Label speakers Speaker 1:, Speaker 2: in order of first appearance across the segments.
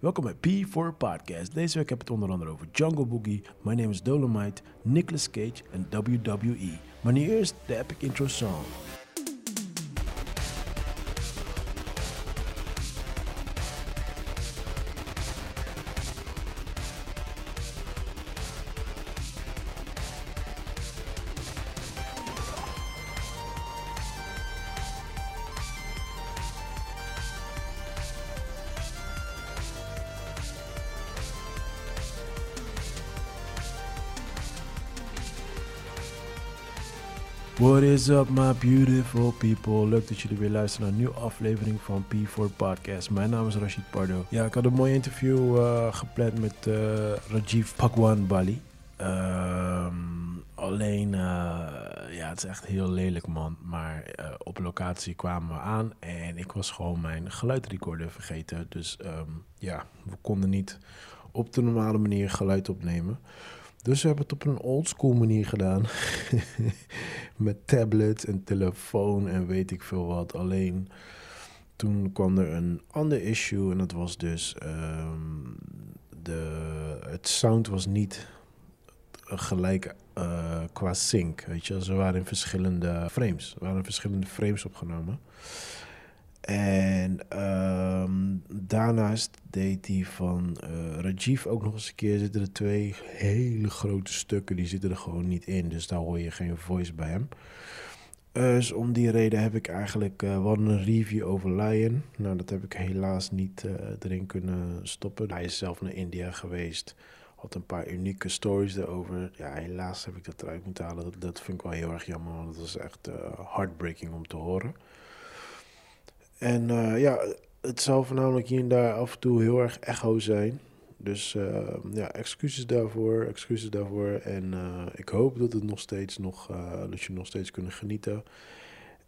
Speaker 1: Welkom bij P4 Podcast. Deze week heb ik het onder andere over Jungle Boogie, My Name is Dolomite, Nicolas Cage en WWE. Maar nu eerst de epic intro song. What is up, my beautiful people? Leuk dat jullie weer luisteren naar een nieuwe aflevering van P4 Podcast. Mijn naam is Rashid Pardo. Ja, ik had een mooi interview eh, gepland met eh, Rajiv Pakwan Bali. Ehm, alleen, eh, ja, het is echt heel lelijk, man. Maar eh, op locatie kwamen we aan en ik was gewoon mijn geluidrecorder vergeten. Dus ehm, ja, we konden niet op de normale manier geluid opnemen. Dus we hebben het op een oldschool manier gedaan. Met tablet en telefoon en weet ik veel wat. Alleen toen kwam er een ander issue en dat was dus... ehm, de, het sound was niet gelijk eh, qua sync, weet je. Ze waren in verschillende frames. Er waren verschillende frames opgenomen. En ehm, daarnaast deed hij van eh, Rajiv ook nog eens een keer. Zitten er twee hele grote stukken, die zitten er gewoon niet in. Dus daar hoor je geen voice bij hem. Eh, dus om die reden heb ik eigenlijk eh, we hadden een review over Lion. Nou, dat heb ik helaas niet eh, erin kunnen stoppen. Hij is zelf naar India geweest. Had een paar unieke stories erover. Ja, helaas heb ik dat eruit moeten halen. Dat, dat vind ik wel heel erg jammer, want dat was echt eh, heartbreaking om te horen. En eh, ja, het zal voornamelijk hier en daar af en toe heel erg echo zijn. Dus eh, ja, excuses daarvoor, excuses daarvoor. En eh, ik hoop dat, het nog steeds nog, eh, dat je nog steeds kunnen genieten.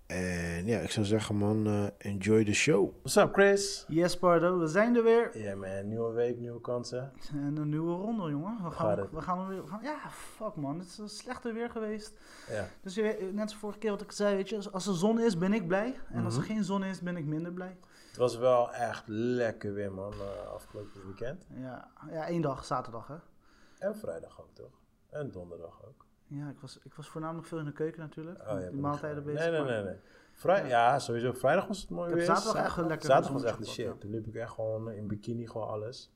Speaker 1: En ja, ik zou zeggen man, eh, enjoy the show. What's up Chris?
Speaker 2: Yes, Pardo, we zijn er weer.
Speaker 1: Ja man, nieuwe week, nieuwe kansen.
Speaker 2: En een nieuwe ronde, jongen. We
Speaker 1: gaat
Speaker 2: gaan,
Speaker 1: het?
Speaker 2: we gaan er weer. we gaan- ja, fuck man. Het is een slechter weer geweest.
Speaker 1: Ja,
Speaker 2: Dus je weet- net als vorige keer wat ik zei, weet je, als- als er zon is, ben ik blij. En als er
Speaker 1: Mhm.
Speaker 2: geen zon is, ben ik minder blij.
Speaker 1: het was wel echt lekker weer man, eh, afgelopen weekend.
Speaker 2: Ja, ja één dag, zaterdag hè.
Speaker 1: En vrijdag ook toch? En donderdag ook.
Speaker 2: Ja, ik was, ik was voornamelijk veel in de keuken natuurlijk.
Speaker 1: Oh,
Speaker 2: die maaltijden bezig.
Speaker 1: Nee, nee,
Speaker 2: maar-
Speaker 1: nee. nee. Vrij, ja. sowieso. Vrijdag was het mooi
Speaker 2: Ik heb
Speaker 1: weer.
Speaker 2: zaterdag echt wel lekker
Speaker 1: Zaterdag
Speaker 2: een
Speaker 1: was echt de
Speaker 2: zonnetje
Speaker 1: shit.
Speaker 2: gepakt,
Speaker 1: Toen liep ik echt gewoon in bikini, gewoon alles.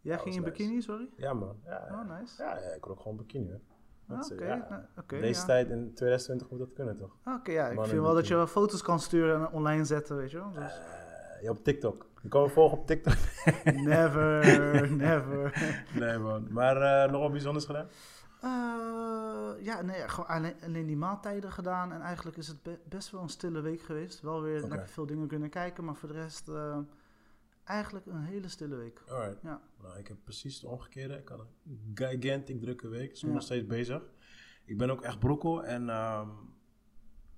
Speaker 2: Jij
Speaker 1: was
Speaker 2: ging in
Speaker 1: nice.
Speaker 2: bikini, sorry?
Speaker 1: Ja, man. Ja, ja.
Speaker 2: Oh, nice.
Speaker 1: ja, ja, ik rook gewoon bikini, hè.
Speaker 2: Ah,
Speaker 1: Dat
Speaker 2: Oké,
Speaker 1: is, eh, ja.
Speaker 2: nou, oké,
Speaker 1: Deze
Speaker 2: ja.
Speaker 1: tijd in 2020 moet dat kunnen, toch?
Speaker 2: Ah, Oké, ja, ik
Speaker 1: Man in
Speaker 2: vind wel dat je wel foto's kan sturen en online zetten, weet je wel. Dus
Speaker 1: Eh, ja, op TikTok. Je kan me volgen op TikTok.
Speaker 2: never, never.
Speaker 1: nee, man. Maar eh, nog wat bijzonders gedaan?
Speaker 2: Eh, ja, nee, gewoon alleen, alleen die maaltijden gedaan. En eigenlijk is het be- best wel een stille week geweest. Wel weer
Speaker 1: Oké.
Speaker 2: lekker veel dingen kunnen kijken, maar voor de rest eh, eigenlijk een hele stille week.
Speaker 1: Alright.
Speaker 2: Ja.
Speaker 1: Nou, ik heb precies het omgekeerde. Ik had een gigantic drukke week. Ik ben
Speaker 2: Ja.
Speaker 1: nog steeds bezig. Ik ben ook echt brokkel. En ehm,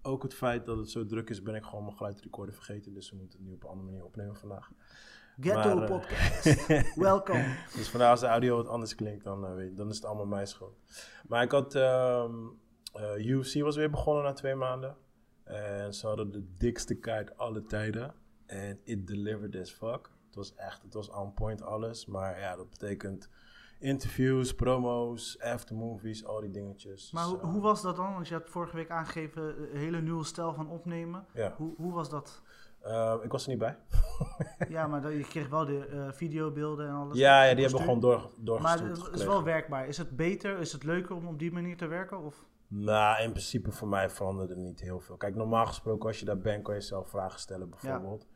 Speaker 1: ook het feit dat het zo druk is, ben ik gewoon mijn geluidrecorder vergeten. Dus we moeten het nu op een andere manier opnemen vandaag.
Speaker 2: Ghetto
Speaker 1: Maar, eh,
Speaker 2: podcast, welkom.
Speaker 1: Dus vandaar als de audio wat anders klinkt, dan, eh, weet, dan is het allemaal mijn schuld. Maar ik had... ehm, eh, UFC was weer begonnen na twee maanden. En ze hadden de dikste kaart alle tijden. En it delivered as fuck. Het was echt, het was on point alles. Maar ja, dat betekent interviews, promo's, aftermovies, al die dingetjes.
Speaker 2: Maar
Speaker 1: Dus,
Speaker 2: hoe,
Speaker 1: eh,
Speaker 2: hoe was dat dan? Want je hebt vorige week aangegeven eh, een hele nieuwe stijl van opnemen.
Speaker 1: Ja,
Speaker 2: Hoe, hoe was dat?
Speaker 1: Eh, ik was er niet bij.
Speaker 2: Ja, maar dat- je kreeg wel de eh, videobeelden en alles.
Speaker 1: Ja, ja die hebben
Speaker 2: Kostuum.
Speaker 1: gewoon door,
Speaker 2: Maar
Speaker 1: doorgestuurd
Speaker 2: het is
Speaker 1: gekregen.
Speaker 2: wel werkbaar. Is het beter? Is het leuker om op die manier te werken? Of?
Speaker 1: Nou, in principe voor mij veranderde er niet heel veel. Kijk, normaal gesproken als je daar bent, kan je zelf vragen stellen bijvoorbeeld.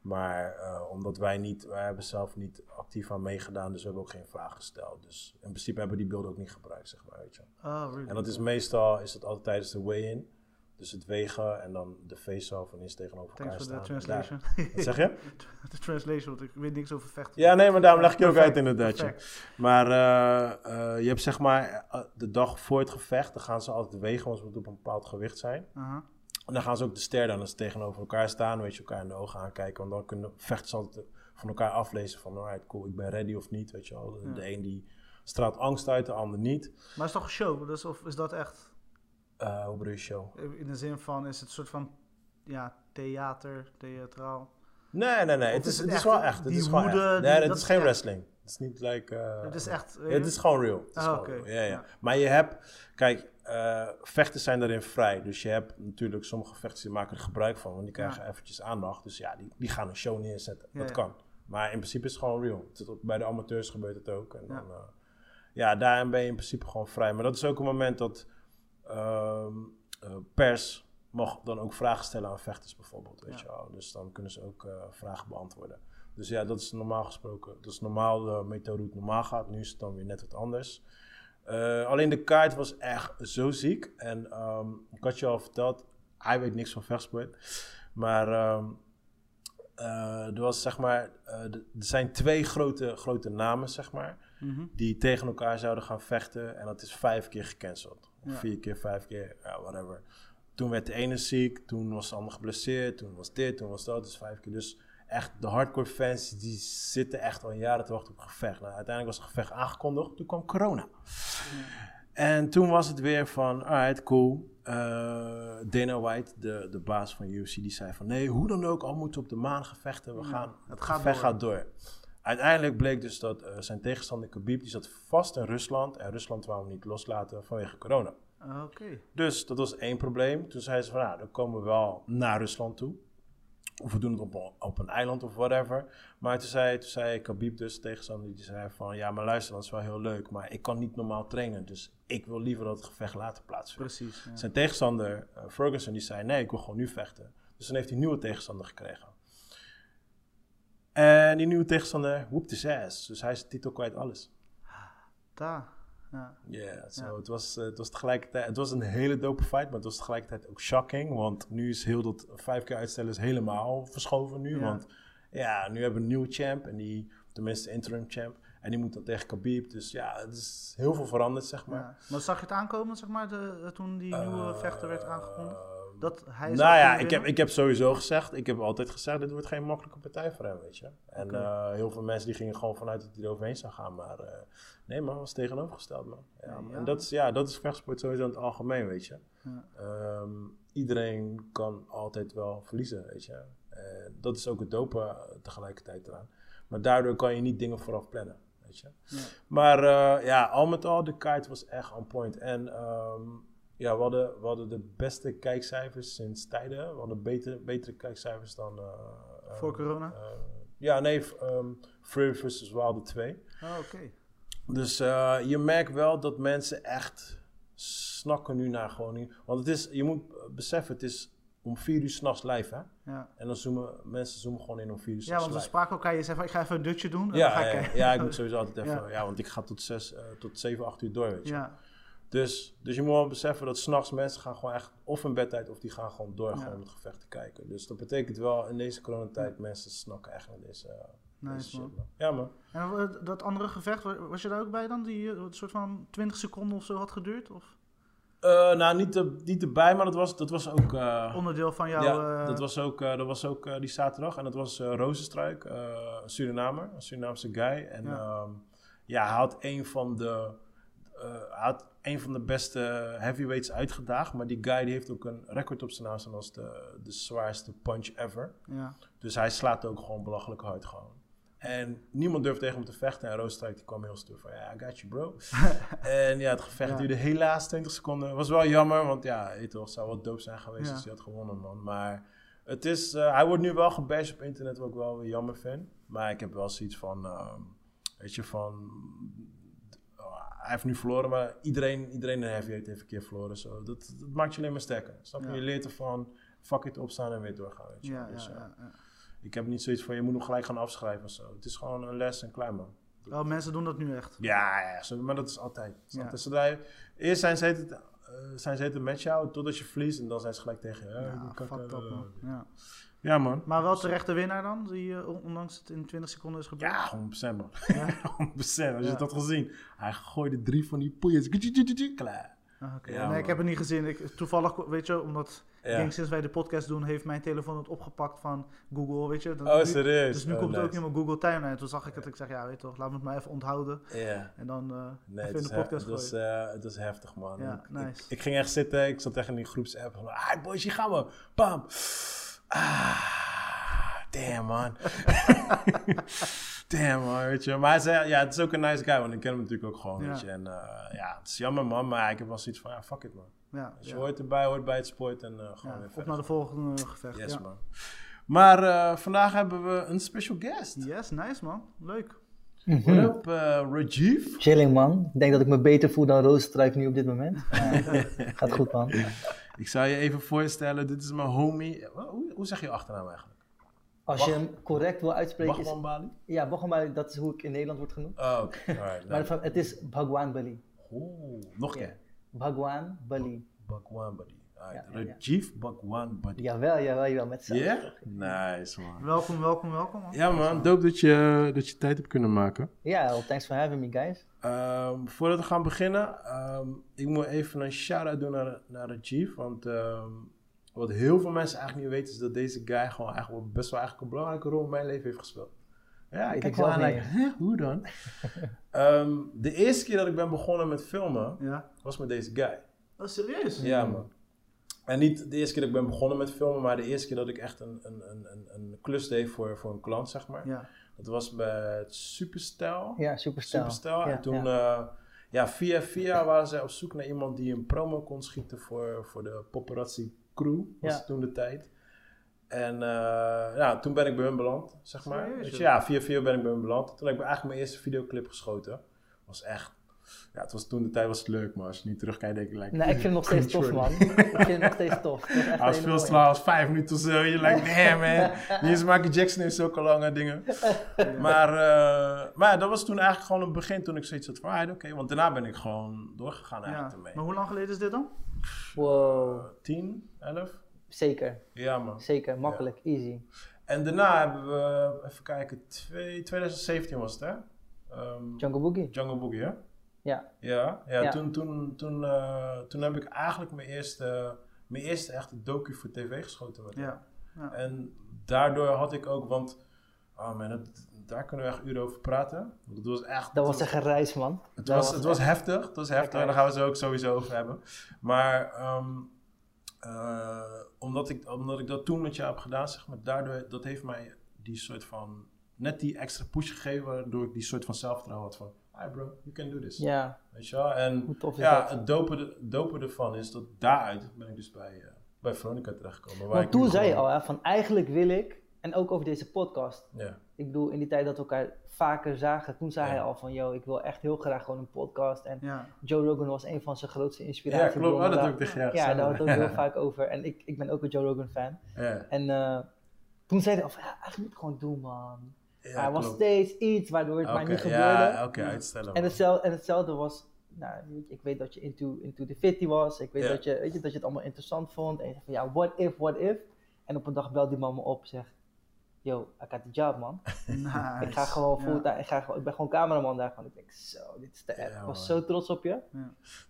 Speaker 1: Maar eh, omdat wij niet, wij hebben zelf niet actief aan meegedaan, dus we hebben ook geen vragen gesteld. Dus in principe hebben we die beelden ook niet gebruikt, zeg maar, weet je.
Speaker 2: Oh, really?
Speaker 1: En dat is meestal, is dat altijd tijdens de weigh-in. Dus het wegen en dan de face-off en is tegenover
Speaker 2: Thanks
Speaker 1: elkaar staan.
Speaker 2: for the
Speaker 1: Daar-
Speaker 2: translation.
Speaker 1: Wat zeg je?
Speaker 2: De translation, want ik weet niks over vechten.
Speaker 1: Ja, nee, maar daarom leg ik je ook
Speaker 2: Perfect,
Speaker 1: uit inderdaad. ja.
Speaker 2: perfect.
Speaker 1: Maar eh, eh, je hebt zeg maar eh, de dag voor het gevecht, dan gaan ze altijd wegen, want ze moeten op een bepaald gewicht zijn.
Speaker 2: Aha.
Speaker 1: En dan gaan ze ook de ster dan eens tegenover elkaar staan, weet je, elkaar in de ogen aankijken. Want dan kunnen vechters altijd van elkaar aflezen van, alright, cool, ik ben ready of niet, weet je wel. De,
Speaker 2: Ja.
Speaker 1: de een die straalt angst uit, de ander niet.
Speaker 2: Maar is toch een show? Dus of is dat echt
Speaker 1: Eh, hoe bedoel je show?
Speaker 2: in de zin van, is het een soort van ja, theater, theatraal?
Speaker 1: Nee, nee, nee. Het
Speaker 2: is
Speaker 1: is,
Speaker 2: het
Speaker 1: het is
Speaker 2: echt
Speaker 1: wel echt. Het
Speaker 2: die
Speaker 1: is gewoon
Speaker 2: woede,
Speaker 1: echt.
Speaker 2: die-
Speaker 1: Nee,
Speaker 2: dat
Speaker 1: het is
Speaker 2: is
Speaker 1: geen
Speaker 2: echt?
Speaker 1: wrestling. Het is niet like... eh,
Speaker 2: Het is echt...
Speaker 1: ja, het is gewoon real. Het is
Speaker 2: Ah,
Speaker 1: gewoon
Speaker 2: oké.
Speaker 1: real. Ja, ja.
Speaker 2: Ja.
Speaker 1: Maar je hebt, kijk, eh, vechten zijn daarin vrij. Dus je hebt natuurlijk sommige vechters die maken er gebruik van, want die krijgen eventjes aandacht. Dus ja, die, die gaan een show neerzetten.
Speaker 2: Ja,
Speaker 1: dat
Speaker 2: ja.
Speaker 1: kan. Maar in principe is het gewoon real. Het is ook- bij de amateurs gebeurt het ook. En
Speaker 2: Ja.
Speaker 1: dan, eh, ja, daarin ben je in principe gewoon vrij. Maar dat is ook een moment dat ehm, eh, pers mag dan ook vragen stellen aan vechters bijvoorbeeld. Weet je
Speaker 2: Ja.
Speaker 1: wel. Dus dan kunnen ze ook eh, vragen beantwoorden. Dus ja, dat is normaal gesproken. Dat is normaal de methode hoe het normaal gaat. Nu is het dan weer net wat anders. Eh, alleen de kaart was echt zo ziek. En ehm, ik had je al verteld, hij weet niks van vechtsport. Maar ehm, eh, er was zeg maar, eh, d- er zijn twee grote, grote namen zeg maar
Speaker 2: Mhm.
Speaker 1: die tegen elkaar zouden gaan vechten. En dat is vijf keer gecanceld. Of
Speaker 2: Ja.
Speaker 1: vier keer, vijf keer, ja, whatever. Toen werd de ene ziek, toen was de ander geblesseerd, toen was dit, toen was dat. Dus vijf keer. Dus echt, de hardcore fans die zitten echt al jaren te wachten op een gevecht. Nou, uiteindelijk was het gevecht aangekondigd, toen kwam corona. En toen was het weer van, alright, cool. Eh, Dana White, de, de baas van UFC, die zei van... nee, hoe dan ook, al moeten we op de maan gevechten. We gaan,
Speaker 2: het gaat
Speaker 1: gevecht
Speaker 2: door.
Speaker 1: gaat door. Uiteindelijk bleek dus dat eh, zijn tegenstander Khabib... die zat vast in Rusland. En Rusland wou hem niet loslaten vanwege corona.
Speaker 2: Ah, Oké.
Speaker 1: Dus dat was één probleem. Toen zei ze van, nou, dan komen we wel naar Rusland toe. Of we doen het op, een- op een eiland of whatever. Maar toen zei, toen zei Khabib dus, de tegenstander, die zei van... ja, maar luister, dat is wel heel leuk, maar ik kan niet normaal trainen. Dus ik wil liever dat het gevecht later plaatsvindt.
Speaker 2: Precies. ja.
Speaker 1: Zijn tegenstander, eh, Ferguson, die zei... nee, ik wil gewoon nu vechten. Dus dan heeft hij een nieuwe tegenstander gekregen. En die nieuwe tegenstander whooped his ass. Dus hij is de titel kwijt, alles.
Speaker 2: Daar. Ja.
Speaker 1: Yeah, so
Speaker 2: Ja.
Speaker 1: Het, was, eh, het was tegelijkertijd... Het was een hele dope fight, maar het was tegelijkertijd ook shocking. Want nu is heel dat vijf keer uitstellen is helemaal verschoven nu.
Speaker 2: Ja.
Speaker 1: Want ja, nu hebben we een nieuwe champ. En die, tenminste interim champ. En die moet dan tegen Khabib. Dus ja, het is heel veel veranderd, zeg maar.
Speaker 2: Ja. Maar zag je het aankomen, zeg maar, de, eh, toen die nieuwe vechter werd aangekondigd? Dat hij zou
Speaker 1: Eh, nou ja,
Speaker 2: kunnen
Speaker 1: ik heb,
Speaker 2: winnen?
Speaker 1: ik heb sowieso gezegd, ik heb altijd gezegd, dit wordt geen makkelijke partij voor hem, weet je. En
Speaker 2: Oké.
Speaker 1: eh, heel veel mensen die gingen gewoon vanuit dat hij er overheen zou gaan, maar eh, nee man, was tegenovergesteld man. Ja,
Speaker 2: Ja,
Speaker 1: man.
Speaker 2: ja.
Speaker 1: En dat is, ja, dat is vechtsport sowieso in het algemeen, weet je.
Speaker 2: Ja.
Speaker 1: Ehm, iedereen kan altijd wel verliezen, weet je. Eh, dat is ook het dope eh, tegelijkertijd eraan. Maar daardoor kan je niet dingen vooraf plannen, weet je.
Speaker 2: Ja.
Speaker 1: Maar eh, ja, al met al, de kaart was echt on point. En ehm, ja, we hadden, we hadden de beste kijkcijfers sinds tijden. We hadden betere, betere kijkcijfers dan... eh, eh,
Speaker 2: Voor corona?
Speaker 1: eh, ja, nee, v- ehm Fury vs. Wilder 2.
Speaker 2: Oh, Oké.
Speaker 1: Dus eh, je merkt wel dat mensen echt snakken nu naar gewoon... niet- Want het is, je moet eh, beseffen, het is om vier uur s'nachts live, hè?
Speaker 2: Ja.
Speaker 1: En dan zoomen, mensen zoomen gewoon in om vier uur
Speaker 2: ja,
Speaker 1: s'nachts
Speaker 2: want we
Speaker 1: live.
Speaker 2: spraken elkaar. Je zei van, ik ga even een dutje doen en Nou, dan
Speaker 1: Ja,
Speaker 2: ga ik
Speaker 1: ja, ja,
Speaker 2: kijken.
Speaker 1: ja, ik moet sowieso altijd even...
Speaker 2: Ja.
Speaker 1: Ja, want ik ga tot, zes, eh, tot zeven, acht uur door, weet je.
Speaker 2: Ja,
Speaker 1: Dus, dus je moet wel beseffen dat s'nachts mensen gaan gewoon echt of in bedtijd of die gaan gewoon door
Speaker 2: Ja.
Speaker 1: gewoon om het gevecht te kijken. Dus dat betekent wel in deze coronatijd mensen snakken echt naar deze, eh, deze
Speaker 2: nice
Speaker 1: shit.
Speaker 2: man.
Speaker 1: man. Ja man.
Speaker 2: En wa- dat andere gevecht, wa- was je daar ook bij dan? Die eh, een soort van 20 seconden of zo had geduurd? Of
Speaker 1: Eh, nou, niet, er- niet erbij, maar dat was, dat was ook... eh,
Speaker 2: onderdeel van jouw...
Speaker 1: ja,
Speaker 2: eh,
Speaker 1: dat was ook, eh, dat was ook eh, die zaterdag. En dat was eh Rozenstruik, eh, een Surinamer, een Surinaamse guy. En
Speaker 2: Ja.
Speaker 1: ja, ja hij had een van de... eh, hij had een van de beste heavyweights uitgedaagd. Maar die guy die heeft ook een record op zijn naam staan als de, de zwaarste punch ever.
Speaker 2: ja.
Speaker 1: Dus hij slaat ook gewoon belachelijk hard gewoon. En niemand durfde tegen hem te vechten. En Roostrijk die kwam heel stoer van, ja, I got you bro. en ja, het gevecht
Speaker 2: Ja.
Speaker 1: duurde helaas 20 seconden. Was wel jammer, want ja, weet je toch, zou wel dope zijn geweest
Speaker 2: Ja.
Speaker 1: als hij had gewonnen, man. Maar het is, eh, hij wordt nu wel gebashed op internet, wat ik wel weer jammer vind. Maar ik heb wel zoiets van, ehm, weet je, van... oh, hij heeft nu verloren, maar iedereen, iedereen in heavyweight heeft een keer verloren. Zo. Dat, dat maakt je alleen maar sterker. Snap je?
Speaker 2: Ja.
Speaker 1: Je leert ervan, fuck it, opstaan en weer doorgaan. Weet je?
Speaker 2: Ja,
Speaker 1: Dus,
Speaker 2: ja,
Speaker 1: ja.
Speaker 2: ja, ja.
Speaker 1: Ik heb niet zoiets van je moet hem gelijk gaan afschrijven of zo. Het is gewoon een les en klaar man.
Speaker 2: Oh, mensen doen dat nu echt.
Speaker 1: Ja, ja zo- maar dat is altijd. Dat is
Speaker 2: Ja.
Speaker 1: altijd. Zodra je- eerst zijn ze het, eh, zijn ze het match houden totdat je verliest en dan zijn ze gelijk tegen je.
Speaker 2: Ja,
Speaker 1: Eh, die
Speaker 2: fuck
Speaker 1: kakker,
Speaker 2: dat
Speaker 1: eh.
Speaker 2: man. Ja.
Speaker 1: Ja man.
Speaker 2: Maar wel terecht de winnaar dan, die eh, on- ondanks het in 20 seconden is gebeurd.
Speaker 1: Ja, 100% man. 100%.
Speaker 2: Ja.
Speaker 1: Als je
Speaker 2: Ja.
Speaker 1: dat had gezien. Hij gooide drie van die poeiers. Klaar.
Speaker 2: Ah, oké.
Speaker 1: Ja,
Speaker 2: nee,
Speaker 1: man.
Speaker 2: ik heb het niet gezien. Ik, toevallig, weet je, omdat ik
Speaker 1: Ja.
Speaker 2: denk sinds wij de podcast doen, heeft mijn telefoon het opgepakt van Google, weet je. Dan-
Speaker 1: Oh
Speaker 2: nu-
Speaker 1: serieus.
Speaker 2: dus nu
Speaker 1: Oh,
Speaker 2: komt het ook
Speaker 1: nice.
Speaker 2: in mijn Google timeline. Toen zag ik het, ik zeg, ja, weet je toch, laat me het maar even onthouden.
Speaker 1: Ja.
Speaker 2: En dan eh
Speaker 1: Nee,
Speaker 2: even
Speaker 1: het,
Speaker 2: in
Speaker 1: is
Speaker 2: de
Speaker 1: he- het,
Speaker 2: podcast
Speaker 1: was,
Speaker 2: gooien.
Speaker 1: eh, het was heftig, man.
Speaker 2: Ja,
Speaker 1: ik,
Speaker 2: nice.
Speaker 1: ik, ik ging echt zitten, ik zat echt in die groepsapp. Van, ah, boys, hier gaan we. Bam. Ah, damn man. damn man, weet je. Maar hij zei, ja, het is ook een nice guy, want ik ken hem natuurlijk ook gewoon,
Speaker 2: Ja.
Speaker 1: weet je. En eh, ja, het is jammer man, maar ik heb wel zoiets van, ja, fuck it man.
Speaker 2: Ja,
Speaker 1: Dus je
Speaker 2: ja.
Speaker 1: hoort erbij, hoort bij het sport en eh,
Speaker 2: Ja,
Speaker 1: gewoon weer
Speaker 2: op
Speaker 1: verder.
Speaker 2: naar de volgende gevecht.
Speaker 1: Yes
Speaker 2: ja.
Speaker 1: man. Maar eh, vandaag hebben we een special guest.
Speaker 2: Yes, nice man. Leuk.
Speaker 1: What up, eh, Rajiv?
Speaker 3: Chilling man. Ik denk dat ik me beter voel dan Roosstruik nu op dit moment. Maar, gaat goed man.
Speaker 1: Ik zou je even voorstellen, dit is mijn homie. Eh, Hoe, hoe zeg je je achternaam eigenlijk?
Speaker 3: Als je hem correct wil uitspreken is...
Speaker 1: Bachman Bali?
Speaker 3: Ja, Bogomali, dat is hoe ik in Nederland word genoemd.
Speaker 1: Oh, oké. alright,
Speaker 3: Maar
Speaker 1: nice.
Speaker 3: van- het is Bhagwan Bali.
Speaker 1: Oeh, nog een keer.
Speaker 3: Bhagwan Bali.
Speaker 1: Bhagwan Buddy. Alright,
Speaker 3: Ja, ja, ja.
Speaker 1: Rajiv Bhagwan Buddy.
Speaker 3: Jawel, jawel, jawel. Met
Speaker 1: Ja?
Speaker 3: z'n
Speaker 1: Nice man.
Speaker 2: Welkom, welkom, welkom man.
Speaker 1: Ja man, dope dat je, dat je tijd hebt kunnen maken.
Speaker 3: Ja, well, thanks for having me guys.
Speaker 1: Ehm, voordat we gaan beginnen, ehm, ik moet even een shout-out doen naar, naar Rajiv. Want ehm, wat heel veel mensen eigenlijk niet weten, is dat deze guy gewoon eigenlijk wel best wel eigenlijk een belangrijke rol in mijn leven heeft gespeeld. Ja, ik
Speaker 3: ik
Speaker 1: kijk wel aan,
Speaker 3: zelf
Speaker 1: like, hè, hoe dan? Ehm, de eerste keer dat ik ben begonnen met filmen,
Speaker 2: Ja.
Speaker 1: was met deze guy.
Speaker 2: Oh, serieus?
Speaker 1: Ja, man. En niet de eerste keer dat ik ben begonnen met filmen, maar de eerste keer dat ik echt een, een, een, een, een klus deed voor, voor een klant, zeg maar.
Speaker 2: Ja.
Speaker 1: Dat was bij Superstyle.
Speaker 3: Ja, superstar.
Speaker 1: Superstyle.
Speaker 3: Ja,
Speaker 1: en toen, eh,
Speaker 3: ja.
Speaker 1: ja. ja, via via waren zij op zoek naar iemand die een promo kon schieten voor, voor de paparazzi crew, was
Speaker 3: Ja.
Speaker 1: het toen de tijd. En eh, ja, toen ben ik bij hun beland, zeg maar.
Speaker 2: Serieus,
Speaker 1: Weet je,
Speaker 2: joh?
Speaker 1: ja, via via ben ik bij hun beland. Toen heb ik eigenlijk mijn eerste videoclip geschoten. Was echt, ja, het was toen de tijd was het leuk, maar als je nu terugkijkt denk ik, like,
Speaker 3: Nee, Nou, ik vind hem nog steeds tof man. ik vind hem nog steeds tof. Dat is echt
Speaker 1: als
Speaker 3: een
Speaker 1: veel
Speaker 3: hele
Speaker 1: straal als vijf minuten of zo. Je lijkt, nee man. Niet eens Michael Jackson heeft zulke lange dingen. Maar, eh, maar ja, dat was toen eigenlijk gewoon het begin toen ik zoiets had van, ah, oké. Want daarna ben ik gewoon doorgegaan
Speaker 2: Ja.
Speaker 1: eigenlijk ermee.
Speaker 2: Maar hoe lang geleden is dit dan?
Speaker 3: mooie. Wow.
Speaker 1: Tien, elf?
Speaker 3: Zeker,
Speaker 1: Ja man.
Speaker 3: zeker. Makkelijk, easy.
Speaker 1: En daarna hebben we, even kijken, twee, 2017 was het hè? Ehm,
Speaker 3: Jungle Boogie.
Speaker 1: Jungle Boogie hè?
Speaker 3: Ja.
Speaker 1: Ja, ja,
Speaker 3: Ja.
Speaker 1: Toen, toen, toen, eh, toen heb ik eigenlijk mijn eerste, mijn eerste echte docu voor tv geschoten met hem.
Speaker 2: Ja.
Speaker 1: En daardoor had ik ook, want oh man, dat- daar kunnen we echt uren over praten. Want Het was echt.
Speaker 3: Dat
Speaker 1: het
Speaker 3: was echt een reis man.
Speaker 1: het
Speaker 3: Dat
Speaker 1: was, het was heftig, het was heftig,
Speaker 3: Lekker.
Speaker 1: daar gaan we het ook sowieso over hebben. Maar ehm, eh, omdat, ik, omdat ik dat toen met jou heb gedaan, zeg maar, daardoor, dat heeft mij die soort van, net die extra push gegeven, waardoor ik die soort van zelfvertrouwen had van, hi bro, you can do this.
Speaker 3: Ja,
Speaker 1: Weet je wel? En
Speaker 3: Hoe tof is
Speaker 1: ja,
Speaker 3: dat?
Speaker 1: het dope, dope ervan is dat daaruit ben ik dus bij, eh, bij Veronica terechtgekomen. waar
Speaker 3: want
Speaker 1: ik nu
Speaker 3: toen zei je
Speaker 1: gewoon-
Speaker 3: al hè, van eigenlijk wil ik, en ook over deze podcast,
Speaker 1: Ja,
Speaker 3: ik bedoel in die tijd dat we elkaar vaker zagen, toen zei
Speaker 1: Ja.
Speaker 3: hij al van yo, ik wil echt heel graag gewoon een podcast. En
Speaker 2: Ja.
Speaker 3: Joe Rogan was een van zijn grootste
Speaker 1: ja
Speaker 3: inspiraties.
Speaker 1: klopt,
Speaker 3: Ik
Speaker 1: oh,
Speaker 3: bedoel,
Speaker 1: dat heb ik
Speaker 3: daar-
Speaker 1: tegen jou
Speaker 3: Ja,
Speaker 1: gezegd.
Speaker 3: daar hadden we het ook heel vaak over. En ik, ik ben ook een Joe Rogan fan.
Speaker 1: Ja,
Speaker 3: En eh, toen zei hij al van ja, eigenlijk moet ik gewoon doen man.
Speaker 1: ja,
Speaker 3: Maar er was
Speaker 1: klopt.
Speaker 3: steeds iets waardoor het maar
Speaker 1: Oké,
Speaker 3: niet gebeurde. Dus
Speaker 1: Ja, oké, uitstellen.
Speaker 3: En
Speaker 1: man.
Speaker 3: hetzelfde, en hetzelfde was, nou, weet je, ik weet dat je into, into the fitty was. Ik weet,
Speaker 1: Ja.
Speaker 3: dat je, weet je, dat je het allemaal interessant vond. En je zegt van, ja, what if, what if. En op een dag belt die man me op en zegt, yo, I got the job, man.
Speaker 2: Nice.
Speaker 3: Ik ga gewoon
Speaker 2: Ja.
Speaker 3: fulltime, ik, ga, gewoon- ik ben gewoon cameraman daar. Gewoon. Ik denk, zo, dit is te erg.
Speaker 1: Ja,
Speaker 3: ik
Speaker 1: man.
Speaker 3: was zo trots op je.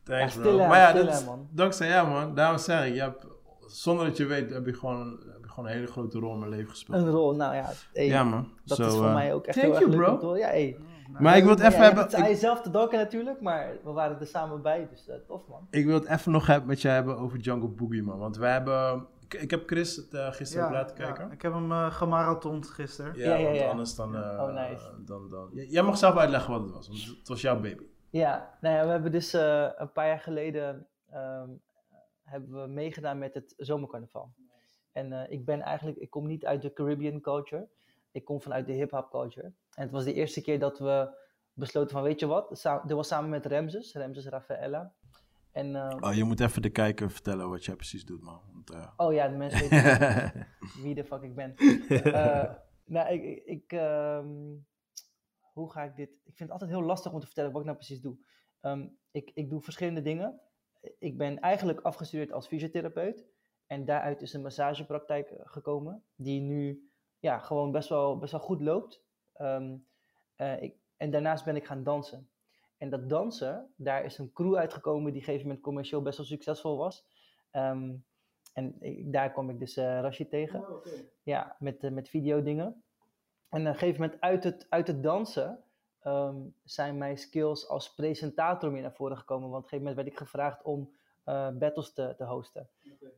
Speaker 1: Thanks,
Speaker 3: Ja,
Speaker 1: bro.
Speaker 3: stil, hè,
Speaker 1: maar ja,
Speaker 3: stil,
Speaker 1: dat
Speaker 3: hè,
Speaker 1: is-
Speaker 3: man.
Speaker 1: dankzij jou, man. Daarom zeg ik, je hebt, zonder dat je weet, heb je, gewoon, heb je gewoon een hele grote rol in mijn leven gespeeld.
Speaker 3: Een rol, nou ja. hey,
Speaker 1: ja, man.
Speaker 3: dat
Speaker 1: Zo,
Speaker 3: is voor
Speaker 1: eh,
Speaker 3: mij ook echt
Speaker 1: thank
Speaker 3: heel
Speaker 1: you,
Speaker 3: erg leuk
Speaker 1: bro.
Speaker 3: om te horen. Ja, hey.
Speaker 1: Maar ik wil het even
Speaker 3: Ja, je hebt
Speaker 1: hebben...
Speaker 3: het aan
Speaker 1: Ik,
Speaker 3: jezelf te danken natuurlijk, maar we waren er samen bij. Dus eh, tof, man.
Speaker 1: ik wil het even nog hebben met jou hebben over Jungle Boogie, man. Want wij hebben... Ik, ik heb Chris het eh, gisteren
Speaker 2: Ja,
Speaker 1: laten
Speaker 2: ja.
Speaker 1: kijken.
Speaker 2: Ik heb hem eh, gemarathond gisteren.
Speaker 1: Ja,
Speaker 3: Ja, ja,
Speaker 1: want
Speaker 3: ja.
Speaker 1: anders dan... eh,
Speaker 3: Oh, nice.
Speaker 1: dan, dan. J- Jij mag zelf uitleggen wat het was, want het was jouw baby.
Speaker 3: Ja, nou ja, we hebben dus eh, een paar jaar geleden ehm, hebben we meegedaan met het zomercarnaval. En eh, ik ben eigenlijk, ik kom niet uit de Caribbean culture. Ik kom vanuit de hip-hop culture. En het was de eerste keer dat we besloten van, weet je wat, sa- dit was samen met Ramses, Ramses Rafaella. En, eh,
Speaker 1: Oh, je moet even de kijker vertellen wat jij precies doet, man. Want, eh,
Speaker 3: oh ja, de mensen weten wie de fuck ik ben. Eh, nou, ik, ik- ik ehm, hoe ga ik dit? Ik vind het altijd heel lastig om te vertellen wat ik nou precies doe. Ehm, ik, ik doe verschillende dingen. Ik ben eigenlijk afgestudeerd als fysiotherapeut. En daaruit is een massagepraktijk eh, gekomen, die nu ja, gewoon best wel, best wel goed loopt. Ehm, eh, ik, en daarnaast ben ik gaan dansen. En dat dansen, daar is een crew uitgekomen die op een gegeven moment commercieel best wel succesvol was. Ehm, en ik- daar kwam ik dus eh Rashid tegen. Ja, met, eh, met videodingen. En op een gegeven moment uit het, uit het dansen ehm, zijn mijn skills als presentator meer naar voren gekomen. Want op een gegeven moment werd ik gevraagd om eh, battles te, te hosten.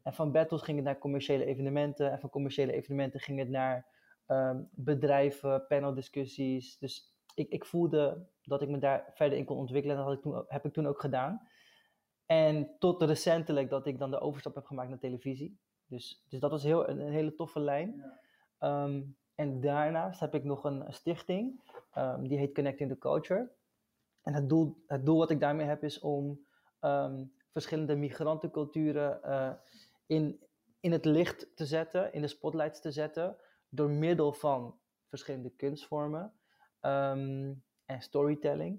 Speaker 3: En van battles ging het naar commerciële evenementen. En van commerciële evenementen ging het naar ehm, bedrijven, paneldiscussies. Dus ik, ik voelde dat ik me daar verder in kon ontwikkelen. En dat had ik toen, heb ik toen ook gedaan. En tot recentelijk dat ik dan de overstap heb gemaakt naar televisie. Dus, dus dat was heel, een, een hele toffe lijn. Ehm, en daarnaast heb ik nog een stichting. ehm, die heet Connecting the Culture. En het doel, het doel wat ik daarmee heb is om ehm, verschillende migrantenculturen eh, in, in het licht te zetten, in de spotlights te zetten, door middel van verschillende kunstvormen ehm, en storytelling.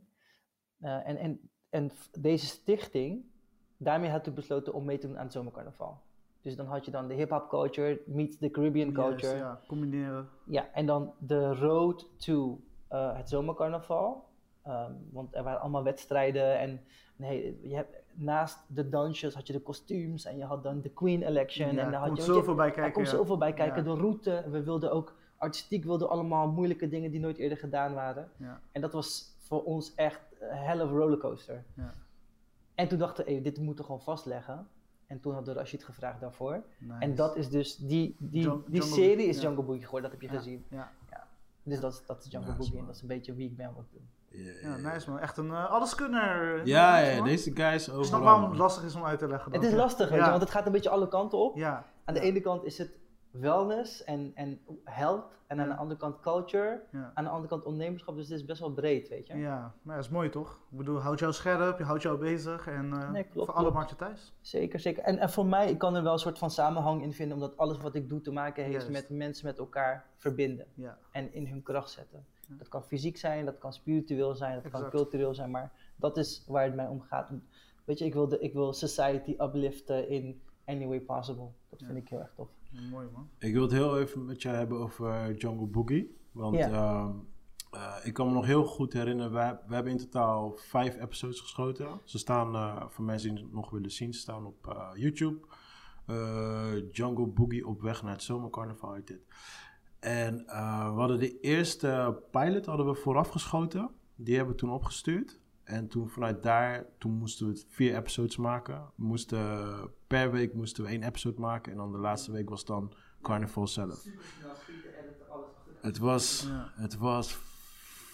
Speaker 3: Eh, en, en, en f- deze stichting, daarmee had ik besloten om mee te doen aan het zomercarnaval. Dus dan had je dan de hip-hop culture, meet the Caribbean culture.
Speaker 2: Juist, ja, combineren.
Speaker 3: Ja, en dan de road to eh, het zomercarnaval. Ehm, want er waren allemaal wedstrijden en nee, je hebt, naast de dansjes had je de kostuums en je had dan de Queen Election.
Speaker 2: Ja,
Speaker 3: en dan had
Speaker 2: komt
Speaker 3: je,
Speaker 2: zoveel bij
Speaker 3: er
Speaker 2: kijken.
Speaker 3: komt
Speaker 2: ja.
Speaker 3: zoveel bij kijken,
Speaker 2: Ja.
Speaker 3: de route. We wilden ook, artistiek wilden we allemaal moeilijke dingen die nooit eerder gedaan waren.
Speaker 2: Ja.
Speaker 3: En dat was voor ons echt een hell of a rollercoaster.
Speaker 2: Ja.
Speaker 3: En toen dachten we, hey, dit moeten we gewoon vastleggen. En toen hadden we Rashid gevraagd daarvoor.
Speaker 2: Nice.
Speaker 3: En dat is dus, die, die,
Speaker 2: Jung-
Speaker 3: die
Speaker 2: Jungle
Speaker 3: serie
Speaker 2: Book,
Speaker 3: is
Speaker 2: ja.
Speaker 3: Jungle Boogie geworden, dat heb je gezien.
Speaker 2: Ja,
Speaker 3: Dus dat, is- dat is Jungle
Speaker 1: Nice,
Speaker 3: Boogie en
Speaker 1: man.
Speaker 3: dat is een beetje wie ik ben wat ik doe.
Speaker 1: Ja,
Speaker 2: ja, nice man. Echt een eh, alleskunner.
Speaker 1: Ja,
Speaker 2: Nice,
Speaker 1: ja,
Speaker 2: man.
Speaker 1: deze guy is overal.
Speaker 2: Ik snap waarom het lastig is om uit te leggen. dan.
Speaker 3: Het is lastig, weet
Speaker 2: Ja.
Speaker 3: je, want het gaat een beetje alle kanten op.
Speaker 2: Ja.
Speaker 3: Aan de
Speaker 2: Ja.
Speaker 3: ene kant is het wellness en, en health en aan de
Speaker 2: Ja.
Speaker 3: andere kant culture.
Speaker 2: Ja.
Speaker 3: Aan de andere kant ondernemerschap, dus het is best wel breed, weet je.
Speaker 2: Ja, maar dat is mooi toch? Ik bedoel, houd jou scherp, je houdt jou bezig en eh,
Speaker 3: Nee, klopt,
Speaker 2: voor
Speaker 3: klopt.
Speaker 2: alle markten thuis.
Speaker 3: Zeker, zeker. En, en voor mij, ik kan er wel een soort van samenhang in vinden, omdat alles wat ik doe te maken heeft
Speaker 2: Juist.
Speaker 3: met mensen met elkaar verbinden
Speaker 2: Ja,
Speaker 3: en in hun kracht zetten.
Speaker 2: Ja.
Speaker 3: Dat kan fysiek zijn, dat kan spiritueel zijn, dat kan
Speaker 2: Exact.
Speaker 3: cultureel zijn, maar dat is waar het mij om gaat. Weet je, ik wil, de, ik wil society upliften in any way possible. Dat vind
Speaker 2: Ja.
Speaker 3: ik heel erg tof.
Speaker 2: mooi man.
Speaker 1: Ik wil het heel even met je hebben over eh, Jungle Boogie. Want
Speaker 3: Ja.
Speaker 1: ehm, eh, ik kan me nog heel goed herinneren, we, we hebben in totaal vijf episodes geschoten. Ze staan, eh, voor mensen die het nog willen zien, ze staan op eh, YouTube. Eh Jungle Boogie op weg naar het zomercarnaval heet dit. En eh, we hadden de eerste pilot hadden we vooraf geschoten. Die hebben we toen opgestuurd. En toen vanuit daar, toen moesten we het vier episodes maken. We moesten, per week moesten we één episode maken. En dan de laatste week was dan carnaval zelf. Het was,
Speaker 2: Ja.
Speaker 1: het was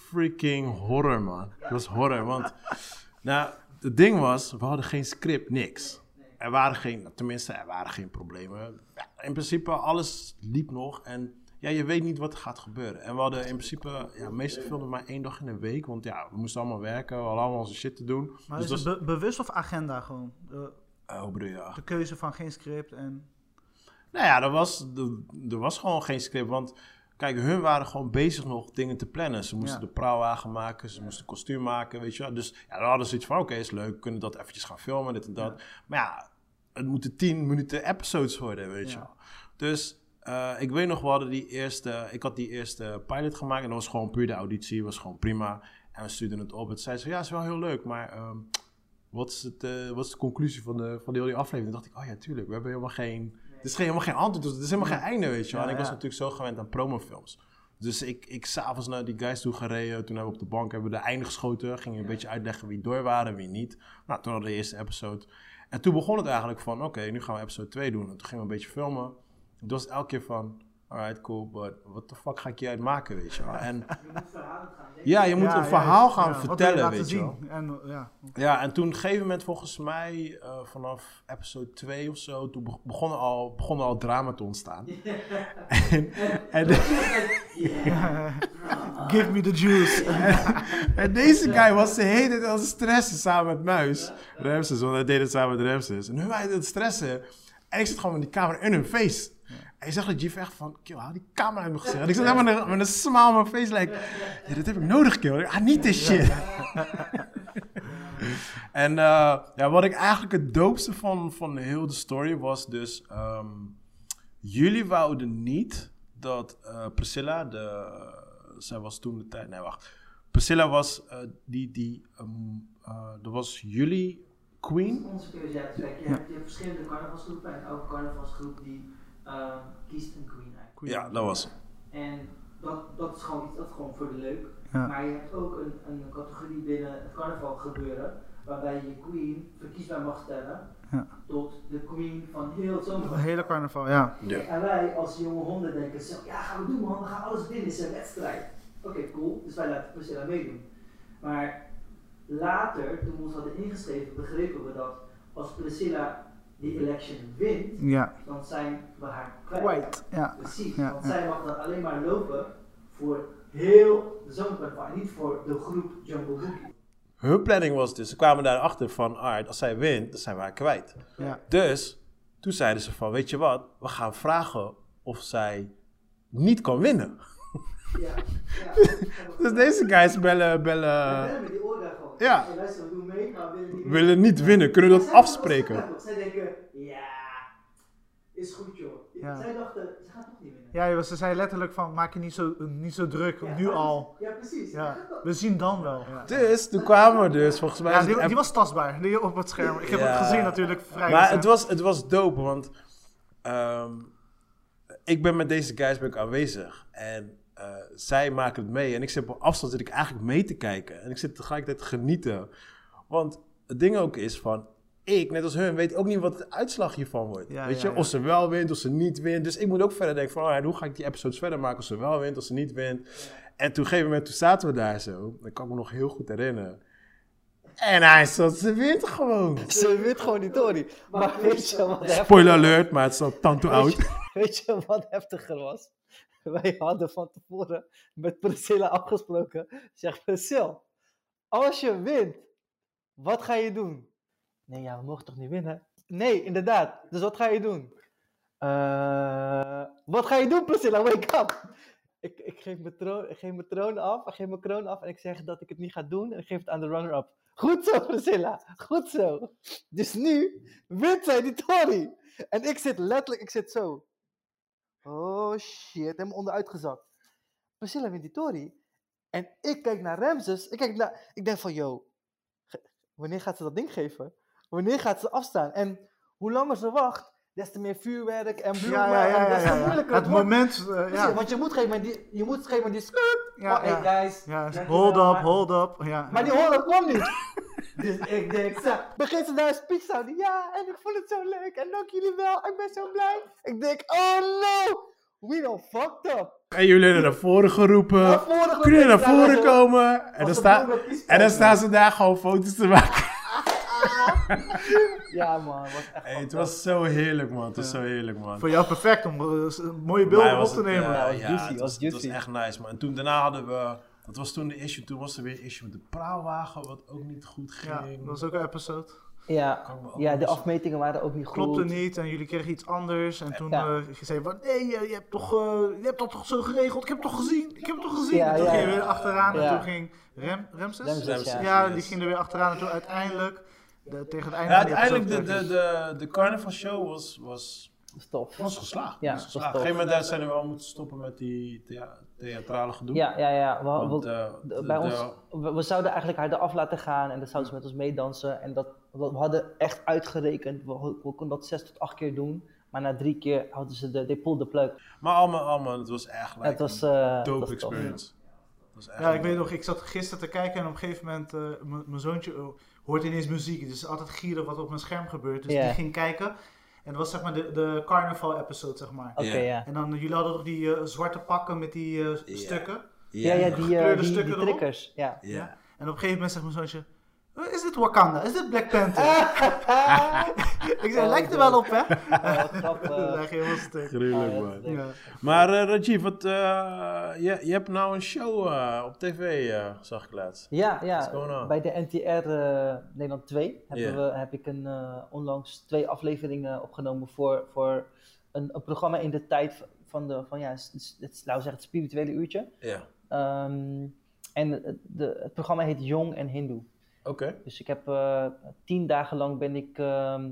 Speaker 1: freaking horror, man. Het was horror, want... Nou, het ding was, we hadden geen script, niks. Er waren geen, tenminste, er waren geen problemen. Ja, in principe, alles liep nog en ja, je weet niet wat er gaat gebeuren. En we hadden in principe, ja, meestal filmden we maar één dag in de week, want ja, we moesten allemaal werken, we hadden allemaal onze shit te doen.
Speaker 2: Maar
Speaker 1: dus
Speaker 2: is
Speaker 1: dat
Speaker 2: het be- bewust of agenda gewoon? De,
Speaker 1: eh, hoe bedoel je?
Speaker 2: de keuze van geen script en...
Speaker 1: Nou ja, er was, er, er was gewoon geen script. Want kijk, hun waren gewoon bezig nog dingen te plannen. Ze moesten
Speaker 2: Ja.
Speaker 1: de praalwagen maken, ze moesten kostuum maken, weet je wel. Dus ja, dan hadden ze iets van, oké, is leuk, we kunnen dat eventjes gaan filmen, dit en dat. Maar ja, het moeten tien minuten episodes worden, weet je
Speaker 2: Ja.
Speaker 1: wel. Dus eh, ik weet nog, we hadden die eerste, ik had die eerste pilot gemaakt en dat was gewoon puur de auditie, was gewoon prima. En we stuurden het op en zei ze, ja, is wel heel leuk, maar... ehm, wat is, het, eh, wat is de conclusie van, de, van de hele aflevering? Toen dacht ik, oh ja, tuurlijk, we hebben helemaal geen... Er is geen, helemaal geen antwoord, dus er is helemaal geen einde, weet je wel.
Speaker 2: Ja,
Speaker 1: en ik was
Speaker 2: ja.
Speaker 1: natuurlijk zo gewend aan promofilms. Dus ik, ik s'avonds naar die guys toe gereden. Toen hebben we op de bank hebben we de einde geschoten. Gingen een beetje uitleggen wie door waren, wie niet. Nou, toen hadden we de eerste episode. En toen begon het eigenlijk van, oké, nu gaan we episode 2 doen. En toen gingen we een beetje filmen. Het was elke keer van, alright, cool, but what the fuck ga ik hieruit maken, weet je wel. En, ja, je moet
Speaker 2: Ja,
Speaker 1: een
Speaker 2: juist.
Speaker 1: verhaal
Speaker 2: Ja,
Speaker 1: gaan
Speaker 2: wat wil je
Speaker 1: vertellen,
Speaker 2: laten
Speaker 1: weet je wel.
Speaker 2: zien? En, eh, ja.
Speaker 1: Ja, en toen op een gegeven moment volgens mij eh, vanaf episode 2 of zo, toen be- begon al, begon al drama te ontstaan. en, en,
Speaker 3: Ah.
Speaker 2: Give me the juice.
Speaker 1: en deze guy was de hele tijd aan het stressen samen met Muis. Ramses, want hij deed het samen met Ramses. En hun waren aan het stressen. En ik zit gewoon met die camera in hun face. En ik zag dat Jeff echt van, kill, haal die camera uit mijn gezicht. En ik zat helemaal met een, met een smile op mijn face, like, ja, dit heb ik nodig, kill. Ah, niet this shit. En eh, ja, wat ik eigenlijk het doopste van, van heel de story was dus... ehm, jullie wouden niet dat eh, Priscilla, de, zij was toen de tijd... Nee, wacht. Priscilla was eh, die... die ehm, eh, dat was jullie queen?
Speaker 3: Onze keuze uit je, hebt, verschillende carnavalsgroepen en elke carnavalsgroep die ehm, kiest een queen uit.
Speaker 1: Ja, dat was
Speaker 3: En dat, dat is gewoon iets, dat is gewoon voor de leuk.
Speaker 2: Ja.
Speaker 3: Maar je hebt ook een, een categorie binnen het carnaval gebeuren
Speaker 4: waarbij je queen verkiesbaar mag stellen
Speaker 2: Ja.
Speaker 4: tot de queen van heel het
Speaker 2: Een
Speaker 4: zomerfest.
Speaker 2: hele carnaval, ja.
Speaker 1: Ja.
Speaker 4: En wij als jonge honden denken zo, ja gaan we doen man, we gaan alles winnen, het is een wedstrijd. Oké, cool, dus wij laten Priscilla meedoen. Maar later, toen we ons hadden ingeschreven, begrepen we dat als Priscilla die election wint,
Speaker 2: Ja.
Speaker 4: dan zijn we haar kwijt.
Speaker 2: White. Ja.
Speaker 4: Precies,
Speaker 2: Ja,
Speaker 4: want
Speaker 2: ja.
Speaker 4: zij mag dan alleen maar lopen voor heel de zomercarnaval en niet voor de groep Jungle Boogie.
Speaker 1: Hun planning was dus, ze kwamen daarachter van, alright, als zij wint, dan zijn we haar kwijt.
Speaker 2: Ja.
Speaker 1: Dus toen zeiden ze van, weet je wat, we gaan vragen of zij niet kan winnen.
Speaker 4: Ja, ja.
Speaker 1: Dus deze guys bellen,
Speaker 4: We
Speaker 1: bellen,
Speaker 4: willen met die oren gewoon.
Speaker 1: ja.
Speaker 4: Hey, luister, we doen mee, maar we willen niet
Speaker 1: willen niet winnen. Kunnen we dat
Speaker 4: Maar zij
Speaker 1: afspreken?
Speaker 4: dachten dat ook. Zij denken, ja, is goed joh.
Speaker 2: Ja.
Speaker 4: Zij dachten, ze gaat toch niet winnen.
Speaker 2: Ja, joh, ze zei letterlijk van, maak je niet zo, eh, niet zo druk,
Speaker 4: Ja,
Speaker 2: nu
Speaker 4: maar-
Speaker 2: al.
Speaker 4: Ja, precies.
Speaker 2: Ja. We zien dan wel. Ja,
Speaker 1: Dus toen kwamen we dus, volgens mij... is het
Speaker 2: die,
Speaker 1: app-
Speaker 2: die was tastbaar, die op het scherm. Ik heb
Speaker 1: Ja.
Speaker 2: het gezien natuurlijk, vrij.
Speaker 1: Maar het was, het was dope, want ehm, ik ben met deze guys ben ik aanwezig. En eh, zij maken het mee. En ik zit op afstand zit ik eigenlijk mee te kijken. En ik zit tegelijkertijd te genieten. Want het ding ook is van... Ik, net als hun, weet ook niet wat de uitslag hiervan wordt.
Speaker 2: Ja,
Speaker 1: weet
Speaker 2: ja,
Speaker 1: je,
Speaker 2: ja.
Speaker 1: of ze wel wint, of ze niet wint. Dus ik moet ook verder denken van... alright, hoe ga ik die episodes verder maken als ze wel wint, als ze niet wint. En toen, op een gegeven moment, toen zaten we daar zo. Dat kan ik me nog heel goed herinneren. En hij zat, ze wint gewoon.
Speaker 4: Ze wint gewoon die Tory. Maar weet je wat
Speaker 1: Spoiler alert, maar het is al tanto oud.
Speaker 4: Weet je wat heftiger was? Wij hadden van tevoren met Priscilla afgesproken. Zeg Priscilla, als je wint, wat ga je doen? Nee, ja, we mogen toch niet winnen? Nee, inderdaad. Dus wat ga je doen? Eh, wat ga je doen, Priscilla? Wake up! Ik, ik, geef mijn troon, ik geef mijn troon af, ik geef mijn kroon af en ik zeg dat ik het niet ga doen en ik geef het aan de runner-up. Goed zo, Priscilla. Goed zo. Dus nu wint zij die Tory. En ik zit letterlijk, ik zit zo. Oh shit, helemaal onderuit gezakt. Priscilla wint die Tory. En ik kijk naar Ramses. Ik, kijk naar, ik denk van, yo, ge- wanneer gaat ze dat ding geven? Wanneer gaat ze afstaan? En hoe langer ze wacht, des te meer vuurwerk en bloemen.
Speaker 2: ja, ja, ja,
Speaker 4: en
Speaker 2: ja,
Speaker 4: des te
Speaker 2: ja.
Speaker 4: moeilijker
Speaker 2: Het
Speaker 4: wordt.
Speaker 2: moment, eh,
Speaker 4: Precies,
Speaker 2: ja.
Speaker 4: Want je moet geen moment die, je moet geen moment die
Speaker 2: Ja,
Speaker 4: oh, hey
Speaker 2: ja.
Speaker 4: guys.
Speaker 2: ja.
Speaker 4: dankjewel,
Speaker 2: Hold up,
Speaker 4: maar-
Speaker 2: hold up. Ja.
Speaker 4: Maar die horen kwam niet. dus ik denk, zo, begint ze daar een speech te houden. Ja, en ik vond het zo leuk. En dank jullie wel. Ik ben zo blij. Ik denk, oh no. We don't fucked up.
Speaker 1: En jullie werden naar voren geroepen. Kunnen jullie naar voren komen? En dan, sta, en dan staan ze daar gewoon foto's te maken.
Speaker 4: Ja man, was echt
Speaker 1: Hey, het was zo heerlijk, man. Het was zo heerlijk, man.
Speaker 2: Voor jou perfect om eh, mooie
Speaker 1: Mij
Speaker 2: beelden op
Speaker 1: was
Speaker 2: te
Speaker 1: het,
Speaker 2: nemen.
Speaker 1: eh,
Speaker 4: was
Speaker 1: ja, het
Speaker 4: juicy, was
Speaker 1: was, het was
Speaker 4: juicy.
Speaker 1: echt nice, man. En toen daarna hadden we... Dat was toen de issue. Toen was er weer issue met de praalwagen, wat ook niet goed
Speaker 2: Ja,
Speaker 1: ging.
Speaker 2: dat was ook een episode.
Speaker 4: Ja,
Speaker 1: Kan me ook
Speaker 4: ja de
Speaker 1: niet-
Speaker 4: afmetingen waren ook niet goed.
Speaker 2: Klopte niet en jullie kregen iets anders. En toen
Speaker 4: Ja.
Speaker 2: eh, zei je van, nee, eh, je hebt, toch, eh, je hebt dat toch zo geregeld? Ik heb het toch gezien? Ik heb het toch gezien?
Speaker 4: Ja,
Speaker 2: en toen
Speaker 4: ja,
Speaker 2: ging je
Speaker 4: ja.
Speaker 2: weer achteraan en
Speaker 4: Ja.
Speaker 2: toen ging Rem, Ramses?
Speaker 4: Ramses,
Speaker 1: Ramses,
Speaker 2: ja.
Speaker 4: ja.
Speaker 2: die
Speaker 1: yes.
Speaker 2: ging er weer achteraan en toen uiteindelijk, de- tegen het einde
Speaker 1: Ja,
Speaker 2: van die
Speaker 1: uiteindelijk de, de,
Speaker 2: episode terug
Speaker 1: de, de carnaval show was, was,
Speaker 4: Stop.
Speaker 1: was geslaagd.
Speaker 4: Ja,
Speaker 1: was
Speaker 4: was
Speaker 1: geslaagd. Op
Speaker 4: top.
Speaker 1: een gegeven moment daar zijn we wel moeten stoppen met die thea- theatrale gedoe.
Speaker 4: Ja, ja, ja. We,
Speaker 1: Want,
Speaker 4: we-
Speaker 1: eh,
Speaker 4: de-
Speaker 1: de-
Speaker 4: bij ons,
Speaker 1: de-
Speaker 4: we, we zouden eigenlijk haar eraf laten gaan en dan zouden ze met ons meedansen. En dat, we hadden echt uitgerekend, we, we konden dat zes tot acht keer doen. Maar na drie keer hadden ze de, they pulled the plug.
Speaker 1: Maar allemaal, allemaal, het was echt like,
Speaker 4: het was,
Speaker 1: een
Speaker 4: eh, het
Speaker 1: dope
Speaker 4: was tof.
Speaker 1: experience. Het was echt
Speaker 2: Ja, ik
Speaker 4: Eh,
Speaker 1: een-
Speaker 2: weet nog, ik zat gisteren te kijken en op een gegeven moment, eh, m- mijn zoontje eh, hoort ineens muziek. Dus altijd gieren wat op mijn scherm gebeurt. Dus
Speaker 4: Ja.
Speaker 2: die ging kijken. En dat was zeg maar de, de carnaval episode, zeg maar.
Speaker 4: Oké,
Speaker 1: Ja.
Speaker 4: ja.
Speaker 2: En dan, eh, jullie hadden toch die eh, zwarte pakken met die eh,
Speaker 1: Ja.
Speaker 2: stukken.
Speaker 4: Ja, ja, die, eh
Speaker 2: Gekleurde
Speaker 4: die,
Speaker 2: stukken
Speaker 4: die
Speaker 2: erop?
Speaker 4: triggers. Ja.
Speaker 1: Ja.
Speaker 2: En op een gegeven moment zegt mijn zoontje, "Eh, is dit Wakanda? Is dit Black Panther? ik zei,
Speaker 4: Oh,
Speaker 2: lijkt er
Speaker 4: God.
Speaker 2: wel op, hè?
Speaker 4: Oh, wat grappig.
Speaker 2: Dat lijkt helemaal stuk.
Speaker 1: Gruwelijk,
Speaker 4: Ah, ja,
Speaker 1: man.
Speaker 4: dat is leuk.
Speaker 2: Ja.
Speaker 1: Maar eh, Rajiv, wat, eh, je, je hebt nou een show eh, op tv, eh, zag ik laatst.
Speaker 4: Ja,
Speaker 1: What's
Speaker 4: ja.
Speaker 1: going on?
Speaker 4: Bij de NTR eh, Nederland 2 hebben
Speaker 1: Ja.
Speaker 4: we, heb ik een, eh, onlangs twee afleveringen eh, opgenomen voor, voor een, een programma in de tijd van, de, van ja, het, is- het, is, laten we zeggen, het spirituele uurtje.
Speaker 1: Ja.
Speaker 4: Ehm, en het- de, het programma heet Jong en Hindoe.
Speaker 1: Oké.
Speaker 4: Dus ik heb eh, tien dagen lang ben ik ehm,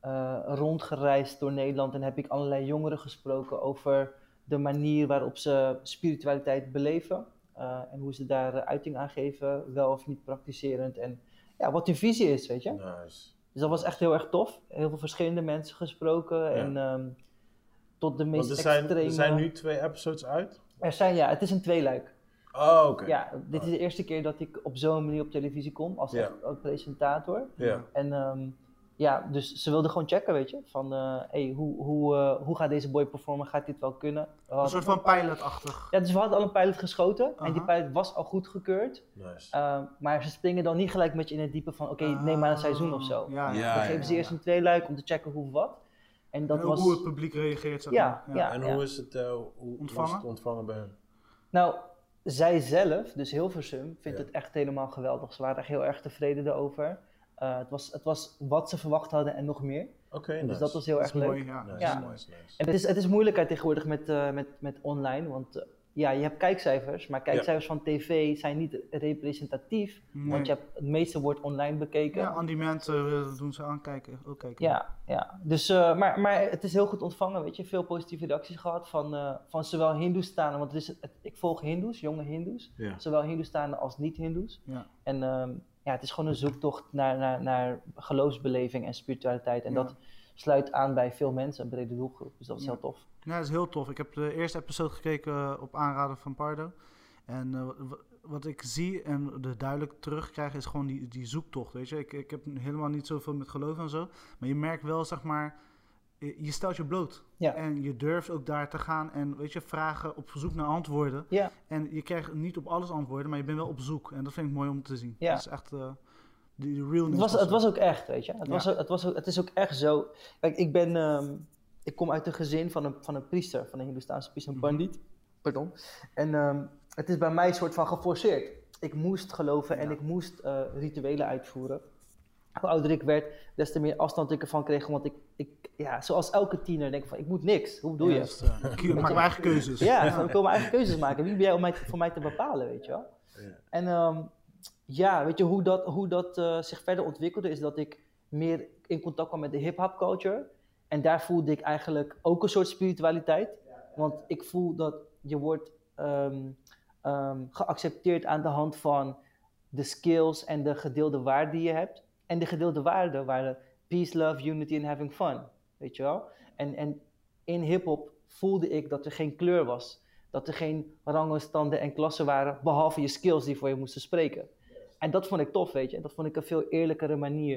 Speaker 4: eh, rondgereisd door Nederland en heb ik allerlei jongeren gesproken over de manier waarop ze spiritualiteit beleven eh, en hoe ze daar eh, uiting aan geven, wel of niet praktiserend en ja, wat hun visie is, weet je.
Speaker 1: Nice.
Speaker 4: Dus dat was echt heel erg tof. Heel veel verschillende mensen gesproken en ehm, tot de meest
Speaker 1: Want er zijn,
Speaker 4: extreme. eh,
Speaker 1: er zijn nu twee episodes uit.
Speaker 4: Er zijn, ja, het is een tweeluik.
Speaker 1: Oh, oké.
Speaker 4: Ja, dit is de eerste keer dat ik op zo'n manier op televisie kom als
Speaker 1: Ja.
Speaker 4: echt ook presentator.
Speaker 1: Ja.
Speaker 4: En ehm, ja, dus ze wilden gewoon checken, weet je. Van, eh, hey, hoe, hoe, eh, hoe gaat deze boy performen? Gaat dit wel kunnen? We
Speaker 2: Een
Speaker 4: hadden-
Speaker 2: soort van pilotachtig.
Speaker 4: Ja, dus we hadden al een pilot geschoten. En die
Speaker 2: Aha.
Speaker 4: pilot was al goedgekeurd.
Speaker 1: Nice.
Speaker 4: ehm, maar ze springen dan niet gelijk met je in het diepe van... Oké, neem maar een seizoen of zo.
Speaker 2: Ah, Ja, ja.
Speaker 1: Ja,
Speaker 4: Dan
Speaker 1: ja,
Speaker 4: geven ze eerst een tweeluik om te checken hoe wat. En dat
Speaker 2: En
Speaker 4: was...
Speaker 2: Hoe het publiek reageert. zeg
Speaker 4: Ja,
Speaker 2: maar.
Speaker 4: ja.
Speaker 1: en hoe is het, eh, hoe was
Speaker 2: Ontvangen?
Speaker 1: het ontvangen bij hen?
Speaker 4: Nou, zij zelf, dus Hilversum, vindt
Speaker 1: Ja.
Speaker 4: het echt helemaal geweldig. Ze waren er heel erg tevreden over. Eh, het, was, het was wat ze verwacht hadden en nog meer.
Speaker 1: Oké, nice.
Speaker 4: Dus dat was heel
Speaker 2: Dat is
Speaker 4: erg leuk.
Speaker 2: mooi. Ja,
Speaker 1: Nice,
Speaker 2: dat
Speaker 4: Ja.
Speaker 2: is mooi.
Speaker 1: nice, nice.
Speaker 4: En het is, het is moeilijkheid tegenwoordig met, eh, met, met online, want eh, ja, je hebt kijkcijfers, maar kijkcijfers van tv zijn niet representatief,
Speaker 2: Nee.
Speaker 4: want je hebt, het meeste wordt online bekeken.
Speaker 2: Ja,
Speaker 4: Ja,
Speaker 2: aan die mensen eh, doen ze aankijken. Ook kijken.
Speaker 4: ja. Dus, eh, maar, maar het is heel goed ontvangen, weet je, veel positieve reacties gehad van, eh, van zowel Hindoestanen, want het is, het- ik volg Hindoes, jonge Hindoes,
Speaker 1: Ja.
Speaker 4: zowel Hindoestanen als niet-Hindoes.
Speaker 2: Ja.
Speaker 4: En ehm, ja, het is gewoon een zoektocht naar, naar, naar geloofsbeleving en spiritualiteit en
Speaker 2: Ja.
Speaker 4: dat sluit aan bij veel mensen, een brede doelgroep, dus dat is
Speaker 2: Ja.
Speaker 4: heel tof.
Speaker 2: Ja, dat is heel tof. Ik heb de eerste episode gekeken eh, op aanraden van Pardo. En eh, wa- wa- wat ik zie en de duidelijk terugkrijg is gewoon die, die zoektocht, weet je. Ik, ik heb helemaal niet zoveel met geloof en zo. Maar je merkt wel, zeg maar, je je stelt je bloot.
Speaker 4: Ja.
Speaker 2: En je durft ook daar te gaan en, weet je, vragen op zoek naar antwoorden.
Speaker 4: Ja.
Speaker 2: En je krijgt niet op alles antwoorden, maar je bent wel op zoek. En dat vind ik mooi om te zien.
Speaker 4: Ja.
Speaker 2: Dat is echt eh die, die realness.
Speaker 4: Het was,
Speaker 2: of
Speaker 4: het
Speaker 2: zo.
Speaker 4: was ook echt, weet je. Het,
Speaker 2: Ja.
Speaker 4: was, ook- het, was ook, het is ook echt zo. Kijk, ik ben... ehm, ik kom uit een gezin van een, van een priester, van een Hindoestaanse priester, een
Speaker 2: Mhm.
Speaker 4: pandit. Pardon. En ehm, het is bij mij een soort van geforceerd. Ik moest geloven en
Speaker 2: Ja.
Speaker 4: ik moest eh, rituelen uitvoeren. Hoe ouder ik werd, des te meer afstand ik ervan kreeg. Want ik, ik ja, zoals elke tiener, denk ik van, ik moet niks. Hoe bedoel
Speaker 2: Ja,
Speaker 4: je?
Speaker 2: dat is, eh, keu- maak mijn eigen keuzes.
Speaker 4: Ja, van, ik wil mijn eigen keuzes maken. Wie ben jij om mij, voor mij te bepalen, weet je wel?
Speaker 1: Ja.
Speaker 4: En ehm, ja, weet je, hoe dat, hoe dat eh, zich verder ontwikkelde is dat ik meer in contact kwam met de hip-hop culture. En daar voelde ik eigenlijk ook een soort spiritualiteit. Want ik voel dat je wordt ehm, ehm, geaccepteerd aan de hand van de skills en de gedeelde waarde die je hebt. En de gedeelde waarden waren peace, love, unity en having fun. Weet je wel? En, en in hip-hop voelde ik dat er geen kleur was. Dat er geen rangen, standen en klassen waren, behalve je skills die voor je moesten spreken. En dat vond ik tof, weet je. Dat vond ik een veel eerlijkere manier.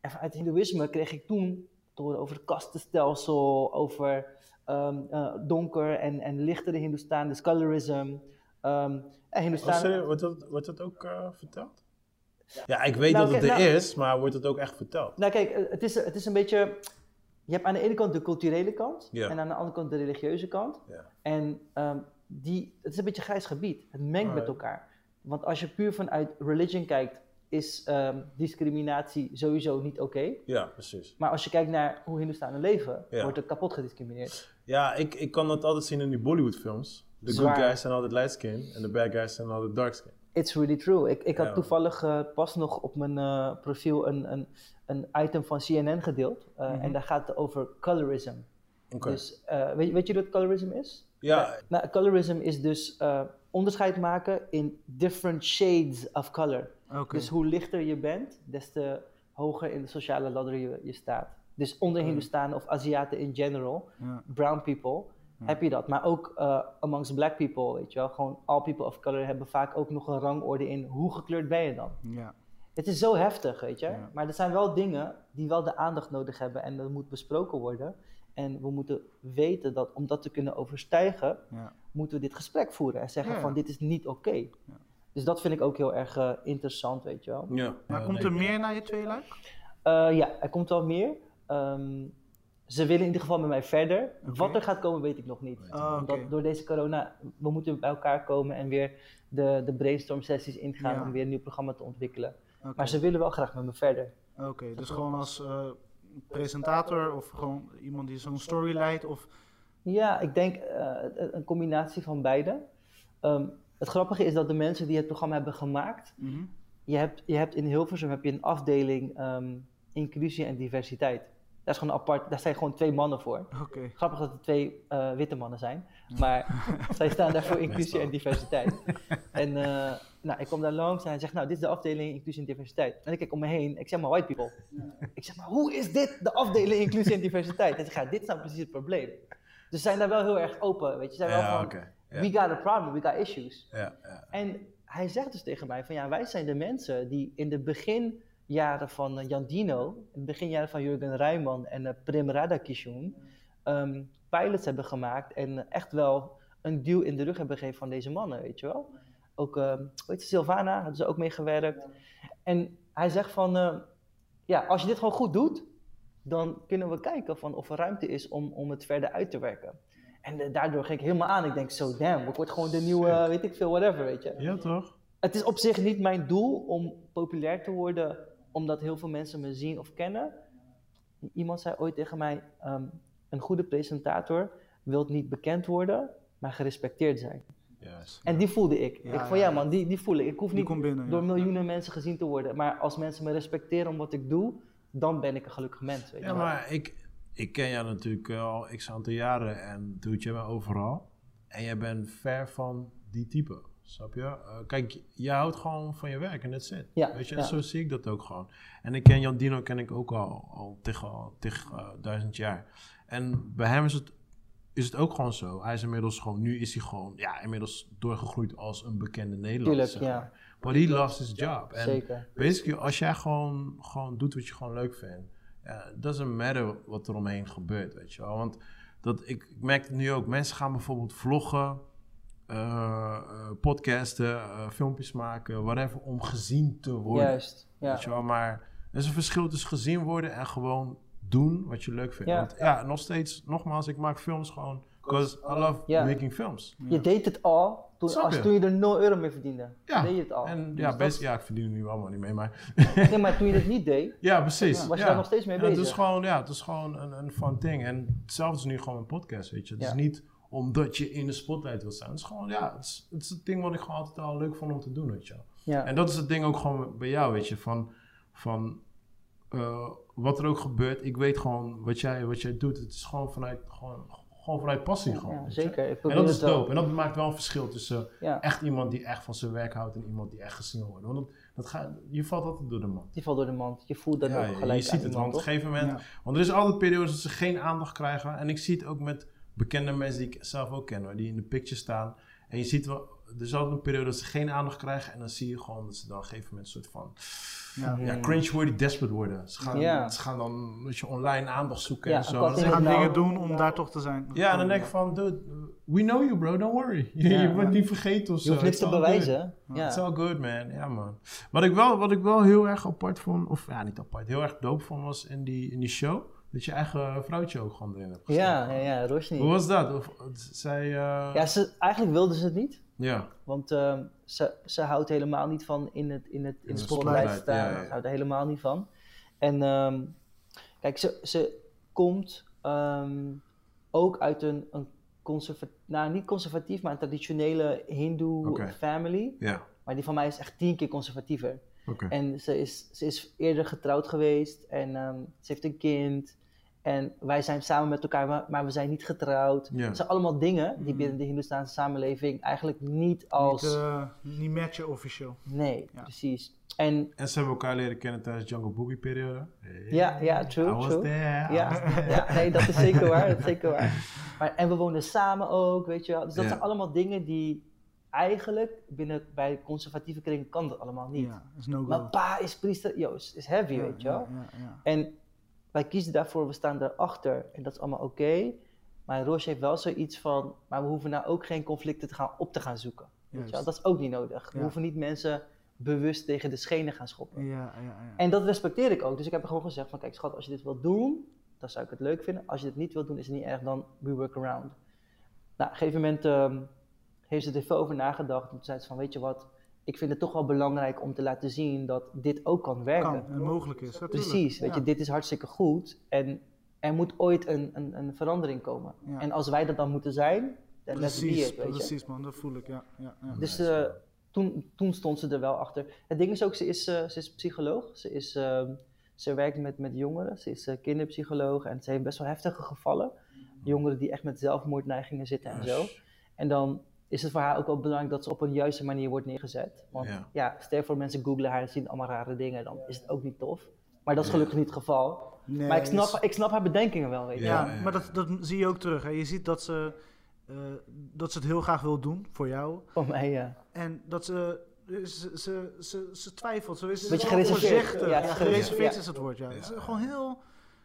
Speaker 4: En vanuit het hindoeïsme kreeg ik toen te horen over het kastenstelsel, over ehm, eh, donker en, en lichtere Hindustan, dus colorism. ehm, en
Speaker 1: Oh,
Speaker 4: Hindustan...
Speaker 1: serieus? Wordt dat, wordt dat ook eh, verteld? Ja, ik weet
Speaker 4: Nou,
Speaker 1: dat het
Speaker 4: oké,
Speaker 1: er
Speaker 4: nou-
Speaker 1: is, maar wordt het ook echt verteld?
Speaker 4: Nou kijk, eh, het is, het is een beetje... Je hebt aan de ene kant de culturele kant
Speaker 1: Ja.
Speaker 4: en aan de andere kant de religieuze kant.
Speaker 1: Ja.
Speaker 4: En ehm, die, het is een beetje grijs gebied. Het mengt met
Speaker 1: Alright.
Speaker 4: elkaar. Want als je puur vanuit religion kijkt, is ehm, discriminatie sowieso niet oké.
Speaker 1: Ja, precies.
Speaker 4: Maar als je kijkt naar hoe Hindustanen leven,
Speaker 1: Ja.
Speaker 4: wordt er kapot gediscrimineerd.
Speaker 1: Ja, ik, ik kan dat altijd zien in die Bollywood-films. De
Speaker 4: Zwaar.
Speaker 1: good guys zijn altijd light skin en de bad guys zijn altijd dark skin.
Speaker 4: It's really true. Ik, ik had
Speaker 1: Ja.
Speaker 4: toevallig eh, pas nog op mijn eh, profiel een, een, een item van CNN gedeeld. eh,
Speaker 2: Mhm.
Speaker 4: En daar gaat het over colorism.
Speaker 1: Oké.
Speaker 4: Dus eh, weet, weet je wat colorism is?
Speaker 1: ja,
Speaker 4: Nou, colorism is dus eh, onderscheid maken in different shades of color.
Speaker 2: Oké.
Speaker 4: Dus hoe lichter je bent, des te hoger in de sociale ladder je, je staat. Dus onder Hindustanen of Aziaten in general,
Speaker 2: Ja.
Speaker 4: brown people, heb je dat. Maar ook eh, amongst black people, weet je wel. Gewoon all people of color hebben vaak ook nog een rangorde in hoe gekleurd ben je dan.
Speaker 2: ja.
Speaker 4: Het is zo heftig, weet je.
Speaker 2: Ja.
Speaker 4: Maar er zijn wel dingen die wel de aandacht nodig hebben en dat moet besproken worden. En we moeten weten dat om dat te kunnen overstijgen,
Speaker 2: Ja.
Speaker 4: moeten we dit gesprek voeren en zeggen
Speaker 2: Ja, ja.
Speaker 4: van dit is niet oké. Dus dat vind ik ook heel erg eh, interessant, weet je wel.
Speaker 1: ja.
Speaker 2: Maar
Speaker 1: Ja,
Speaker 2: komt
Speaker 1: nee.
Speaker 2: er meer naar je tweeluik?
Speaker 4: Eh, ja, er komt wel meer. Ehm, ze willen in ieder geval met mij verder. Wat er gaat komen, weet ik nog niet.
Speaker 2: Ah, oké.
Speaker 4: Omdat door deze corona, we moeten bij elkaar komen en weer de, de brainstorm sessies ingaan
Speaker 2: Ja.
Speaker 4: om weer een nieuw programma te ontwikkelen.
Speaker 2: Oké.
Speaker 4: Maar ze willen wel graag met me verder.
Speaker 2: Oké, dus gewoon als eh, presentator of gewoon iemand die zo'n story leidt of...
Speaker 4: Ja, ik denk eh, een- een combinatie van beide. Ehm, het grappige is dat de mensen die het programma hebben gemaakt,
Speaker 2: Mhm.
Speaker 4: je hebt, je hebt in Hilversum heb je een afdeling ehm, inclusie en diversiteit. Daar, is gewoon apart, daar zijn gewoon twee mannen voor.
Speaker 2: Oké,
Speaker 4: Grappig dat het twee eh, witte mannen zijn,
Speaker 1: Mm.
Speaker 4: maar zij staan daar voor inclusie en diversiteit. En eh, nou, ik kom daar langs en hij zegt, nou, dit is de afdeling inclusie en diversiteit. En ik kijk om me heen, ik zeg maar white people. Ik zeg maar, hoe is dit de afdeling inclusie en diversiteit? En ze zegt, ja, dit is nou precies het probleem. Dus ze zijn daar wel heel erg open, weet je. Ze zijn wel
Speaker 1: Ja,
Speaker 4: van,
Speaker 1: oké. Ja.
Speaker 4: We got a problem, we got issues.
Speaker 1: Ja, ja.
Speaker 4: En hij zegt dus tegen mij van ja, wij zijn de mensen die in de beginjaren van eh, Jan Dino, in de beginjaren van Jurgen Rijman en eh, Prem Radakishun, ehm, pilots hebben gemaakt en eh, echt wel een duw in de rug hebben gegeven van deze mannen, weet je wel. Ook, ehm hoe heet ze, Sylvana, hadden ze ook meegewerkt. En hij zegt van, eh, ja, als je dit gewoon goed doet, dan kunnen we kijken van of er ruimte is om, om het verder uit te werken. En eh, daardoor ging ik helemaal aan. Ik denk, zo damn, ik word gewoon de nieuwe, eh, weet ik veel, whatever, weet je.
Speaker 5: Ja, toch?
Speaker 4: Het is op zich niet mijn doel om populair te worden, omdat heel veel mensen me zien of kennen. Iemand zei ooit tegen mij, ehm, een goede presentator wil niet bekend worden, maar gerespecteerd zijn.
Speaker 1: Juist.
Speaker 4: En die voelde ik.
Speaker 2: Ja,
Speaker 4: ik van
Speaker 2: ja,
Speaker 4: ja,
Speaker 2: ja.
Speaker 4: man, die, die voel ik. Ik hoef
Speaker 2: Die
Speaker 4: niet
Speaker 2: komt binnen.
Speaker 4: door
Speaker 2: ja.
Speaker 4: miljoenen mensen gezien te worden, maar als mensen me respecteren om wat ik doe, dan ben ik een gelukkig mens, weet je
Speaker 1: Ja,
Speaker 4: wel.
Speaker 1: maar ik, ik ken jou natuurlijk al x aantal jaren en doet jij me overal. En jij bent ver van die type, snap je? Eh, kijk, jij houdt gewoon van je werk en that's it.
Speaker 4: Ja,
Speaker 1: Weet je,
Speaker 4: ja.
Speaker 1: en zo zie ik dat ook gewoon. En ik ken Jan Dino ken ik ook al, al tegen, al tegen eh, duizend jaar. En bij hem is het, is het ook gewoon zo. Hij is inmiddels gewoon, nu is hij gewoon, ja, inmiddels doorgegroeid als een bekende Nederlander.
Speaker 4: Tuurlijk,
Speaker 1: zeg
Speaker 4: ja.
Speaker 1: maar. But he lost his job. En
Speaker 4: Zeker.
Speaker 1: Basically, als jij gewoon, gewoon doet wat je gewoon leuk vindt, ja, it doesn't matter wat er omheen gebeurt, weet je wel. Want dat, ik, ik merk het nu ook, mensen gaan bijvoorbeeld vloggen, eh, eh, podcasten, eh, filmpjes maken, whatever, om gezien te worden.
Speaker 4: Juist, ja.
Speaker 1: Weet je wel, maar er is een verschil tussen gezien worden en gewoon doen wat je leuk vindt.
Speaker 4: Ja.
Speaker 1: Want ja, nog steeds, nogmaals, ik maak films gewoon, because I love
Speaker 4: Ja.
Speaker 1: making films.
Speaker 4: Je deed het al toen,
Speaker 1: Snap
Speaker 4: als,
Speaker 1: je?
Speaker 4: toen je er 0 euro mee verdiende.
Speaker 1: Ja,
Speaker 4: Deed je het al.
Speaker 1: En
Speaker 4: Dus
Speaker 1: ja,
Speaker 4: dat-
Speaker 1: best, ja, ik verdien er nu allemaal niet mee, maar...
Speaker 4: Nee, maar toen je het niet deed,
Speaker 1: Ja, precies.
Speaker 4: was je
Speaker 1: ja.
Speaker 4: daar nog steeds mee
Speaker 1: Ja, het
Speaker 4: bezig.
Speaker 1: is gewoon, ja, het is gewoon een, een fun thing. En hetzelfde is nu gewoon een podcast, weet je. Het
Speaker 4: Ja.
Speaker 1: is niet omdat je in de spotlight wil staan. Het is gewoon, ja, het is, het is het ding wat ik gewoon altijd al leuk vond om te doen, weet je. wel.
Speaker 4: ja.
Speaker 1: En dat is het ding ook gewoon bij jou, weet je. Van, van eh, wat er ook gebeurt, ik weet gewoon wat jij, wat jij doet. Het is gewoon vanuit, gewoon, gewoon vanuit passie, gewoon.
Speaker 4: ja,
Speaker 1: weet je.
Speaker 4: zeker. Ik
Speaker 1: En
Speaker 4: probeer
Speaker 1: dat is
Speaker 4: het wel.
Speaker 1: dope. En dat maakt wel een verschil tussen
Speaker 4: Ja.
Speaker 1: echt iemand die echt van zijn werk houdt en iemand die echt gezien wordt. Want dat, dat gaat, je valt altijd door de man.
Speaker 4: Die valt door de mand. Je voelt dat
Speaker 1: Ja,
Speaker 4: ook
Speaker 1: je-
Speaker 4: gelijk.
Speaker 1: je ziet
Speaker 4: aan
Speaker 1: het,
Speaker 4: iemand,
Speaker 1: want op een
Speaker 4: toch?
Speaker 1: gegeven moment...
Speaker 2: Ja.
Speaker 1: Want er is altijd periodes dat ze geen aandacht krijgen. En ik zie het ook met bekende mensen die ik zelf ook ken, hoor, die in de picture staan. En je ziet wel, er is altijd een periode dat ze geen aandacht krijgen. En dan zie je gewoon dat ze dan op een gegeven moment een soort van...
Speaker 2: Ja.
Speaker 1: Ja, cringe-worthy, desperate worden. Ze gaan,
Speaker 4: Hmm. Ja,
Speaker 1: ze gaan dan weet je, online aandacht zoeken
Speaker 4: Ja,
Speaker 1: en zo.
Speaker 4: een
Speaker 1: En dan
Speaker 2: Ze
Speaker 1: denk ik
Speaker 2: gaan
Speaker 4: Nou,
Speaker 2: dingen doen om daar toch te zijn. Oh,
Speaker 1: van- ja, en dan denk ik van, dude, we know you bro, don't worry. Je,
Speaker 4: Ja,
Speaker 1: je wordt
Speaker 2: ja.
Speaker 1: niet vergeten of zo.
Speaker 4: je hoeft niks
Speaker 1: It's
Speaker 4: te
Speaker 1: all good.
Speaker 4: bewijzen. Ja.
Speaker 1: It's all good, man. Ja, man. Wat ik, wel, wat ik wel heel erg apart vond, of ja, niet apart, heel erg dope vond was in die, in die show, dat je eigen vrouwtje ook gewoon erin hebt gezet.
Speaker 4: ja, ja, ja, Roshni.
Speaker 1: Hoe was dat? Of, eh, zij, eh,
Speaker 4: Ja, ze, eigenlijk wilde ze het niet.
Speaker 1: ja.
Speaker 4: Want ehm, ze, ze houdt helemaal niet van in het, in het, in
Speaker 1: de
Speaker 4: het
Speaker 1: spotlight,
Speaker 4: spotlight staan.
Speaker 1: ja, ja.
Speaker 4: Ze houdt er helemaal niet van. En ehm, kijk, ze, ze komt ehm, ook uit een, een conservatief, nou niet conservatief, maar een traditionele Hindoe
Speaker 1: Oké.
Speaker 4: family.
Speaker 1: Ja,
Speaker 4: Maar die van mij is echt tien keer conservatiever.
Speaker 1: oké.
Speaker 4: En ze is, ze is eerder getrouwd geweest en ehm, ze heeft een kind. En wij zijn samen met elkaar, maar, maar we zijn niet getrouwd.
Speaker 1: Ja.
Speaker 4: Het zijn allemaal dingen die
Speaker 2: Mm.
Speaker 4: binnen de Hindoestaanse samenleving eigenlijk niet als.
Speaker 2: Niet, eh, niet matchen officieel.
Speaker 4: Nee,
Speaker 2: Ja.
Speaker 4: precies. En
Speaker 1: En ze hebben elkaar leren kennen tijdens Jungle Boogie periode. Hey,
Speaker 4: ja, ja,
Speaker 1: I
Speaker 4: true,
Speaker 1: was
Speaker 4: true.
Speaker 1: there. I was
Speaker 4: Ja,
Speaker 1: there.
Speaker 4: ja, nee, dat is zeker waar. Dat is zeker waar. Maar, en we wonen samen ook, weet je wel. Dus dat
Speaker 1: Ja.
Speaker 4: zijn allemaal dingen die eigenlijk binnen, bij conservatieve kringen kan dat allemaal niet.
Speaker 2: Ja, is no
Speaker 4: Maar
Speaker 2: go.
Speaker 4: pa is priester, yo, is, is heavy, weet je wel.
Speaker 2: Ja, ja, ja.
Speaker 4: En wij kiezen daarvoor, we staan daarachter en dat is allemaal oké. Maar Roche heeft wel zoiets van, maar we hoeven nou ook geen conflicten te gaan op te gaan zoeken. Weet je wel?
Speaker 2: Juist.
Speaker 4: Dat is ook niet nodig. We
Speaker 2: Ja.
Speaker 4: hoeven niet mensen bewust tegen de schenen gaan schoppen.
Speaker 2: Ja, ja, ja.
Speaker 4: En dat respecteer ik ook. Dus ik heb gewoon gezegd van, kijk schat, als je dit wilt doen, dan zou ik het leuk vinden. Als je dit niet wilt doen, is het niet erg, dan we work around. Nou, op een gegeven moment ehm, heeft ze er veel over nagedacht. En toen zei ze van, weet je wat, ik vind het toch wel belangrijk om te laten zien dat dit ook kan werken.
Speaker 2: Kan en mogelijk is. natuurlijk.
Speaker 4: Precies, weet
Speaker 2: Ja.
Speaker 4: je, dit is hartstikke goed en er moet ooit een, een, een verandering komen.
Speaker 2: Ja.
Speaker 4: En als wij dat dan moeten zijn, dan let's be
Speaker 2: Precies,
Speaker 4: it, weet je.
Speaker 2: precies man, dat voel ik, ja. ja, ja.
Speaker 4: Dus eh, toen, toen stond ze er wel achter. Het ding is ook, ze is, eh, ze is psycholoog, ze, is, ehm, ze werkt met, met jongeren, ze is eh, kinderpsycholoog en ze heeft best wel heftige gevallen. Jongeren die echt met zelfmoordneigingen zitten en zo. En dan is het voor haar ook wel belangrijk dat ze op een juiste manier wordt neergezet. Want
Speaker 1: Ja.
Speaker 4: ja, stel je voor mensen googlen haar en zien allemaal rare dingen, dan is het ook niet tof. Maar dat is gelukkig niet het geval.
Speaker 2: Nee,
Speaker 4: maar ik snap,
Speaker 2: is-
Speaker 4: ik snap haar bedenkingen wel, weet je.
Speaker 1: dus- Ja,
Speaker 2: Ja,
Speaker 1: ja,
Speaker 2: maar dat, dat zie je ook terug. Hè. Je ziet dat ze eh, dat ze het heel graag wil doen voor jou.
Speaker 4: Voor mij, ja.
Speaker 2: En dat ze, dus ze, ze, ze, ze twijfelt. Ze is is
Speaker 4: Beetje
Speaker 2: het wel
Speaker 4: gereserveerd.
Speaker 2: voorzichtig.
Speaker 4: Ja,
Speaker 2: Ja,
Speaker 4: het is
Speaker 2: gereserveerd
Speaker 4: gereserveerd,
Speaker 2: is het woord, ja.
Speaker 1: Ja.
Speaker 2: Het is gewoon heel...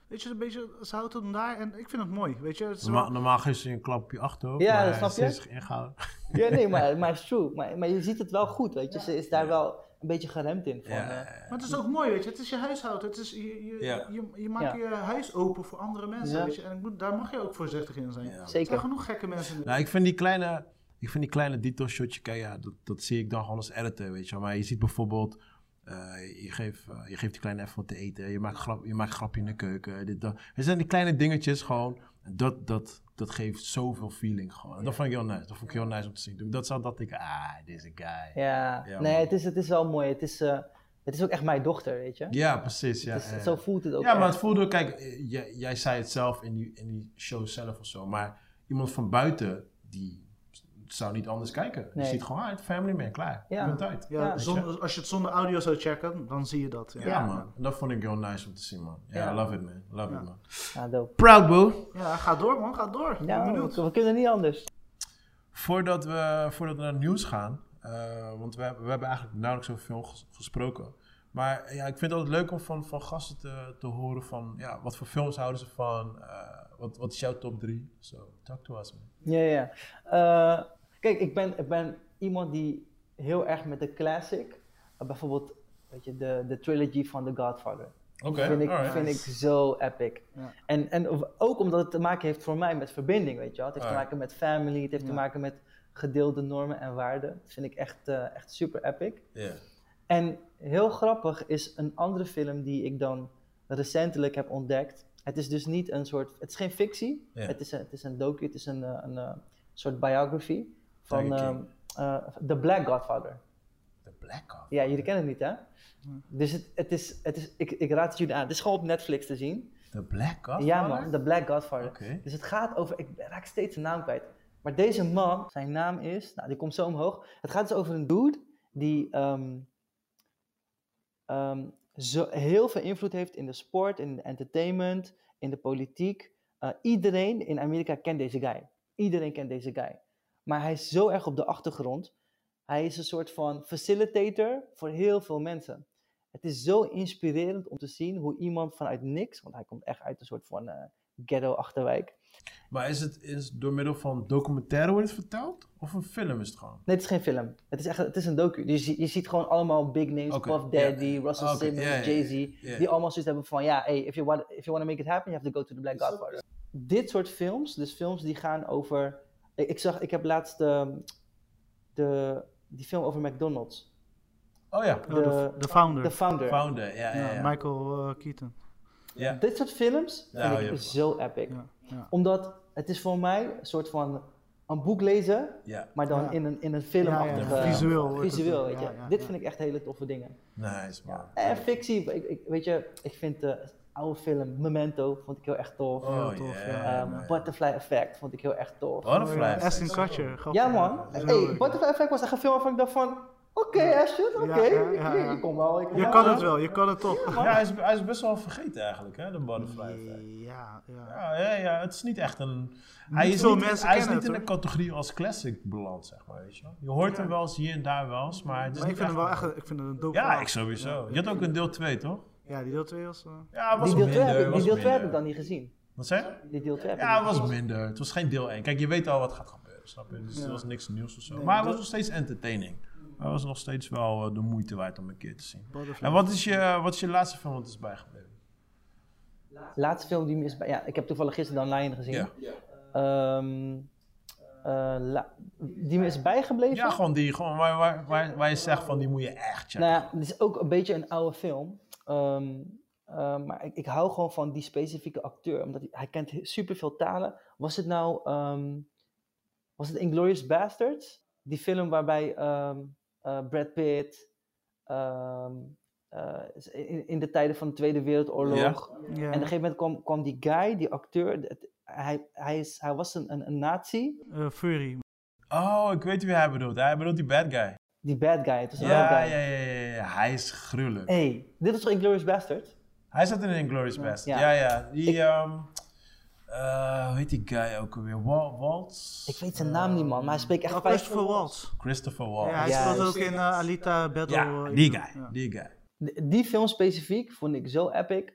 Speaker 2: Weet je, een beetje, ze houdt hem daar en ik vind het mooi, weet je. Het is
Speaker 1: Normaal,
Speaker 2: wel-
Speaker 1: normaal geeft ze je een klapje achterhoofd.
Speaker 4: Ja,
Speaker 1: maar
Speaker 4: dat snap
Speaker 1: ze
Speaker 4: je.
Speaker 1: is ingehouden.
Speaker 4: Ja, nee, maar, maar it's true. Maar, maar je ziet het wel goed, weet je. Ze is daar wel een beetje geremd in. Van,
Speaker 1: Ja,
Speaker 4: eh,
Speaker 2: maar het is ook mooi, weet je. Het is je huishouden. Het is, je, je,
Speaker 1: Ja.
Speaker 2: je, je maakt je huis open voor andere mensen,
Speaker 4: Ja.
Speaker 2: weet je. En ik moet, daar mag je ook voorzichtig in zijn.
Speaker 1: ja.
Speaker 2: Er zijn
Speaker 4: zeker.
Speaker 2: genoeg gekke mensen. in de-
Speaker 1: Nou, ik vind die kleine, ik vind die kleine detail shotje, kijk, ja, dat, dat zie ik dan gewoon als editor, weet je wel. Maar je ziet bijvoorbeeld, eh, je, geeft, eh, je geeft die kleine even wat te eten, je maakt, grap, je maakt grapje in de keuken, dit, dat. Er zijn die kleine dingetjes gewoon, dat, dat, dat geeft zoveel feeling gewoon. En dat vond ik heel nice, dat vond ik heel nice om te zien. Toen ik dat zag, dacht ik, ah, deze guy. Ja,
Speaker 4: Ja,
Speaker 1: Ja,
Speaker 4: nee,
Speaker 1: man.
Speaker 4: het is, het is wel mooi. Het is, eh, het is ook echt mijn dochter, weet je.
Speaker 1: precies, ja.
Speaker 4: Het is-
Speaker 1: ja.
Speaker 4: Zo voelt het ook.
Speaker 1: Ja, maar
Speaker 4: echt.
Speaker 1: het voelde, kijk, eh, jij, jij zei het zelf in die, in die show zelf of zo, maar iemand van buiten, die zou niet anders kijken.
Speaker 4: Nee.
Speaker 1: Die ziet gewoon uit, family man, klaar.
Speaker 4: Ja.
Speaker 1: Je bent uit.
Speaker 2: Ja,
Speaker 4: Ja.
Speaker 2: zonder- als je het zonder audio zou checken, dan zie je dat.
Speaker 1: Ja, man, dat vond ik heel nice om te zien, man. Ja,
Speaker 4: Ja.
Speaker 1: love it, man. Love
Speaker 2: Ja.
Speaker 1: it, man.
Speaker 4: Ja, dope.
Speaker 1: Proud, boo.
Speaker 2: Ja, ga door man, ga door. Ik ben
Speaker 4: Ja,
Speaker 2: benieuwd.
Speaker 4: we, we kunnen niet anders.
Speaker 1: Voordat we, voordat we naar het nieuws gaan, eh, want we, hebben- we hebben eigenlijk nauwelijks over film ges- gesproken. Maar eh, ja, ik vind het altijd leuk om van, van gasten te, te horen van, ja, wat voor films houden ze van? eh, wat, wat is jouw top 3? Zo, talk to us, man.
Speaker 4: Ja, ja. Eh, kijk, ik ben, ik ben iemand die heel erg met de classic, eh, bijvoorbeeld weet je, de, de trilogy van The Godfather,
Speaker 1: Oké,
Speaker 4: vind, ik,
Speaker 1: alright.
Speaker 4: vind ik zo epic.
Speaker 2: Ja.
Speaker 4: En, en of- ook omdat het te maken heeft voor mij met verbinding, weet je wel. Het heeft te
Speaker 1: Ja.
Speaker 4: maken met family, het heeft te
Speaker 2: Ja.
Speaker 4: maken met gedeelde normen en waarden. Dat vind ik echt, eh, echt super epic.
Speaker 1: Ja.
Speaker 4: En heel grappig is een andere film die ik dan recentelijk heb ontdekt. Het is dus niet een soort, het is geen fictie.
Speaker 1: Ja.
Speaker 4: Het, is een, het is een docu, het is een, eh, een eh, soort biography van
Speaker 1: Tiger
Speaker 4: ehm,
Speaker 1: King.
Speaker 4: eh, The Black Godfather.
Speaker 1: The Black Ops.
Speaker 4: Ja, jullie kennen het niet hè? Dus het, het is, het is ik, ik raad het jullie aan. Het is gewoon op Netflix te zien.
Speaker 1: The Black Ops?
Speaker 4: Ja man, The Black Godfather.
Speaker 1: Oké.
Speaker 4: Dus het gaat over, ik raak steeds zijn naam kwijt. Maar deze man, zijn naam is, nou die komt zo omhoog. Het gaat dus over een dude die ehm, ehm, zo, heel veel invloed heeft in de sport, in de entertainment, in de politiek. Eh, iedereen in Amerika kent deze guy. Iedereen kent deze guy. Maar hij is zo erg op de achtergrond. Hij is een soort van facilitator voor heel veel mensen. Het is zo inspirerend om te zien hoe iemand vanuit niks, want hij komt echt uit een soort van eh, ghetto-achterwijk.
Speaker 1: Maar is het is door middel van documentaire wordt het verteld? Of een film is het gewoon?
Speaker 4: Nee, het is geen film. Het is, echt, het is een docu. Dus je, je ziet gewoon allemaal big names,
Speaker 1: Oké,
Speaker 4: Puff
Speaker 1: ja,
Speaker 4: Daddy,
Speaker 1: ja.
Speaker 4: Russell
Speaker 1: Oké,
Speaker 4: Simmons,
Speaker 1: ja, ja, ja,
Speaker 4: Jay-Z.
Speaker 1: ja, ja.
Speaker 4: Die allemaal zoiets hebben van, ja, hey, if you, want, if you want to make it happen, you have to go to the Black
Speaker 1: Is dat-
Speaker 4: Godfather. Dit soort films, dus films die gaan over... Ik, ik zag, ik heb laatst ehm, de, die film over McDonald's.
Speaker 1: Oh ja,
Speaker 2: Oh, de, de founder.
Speaker 4: The Founder.
Speaker 1: Founder. Ja, ja,
Speaker 2: Ja,
Speaker 1: ja.
Speaker 2: Michael eh, Keaton.
Speaker 1: Ja.
Speaker 4: Dit soort films
Speaker 1: Ja,
Speaker 4: vind
Speaker 1: ja.
Speaker 4: ik zo epic.
Speaker 2: Ja, ja.
Speaker 4: Omdat het is voor mij een soort van een boek lezen,
Speaker 1: ja.
Speaker 4: maar dan
Speaker 2: Ja.
Speaker 4: in een, in een
Speaker 2: Ja,
Speaker 4: filmachtige...
Speaker 2: ja, visueel. wordt het.
Speaker 4: eh, visueel, weet je.
Speaker 2: Ja, ja,
Speaker 4: Dit
Speaker 2: ja.
Speaker 4: vind ik echt hele toffe dingen.
Speaker 1: Nice, man.
Speaker 4: En Eh, fictie, ik, ik, weet je, ik vind de oude film Memento vond ik heel erg tof.
Speaker 2: heel
Speaker 1: Oh,
Speaker 2: tof,
Speaker 1: ja,
Speaker 2: ja.
Speaker 4: Ehm,
Speaker 1: man.
Speaker 4: Butterfly Effect vond ik heel erg tof.
Speaker 1: Butterfly.
Speaker 2: Oh, ja, Ashton
Speaker 1: Effect.
Speaker 2: Kutcher. grappig.
Speaker 4: ja man,
Speaker 2: Zo
Speaker 4: hey,
Speaker 2: leuk.
Speaker 4: Butterfly Effect was echt een film waarvan ik dacht van, oké Ashton, oké,
Speaker 2: ja, ja,
Speaker 4: ik-
Speaker 2: ja.
Speaker 4: ik kom wel. Ik kom
Speaker 2: Je
Speaker 4: wel.
Speaker 2: kan het wel, je kan het toch.
Speaker 1: Ja, hij is, hij is best wel vergeten eigenlijk, hè, de Butterfly Effect.
Speaker 2: Ja, ja.
Speaker 1: Ja, ja, ja, het is niet echt een... Hij is
Speaker 2: veel
Speaker 1: niet,
Speaker 2: mensen
Speaker 1: hij is niet
Speaker 2: kennen
Speaker 1: in
Speaker 2: het,
Speaker 1: de categorie als classic beland, zeg maar, weet je wel. Je hoort hem wel eens hier en daar wel eens, maar het is
Speaker 2: Maar ik
Speaker 1: dus niet
Speaker 2: vind hem wel
Speaker 1: echt-
Speaker 2: echt, ik vind het een dope
Speaker 1: Ja,
Speaker 2: verhaal.
Speaker 1: ik sowieso.
Speaker 2: Ja,
Speaker 1: Je had ook een deel 2, toch?
Speaker 2: Ja, die deel 2 was... eh,
Speaker 1: Ja, het was
Speaker 4: Die deel 2
Speaker 1: minder.
Speaker 4: heb, ik- die
Speaker 1: was
Speaker 4: deel twee heb ik
Speaker 1: minder.
Speaker 4: dan niet gezien.
Speaker 1: Wat zei je?
Speaker 4: Die deel 2 heb
Speaker 1: Ja,
Speaker 4: ik
Speaker 1: het
Speaker 4: niet
Speaker 1: was minder. Het was geen deel 1. Kijk, je weet al wat gaat gebeuren, snap je? Dus
Speaker 2: Ja.
Speaker 1: er was niks nieuws of zo.
Speaker 2: Nee,
Speaker 1: maar het
Speaker 2: dat-
Speaker 1: was nog steeds entertaining. Maar het was nog steeds wel eh, de moeite waard om een keer te zien.
Speaker 2: Butterfly.
Speaker 1: En wat is je, eh, wat is je laatste film wat is bijgebleven?
Speaker 4: gezien. Laatste film die me is bij, ja, ik heb toevallig gisteren online gezien.
Speaker 1: Ja.
Speaker 4: Ehm, eh, la- die me is bijgebleven.
Speaker 1: Ja, gewoon die. Gewoon waar, waar, waar, waar je zegt van die moet je echt checken.
Speaker 4: Nou ja, het is ook een beetje een oude film. Ehm, ehm, maar ik, ik hou gewoon van die specifieke acteur. Omdat hij, hij kent he- superveel talen. Was het nou... ehm, was het Inglourious Basterds? Die film waarbij ehm, eh, Brad Pitt... ehm, eh, in, in de tijden van de Tweede Wereldoorlog...
Speaker 2: ja.
Speaker 4: En op een gegeven moment kwam, kwam die guy, die acteur... het- hij, hij, is, hij was een, een, een nazi.
Speaker 2: Eh, Fury.
Speaker 1: Oh, ik weet wie hij bedoelt. Hij bedoelt die bad guy.
Speaker 4: Die bad guy. Het was een bad
Speaker 1: Ja, ja,
Speaker 4: guy.
Speaker 1: ja, ja, ja. Hij is gruwelijk.
Speaker 4: hey, dit was toch Inglourious Basterds?
Speaker 1: Hij zat in Inglourious Bastard.
Speaker 4: Ja.
Speaker 1: Ja, ja. Die,
Speaker 4: Ik-
Speaker 1: ehm, Eh, hoe heet die guy ook alweer? Wa- Waltz?
Speaker 4: Ik weet zijn naam niet, man, maar hij spreekt echt
Speaker 2: Oh,
Speaker 4: vijf-
Speaker 2: Christopher Waltz.
Speaker 1: Christopher
Speaker 2: Ja,
Speaker 1: Waltz.
Speaker 2: hij
Speaker 4: Ja,
Speaker 2: speelt ook
Speaker 1: dus-
Speaker 2: in eh, Alita Battle.
Speaker 1: Ja,
Speaker 2: eh,
Speaker 1: die
Speaker 2: in-
Speaker 1: guy.
Speaker 2: ja.
Speaker 1: Die guy.
Speaker 4: D- Die film specifiek vond ik zo epic.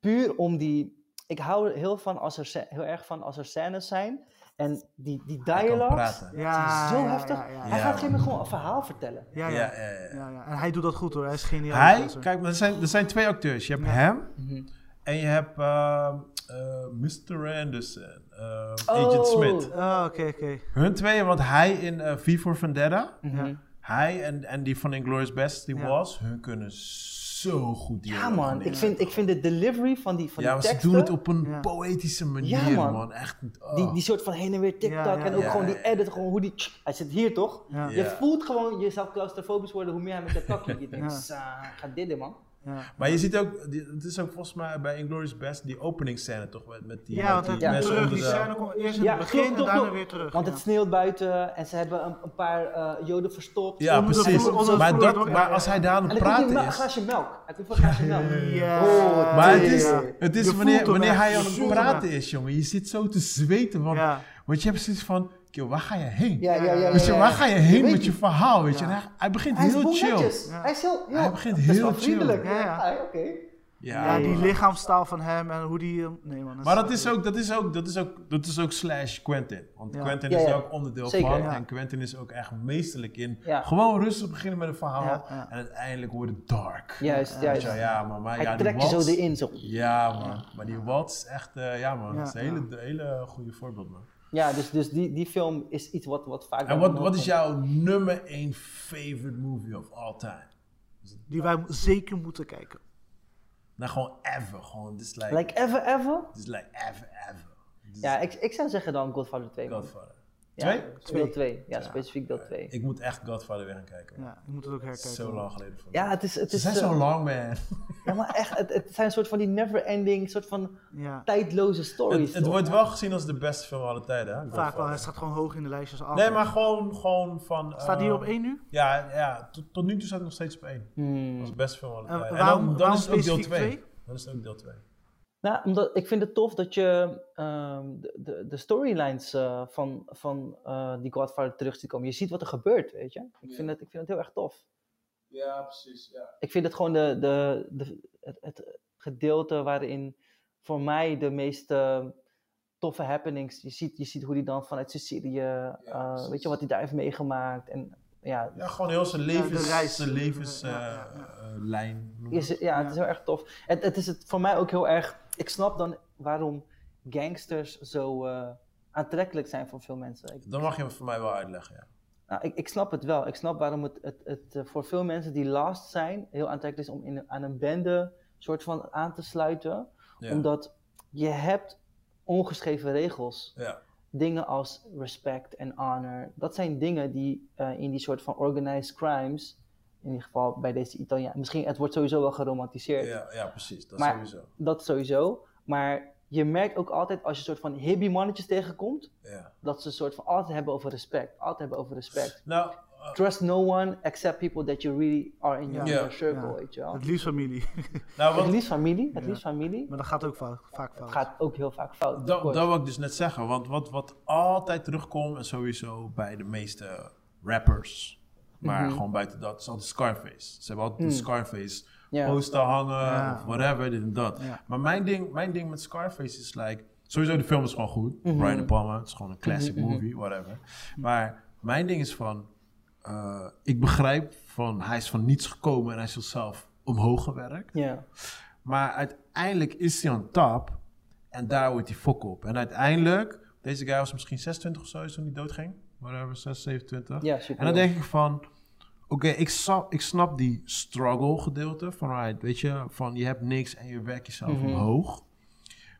Speaker 4: Puur om die. Ik hou er heel, van als er, sce- heel erg van als er scènes zijn. En die, die
Speaker 1: Hij kan
Speaker 4: dialogues.
Speaker 1: praten.
Speaker 2: Ja,
Speaker 4: Zo
Speaker 2: ja,
Speaker 4: heftig.
Speaker 2: Ja, ja,
Speaker 4: Hij
Speaker 2: ja.
Speaker 4: gaat geen gewoon een verhaal vertellen.
Speaker 2: Ja, ja.
Speaker 1: Ja, ja, ja.
Speaker 2: Ja, ja. En hij doet dat goed hoor, hij is geniaal.
Speaker 1: Hij,
Speaker 2: Dat is er.
Speaker 1: kijk, maar er zijn, er zijn twee acteurs. Je hebt hem
Speaker 2: Mhm.
Speaker 1: en je hebt ehm, eh, Mr. Anderson, ehm, Agent
Speaker 4: Oh.
Speaker 1: Smith.
Speaker 2: Oh, oké, oké.
Speaker 1: Hun tweeën, want hij in eh V for Vendetta,
Speaker 4: Mhm.
Speaker 1: hij en, en die van Inglourious Best, die
Speaker 2: Ja.
Speaker 1: was, hun kunnen zo goed
Speaker 4: Ja,
Speaker 1: dialogen.
Speaker 4: man. Ik vind, ik vind de delivery van die,
Speaker 1: Ja,
Speaker 4: van die
Speaker 1: maar ze
Speaker 4: teksten.
Speaker 1: doen het op een
Speaker 2: Ja.
Speaker 1: poëtische manier,
Speaker 4: Ja, man.
Speaker 1: man. Echt, oh.
Speaker 4: Die, die soort van heen en weer tik-tak.
Speaker 2: Ja, ja,
Speaker 4: en ook
Speaker 1: ja.
Speaker 4: gewoon die edit. Gewoon hoe die. Hij zit hier toch?
Speaker 2: Ja.
Speaker 4: Je
Speaker 1: Ja.
Speaker 4: voelt gewoon jezelf claustrofobisch worden hoe meer hij met dat takje. Je denkt,
Speaker 2: Ja.
Speaker 4: "Sa, ga dit doen, man.
Speaker 2: Ja.
Speaker 1: Maar je ziet ook, die- het is ook volgens mij bij Inglourious Best die openingsscène toch, met, met die,
Speaker 2: Ja,
Speaker 1: met
Speaker 2: want hij
Speaker 1: die
Speaker 4: ja.
Speaker 2: komt
Speaker 1: mensen
Speaker 2: terug,
Speaker 1: onder
Speaker 2: die
Speaker 1: de-
Speaker 2: scène komt eerst in
Speaker 4: Ja,
Speaker 2: het begin
Speaker 4: klopt,
Speaker 2: en
Speaker 4: klopt,
Speaker 2: daarna
Speaker 4: klopt.
Speaker 2: weer terug.
Speaker 4: Want
Speaker 2: ja.
Speaker 4: het sneeuwt buiten en ze hebben een, een paar eh, joden verstopt.
Speaker 1: Ja,
Speaker 2: Onder de
Speaker 1: precies.
Speaker 2: vloer, onder de
Speaker 1: maar,
Speaker 2: vloer
Speaker 1: dat,
Speaker 2: door.
Speaker 1: maar als hij daar aan
Speaker 4: En
Speaker 1: het
Speaker 4: dan komt hij
Speaker 1: praten
Speaker 4: een mel-
Speaker 1: is...
Speaker 4: glaasje melk. Hij komt voor een glaasje melk.
Speaker 2: Ja.
Speaker 4: Oh,
Speaker 1: Maar het
Speaker 4: Ja,
Speaker 1: is,
Speaker 4: ja, ja.
Speaker 1: het
Speaker 2: Je
Speaker 1: is
Speaker 2: voelt
Speaker 1: wanneer,
Speaker 2: hem
Speaker 1: wanneer
Speaker 2: echt,
Speaker 1: hij
Speaker 2: je
Speaker 1: aan het
Speaker 2: voelt hem
Speaker 1: praten
Speaker 2: echt.
Speaker 1: is, jongen. Je zit zo te zweten. Want,
Speaker 2: Ja.
Speaker 1: want je hebt zoiets van... Kill, waar ga je heen?
Speaker 4: Ja, ja, ja, ja,
Speaker 1: Weet Dus je,
Speaker 4: ja.
Speaker 1: waar ga je heen
Speaker 4: weet
Speaker 1: met je
Speaker 4: niet.
Speaker 1: verhaal? Weet je?
Speaker 2: Ja.
Speaker 1: En hij, hij begint
Speaker 4: Hij is
Speaker 1: heel
Speaker 4: boel
Speaker 1: chill.
Speaker 4: netjes. Hij is heel, heel,
Speaker 1: Hij begint
Speaker 4: best wel
Speaker 1: heel chill.
Speaker 4: vriendelijk.
Speaker 2: Ja, ja.
Speaker 4: Ah, oké.
Speaker 2: Ja, die
Speaker 1: man.
Speaker 2: lichaamstaal van hem en hoe die... hem- Nee man,
Speaker 1: Maar dat is, ook, dat, is ook, dat, is ook, dat is ook slash Quentin. Want
Speaker 2: Ja.
Speaker 1: Quentin
Speaker 4: Ja,
Speaker 1: is
Speaker 4: ja.
Speaker 1: daar ook onderdeel
Speaker 4: Zeker,
Speaker 1: van.
Speaker 4: ja.
Speaker 1: En Quentin is ook echt meesterlijk in.
Speaker 4: Ja.
Speaker 1: Gewoon rustig beginnen met een verhaal.
Speaker 2: Ja, ja.
Speaker 1: En uiteindelijk wordt het dark.
Speaker 4: Juist,
Speaker 1: Weet
Speaker 4: juist.
Speaker 1: je wel, ja, man. Maar,
Speaker 4: Hij
Speaker 1: ja, die
Speaker 4: trekt je zo
Speaker 1: Waltz-
Speaker 4: erin. Zo.
Speaker 1: Ja, man. Maar die Waltz is echt, eh, ja, man.
Speaker 2: Ja,
Speaker 1: dat is een hele, hele goede voorbeeld, man.
Speaker 4: Ja, dus, dus die, die film is iets wat, wat vaak...
Speaker 1: En wat, wat is jouw nummer 1 favorite movie of all time?
Speaker 2: Die wij mo- zeker moeten kijken.
Speaker 1: Nou, gewoon ever. Gewoon, dit is like,
Speaker 4: Like Ever Ever?
Speaker 1: dit is like ever, ever. Dit is
Speaker 4: Ja, ik, ik zou zeggen dan Godfather 2. man.
Speaker 1: Godfather.
Speaker 4: Ja,
Speaker 1: Twee?
Speaker 4: Deel 2. Ja, specifiek deel 2.
Speaker 1: Ik moet echt Godfather weer gaan kijken. man.
Speaker 2: Ja, ik moet het ook herkijken.
Speaker 1: Zo lang geleden voor
Speaker 4: Ja,
Speaker 1: me.
Speaker 4: het is... Het
Speaker 1: Ze
Speaker 4: is
Speaker 1: zijn
Speaker 4: eh,
Speaker 1: zo lang, man.
Speaker 4: ja, maar echt, het, het zijn een soort van die never-ending, soort van
Speaker 2: Ja,
Speaker 4: tijdloze stories.
Speaker 1: Het, het
Speaker 4: toch?
Speaker 1: wordt wel gezien als de beste film aller tijden, hè?
Speaker 2: vaak wel. Hij
Speaker 1: Godfather.
Speaker 2: staat gewoon hoog in de lijstjes af.
Speaker 1: Nee, maar gewoon, gewoon van...
Speaker 2: Staat die
Speaker 1: eh,
Speaker 2: op één nu?
Speaker 1: Ja, ja tot, tot nu toe staat het nog steeds op één.
Speaker 4: Hmm.
Speaker 1: Dat is best veel alle
Speaker 2: En
Speaker 1: tijden. En
Speaker 2: waarom-
Speaker 1: dan, dan
Speaker 2: waarom
Speaker 1: is het ook deel
Speaker 2: specifiek
Speaker 1: 2.
Speaker 2: twee?
Speaker 1: Dan is het ook deel 2.
Speaker 4: Nou, omdat ik vind het tof dat je ehm, de, de, de storylines eh, van, van eh, die Godfather terug ziet komen. Je ziet wat er gebeurt, weet je. Ik vind het, ik vind het heel erg tof.
Speaker 1: Ja, precies. Ja.
Speaker 4: Ik vind het gewoon de, de, de, het, het gedeelte waarin voor mij de meeste toffe happenings. Je ziet, je ziet hoe die dan vanuit Sicilië, eh,
Speaker 1: precies.
Speaker 4: weet je, wat hij daar heeft meegemaakt. En ja,
Speaker 1: gewoon heel zijn
Speaker 2: Ja, de
Speaker 1: levens,
Speaker 2: reis.
Speaker 1: zijn levens,
Speaker 2: Ja, ja,
Speaker 1: eh, eh, lijn. noem
Speaker 4: Is,
Speaker 1: het.
Speaker 4: ja, het
Speaker 2: Ja.
Speaker 4: is heel erg tof. Het, het is het voor mij ook heel erg. Ik snap dan waarom gangsters zo eh, aantrekkelijk zijn voor veel mensen. Ik,
Speaker 1: Dan mag je hem voor mij wel uitleggen, ja.
Speaker 4: nou, ik, ik snap het wel. Ik snap waarom het, het, het eh, voor veel mensen die last zijn heel aantrekkelijk is om in, een- aan een bende soort van aan te sluiten.
Speaker 1: Ja.
Speaker 4: Omdat je hebt ongeschreven regels.
Speaker 1: ja.
Speaker 4: Dingen als respect en honor. Dat zijn dingen die eh, in die soort van organized crimes. In ieder geval bij deze Italiaan. Misschien het wordt sowieso wel geromantiseerd
Speaker 1: Ja, ja, precies. Dat
Speaker 4: Maar-
Speaker 1: sowieso.
Speaker 4: dat sowieso. Maar je merkt ook altijd als je soort van hippie mannetjes tegenkomt,
Speaker 1: Ja.
Speaker 4: dat ze soort van altijd hebben over respect. Altijd hebben over respect.
Speaker 1: Nou, eh,
Speaker 4: Trust no one except people that you really are in your
Speaker 1: Ja.
Speaker 4: inner circle,
Speaker 2: Ja.
Speaker 4: weet je wel.
Speaker 2: Het liefst familie.
Speaker 1: nou
Speaker 4: Het
Speaker 1: wat,
Speaker 4: liefst familie, het
Speaker 2: Ja.
Speaker 4: liefst familie.
Speaker 2: maar dat gaat ook vaak, vaak fout.
Speaker 4: Gaat ook heel vaak fout. of
Speaker 1: dat,
Speaker 4: course.
Speaker 1: dat wil ik dus net zeggen. Want wat, wat altijd terugkomt, en sowieso bij de meeste rappers, maar gewoon buiten dat, is altijd Scarface. Ze hebben altijd een Scarface
Speaker 4: Ja.
Speaker 1: poster hangen,
Speaker 2: Ja.
Speaker 1: of whatever, dit en dat.
Speaker 2: Ja.
Speaker 1: Maar mijn ding, mijn ding met Scarface is like, sowieso de film is gewoon goed. Brian De Palma, het is gewoon een classic movie, whatever. Maar mijn ding is van, eh, ik begrijp van, hij is van niets gekomen en hij is zichzelf omhoog gewerkt.
Speaker 4: Ja.
Speaker 1: Maar uiteindelijk is hij aan top. En daar wordt hij fok op. En uiteindelijk, deze guy was misschien 26 of zo is toen hij doodging. Whatever, 6, 27.
Speaker 4: Ja, super
Speaker 1: en dan denk ik van, oké, ik, snap- ik snap die struggle gedeelte. Van, right, weet je, van je hebt niks en je werkt jezelf
Speaker 4: Mhm.
Speaker 1: omhoog.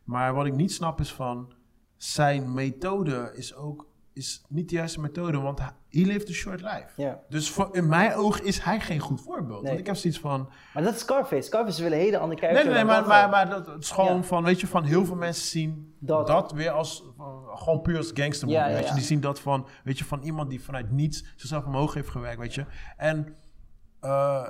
Speaker 1: Maar wat ik niet snap is van, zijn methode is ook is niet de juiste methode. Want hij he lived a short life.
Speaker 4: Ja.
Speaker 1: Dus voor, in mijn oog is hij geen goed voorbeeld. Want ik heb zoiets van,
Speaker 4: Maar dat is Scarface. Scarface willen een hele andere kijker.
Speaker 1: Nee, nee, nee,
Speaker 4: dan
Speaker 1: maar,
Speaker 4: dat.
Speaker 1: maar, maar dat, het is gewoon
Speaker 4: Ja.
Speaker 1: van, weet je, van heel veel mensen zien
Speaker 4: Dat.
Speaker 1: dat, weer als, eh, gewoon puur als gangster
Speaker 4: Ja, ja,
Speaker 1: weet je,
Speaker 4: ja.
Speaker 1: die zien dat van, weet je, van iemand die vanuit niets zichzelf omhoog heeft gewerkt, weet je. En eh,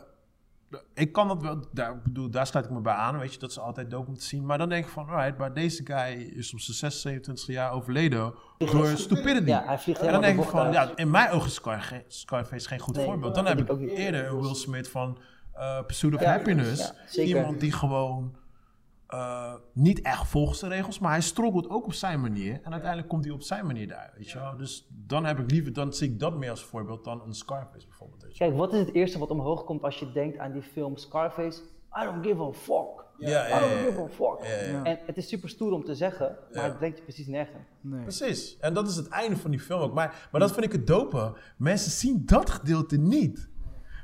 Speaker 1: ik kan dat wel, daar, ik bedoel, daar sluit ik me bij aan, weet je, dat is altijd dope om te zien. Maar dan denk ik van, alright, maar deze guy is op zijn 26 jaar overleden door stupidity.
Speaker 4: Ja, hij vliegt
Speaker 1: en dan denk
Speaker 4: helemaal de
Speaker 1: ik van,
Speaker 4: bocht uit.
Speaker 1: ja, in mijn ogen is Scar- ge- Scarface geen goed
Speaker 4: Nee,
Speaker 1: voorbeeld.
Speaker 4: dat
Speaker 1: Dan heb
Speaker 4: vind
Speaker 1: ik
Speaker 4: ik ook niet.
Speaker 1: eerder Will Smith van eh, Pursuit of
Speaker 4: Ja,
Speaker 1: Happiness.
Speaker 4: ja, zeker.
Speaker 1: Iemand die gewoon eh, niet echt volgens de regels, maar hij struggelt ook op zijn manier. En uiteindelijk komt hij op zijn manier daar, weet je wel. Dus dan heb ik liever, dan zie ik dat meer als voorbeeld dan een Scarface bijvoorbeeld, weet je
Speaker 4: Kijk, wat is het eerste wat omhoog komt als je denkt aan die film Scarface? I don't give a fuck.
Speaker 1: wel. Ja,
Speaker 4: I
Speaker 1: ja,
Speaker 4: don't
Speaker 1: ja,
Speaker 4: give
Speaker 1: ja.
Speaker 4: a fuck.
Speaker 2: ja.
Speaker 4: En het is super stoer om te zeggen, maar
Speaker 1: Ja.
Speaker 4: het brengt je precies nergens.
Speaker 2: Nee.
Speaker 1: Precies. En dat is het einde van die film ook. Maar, maar dat vind ik het dope. Mensen zien dat gedeelte niet.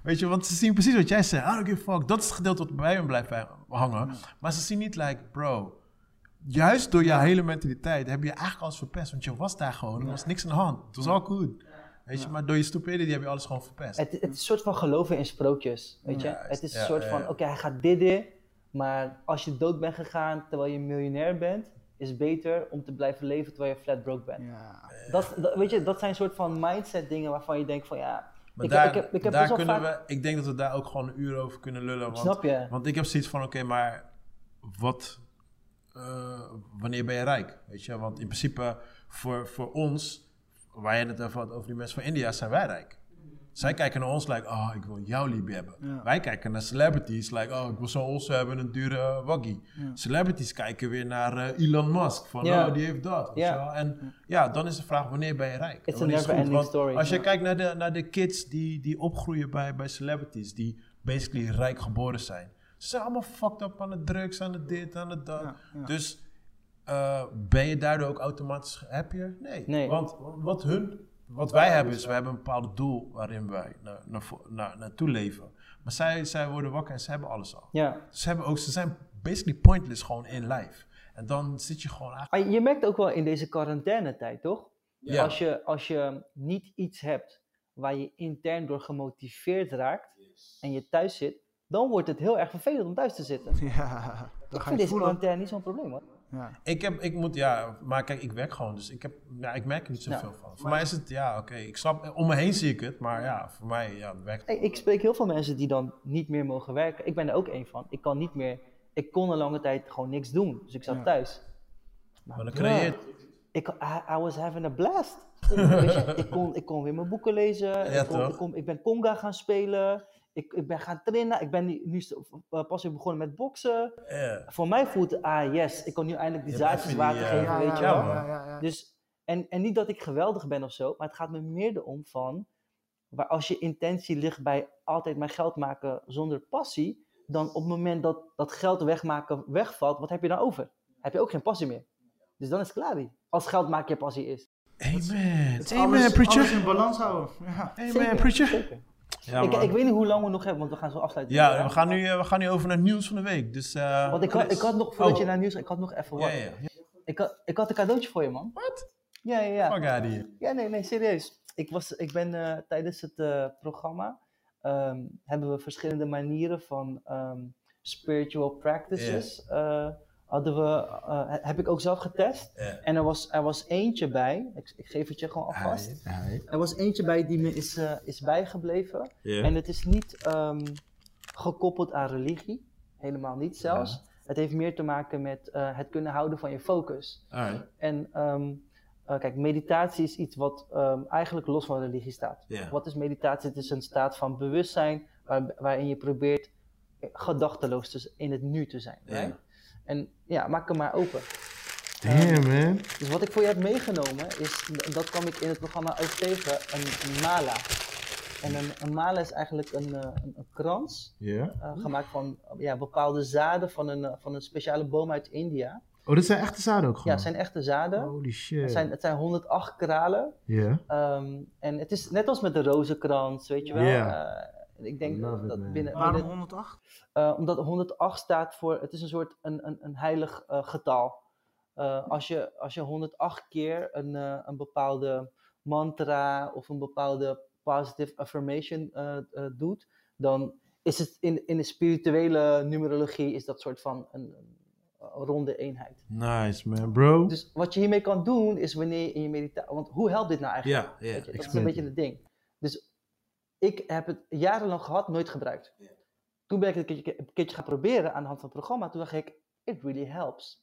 Speaker 1: Weet je, want ze zien precies wat jij zei. I don't give a fuck. Dat is het gedeelte wat bij hem blijft bij- hangen. Maar ze zien niet, like, bro. Juist door jouw hele mentaliteit heb je eigenlijk alles verpest. Want je was daar gewoon. Er was niks aan de hand. Het was al goed. Weet je, maar door je stupidity heb je alles gewoon verpest.
Speaker 4: Het, het is een soort van geloven in sprookjes, weet je?
Speaker 1: Juist,
Speaker 4: het is een
Speaker 1: ja,
Speaker 4: soort
Speaker 1: ja,
Speaker 4: van,
Speaker 1: ja.
Speaker 4: oké, hij gaat dit in, maar als je dood bent gegaan terwijl je miljonair bent, is het beter om te blijven leven terwijl je flat broke bent.
Speaker 2: Ja.
Speaker 4: Dat, dat- weet je, dat zijn soort van mindset dingen waarvan je denkt van, ja,
Speaker 1: Maar
Speaker 4: ik,
Speaker 1: daar,
Speaker 4: ik heb, ik heb
Speaker 1: daar
Speaker 4: best wel
Speaker 1: kunnen
Speaker 4: vaak...
Speaker 1: we, ik denk dat we daar ook gewoon een uur over kunnen lullen. Want,
Speaker 4: Snap je?
Speaker 1: Want ik heb zoiets van, oké, maar wat, eh, wanneer ben je rijk? Weet je, want in principe voor, voor ons, waar je het over had, over die mensen van India, zijn wij rijk. Zij kijken naar ons, like, oh, ik wil jouw liefde hebben.
Speaker 2: Ja.
Speaker 1: Wij kijken naar celebrities, like, oh, ik wil zo'n osso hebben, een dure waggy. Celebrities kijken weer naar eh, Elon Musk, van,
Speaker 4: Ja.
Speaker 1: oh, die heeft dat. weet
Speaker 4: Ja.
Speaker 1: je wel. En ja, dan is de vraag, wanneer ben je rijk?
Speaker 4: It's a
Speaker 1: Wanneer is het
Speaker 4: never-ending
Speaker 1: goed? Want
Speaker 4: story,
Speaker 1: Als je
Speaker 4: ja.
Speaker 1: kijkt naar de, naar de kids die, die opgroeien bij, bij celebrities, die basically rijk geboren zijn. Ze zijn allemaal fucked up aan de drugs, aan het dit, aan het dat.
Speaker 2: Ja, ja.
Speaker 1: Dus eh, ben je daardoor ook automatisch happier? Nee.
Speaker 4: Nee.
Speaker 1: Want wat, hun, wat wij hebben is, we hebben een bepaald doel waarin wij naar, naar, vo- naar, naartoe leven. Maar zij, zij worden wakker en ze hebben alles al.
Speaker 4: Ja.
Speaker 1: Ze, hebben ook, ze zijn basically pointless gewoon in life. En dan zit je gewoon eigenlijk...
Speaker 4: Maar Ah, je merkt ook wel in deze quarantaine-tijd, toch?
Speaker 1: Ja.
Speaker 4: Als, je, als je niet iets hebt waar je intern door gemotiveerd raakt en je thuis zit, dan wordt het heel erg vervelend om thuis te zitten.
Speaker 2: Ja, dat
Speaker 4: Ik
Speaker 2: ga
Speaker 4: vind
Speaker 2: je
Speaker 4: deze
Speaker 2: voelen.
Speaker 4: quarantaine niet zo'n probleem, hoor.
Speaker 2: Ja.
Speaker 1: Ik heb, ik moet, ja, maar kijk, ik werk gewoon, dus ik, heb, ja, ik merk er niet zoveel van. Voor mij is het, ja, oké, ik snap, om me heen zie ik het, maar ja, voor mij, ja, het werkt
Speaker 4: Hey, ik spreek heel veel mensen die dan niet meer mogen werken. Ik ben er ook één van. Ik kan niet meer. Ik kon een lange tijd gewoon niks doen, dus ik zat
Speaker 2: Ja.
Speaker 4: thuis.
Speaker 1: Maar dan creëert,
Speaker 4: Ik, I, I was having a blast. Weet je, ik, kon, ik kon weer mijn boeken lezen. ik, kon,
Speaker 1: toch?
Speaker 4: ik, kon- ik ben conga gaan spelen. Ik, ik ben gaan trainen. Ik ben nu, nu is- eh, pas weer begonnen met boksen.
Speaker 1: ja,
Speaker 4: Voor mij voelt het, ah yes, ik kan nu eindelijk die
Speaker 1: Je eh, hebt
Speaker 4: zaadjes
Speaker 1: even die,
Speaker 4: water
Speaker 1: eh,
Speaker 4: geven,
Speaker 2: Ja,
Speaker 4: weet je
Speaker 1: ja,
Speaker 4: wel.
Speaker 1: man.
Speaker 2: ja, ja, ja.
Speaker 4: Dus, en, en niet dat ik geweldig ben of zo, maar het gaat me meer erom van, waar als je intentie ligt bij altijd mijn geld maken zonder passie, dan op het moment dat dat geld wegmaken wegvalt, wat heb je dan over? Heb je ook geen passie meer. Dus dan is het klaar. die. Als geld maken je passie is.
Speaker 1: amen,
Speaker 2: Het is
Speaker 1: amen,
Speaker 2: alles, alles
Speaker 1: preacher,
Speaker 2: in balans houden. Ja.
Speaker 1: amen, preacher.
Speaker 4: Zeker.
Speaker 1: Ja,
Speaker 4: ik,
Speaker 1: man.
Speaker 4: ik weet niet hoe lang we nog hebben, want we gaan zo afsluiten.
Speaker 1: ja we, gaan nu, eh, we gaan nu over naar het nieuws van de week, dus... eh,
Speaker 4: Want ik had,
Speaker 1: Chris.
Speaker 4: ik had nog, voordat
Speaker 1: Oh.
Speaker 4: je naar het nieuws, ik had nog even
Speaker 1: Ja,
Speaker 4: wat.
Speaker 1: ja, ja.
Speaker 4: Ik, had, ik had een cadeautje voor je, man.
Speaker 1: Wat? Oh,
Speaker 4: Ja, ja, ja.
Speaker 1: Fuck out hier.
Speaker 4: Ja, nee, nee, serieus. Ik, was, ik ben eh, tijdens het eh, programma ehm, hebben we verschillende manieren van ehm, spiritual practices. eh, hadden we, eh, he- heb ik ook zelf getest.
Speaker 1: Ja.
Speaker 4: En er was, er was eentje bij, ik, ik geef het je gewoon
Speaker 1: Ah,
Speaker 4: alvast. Er was eentje bij die me is, eh, is bijgebleven. En het is niet ehm, gekoppeld aan religie. Helemaal niet zelfs. Het heeft meer te maken met eh, het kunnen houden van je focus.
Speaker 1: Alright,
Speaker 4: En ehm, eh, kijk, meditatie is iets wat ehm, eigenlijk los van religie staat.
Speaker 1: Ja.
Speaker 4: Wat is meditatie? Het is een staat van bewustzijn waar- waarin je probeert eh, gedachteloos te z- in het nu te zijn.
Speaker 1: Ja.
Speaker 4: right? En ja, maak hem maar open.
Speaker 1: Damn, man.
Speaker 4: Dus wat ik voor je heb meegenomen is, dat kwam ik in het programma ook tegen, een mala. En een, een mala is eigenlijk een, eh, een, een krans
Speaker 1: Ja.
Speaker 4: eh, gemaakt van ja, bepaalde zaden van een, eh, van een speciale boom uit India.
Speaker 1: Oh, dit zijn echte zaden ook
Speaker 4: Ja, het zijn echte zaden.
Speaker 1: Holy Oh, shit.
Speaker 4: Het zijn, het zijn 108 kralen.
Speaker 1: Ja.
Speaker 4: Ehm, en het is net als met de rozenkrans, weet je wel.
Speaker 1: Ja.
Speaker 4: Eh, ik denk
Speaker 1: Love it,
Speaker 4: dat
Speaker 1: man.
Speaker 4: binnen,
Speaker 2: Waarom
Speaker 4: binnen-
Speaker 2: 108?
Speaker 4: eh, omdat 108 staat voor, het is een soort een, een, een heilig eh, getal. Eh, als, je, als je 108 keer een, eh, een bepaalde mantra of een bepaalde positive affirmation eh, eh, doet, dan is het in, in de spirituele numerologie is dat soort van een, een ronde eenheid.
Speaker 1: Nice, man, bro.
Speaker 4: Dus wat je hiermee kan doen is wanneer je in je meditatie. Want hoe helpt dit nou eigenlijk?
Speaker 1: Ja, ja,
Speaker 4: Weet je, dat is
Speaker 1: explain
Speaker 4: een
Speaker 1: it.
Speaker 4: beetje het ding. Dus ik heb het jarenlang gehad, nooit gebruikt. Toen ben ik het een keertje, een keertje gaan proberen aan de hand van het programma. Toen dacht ik, it really helps.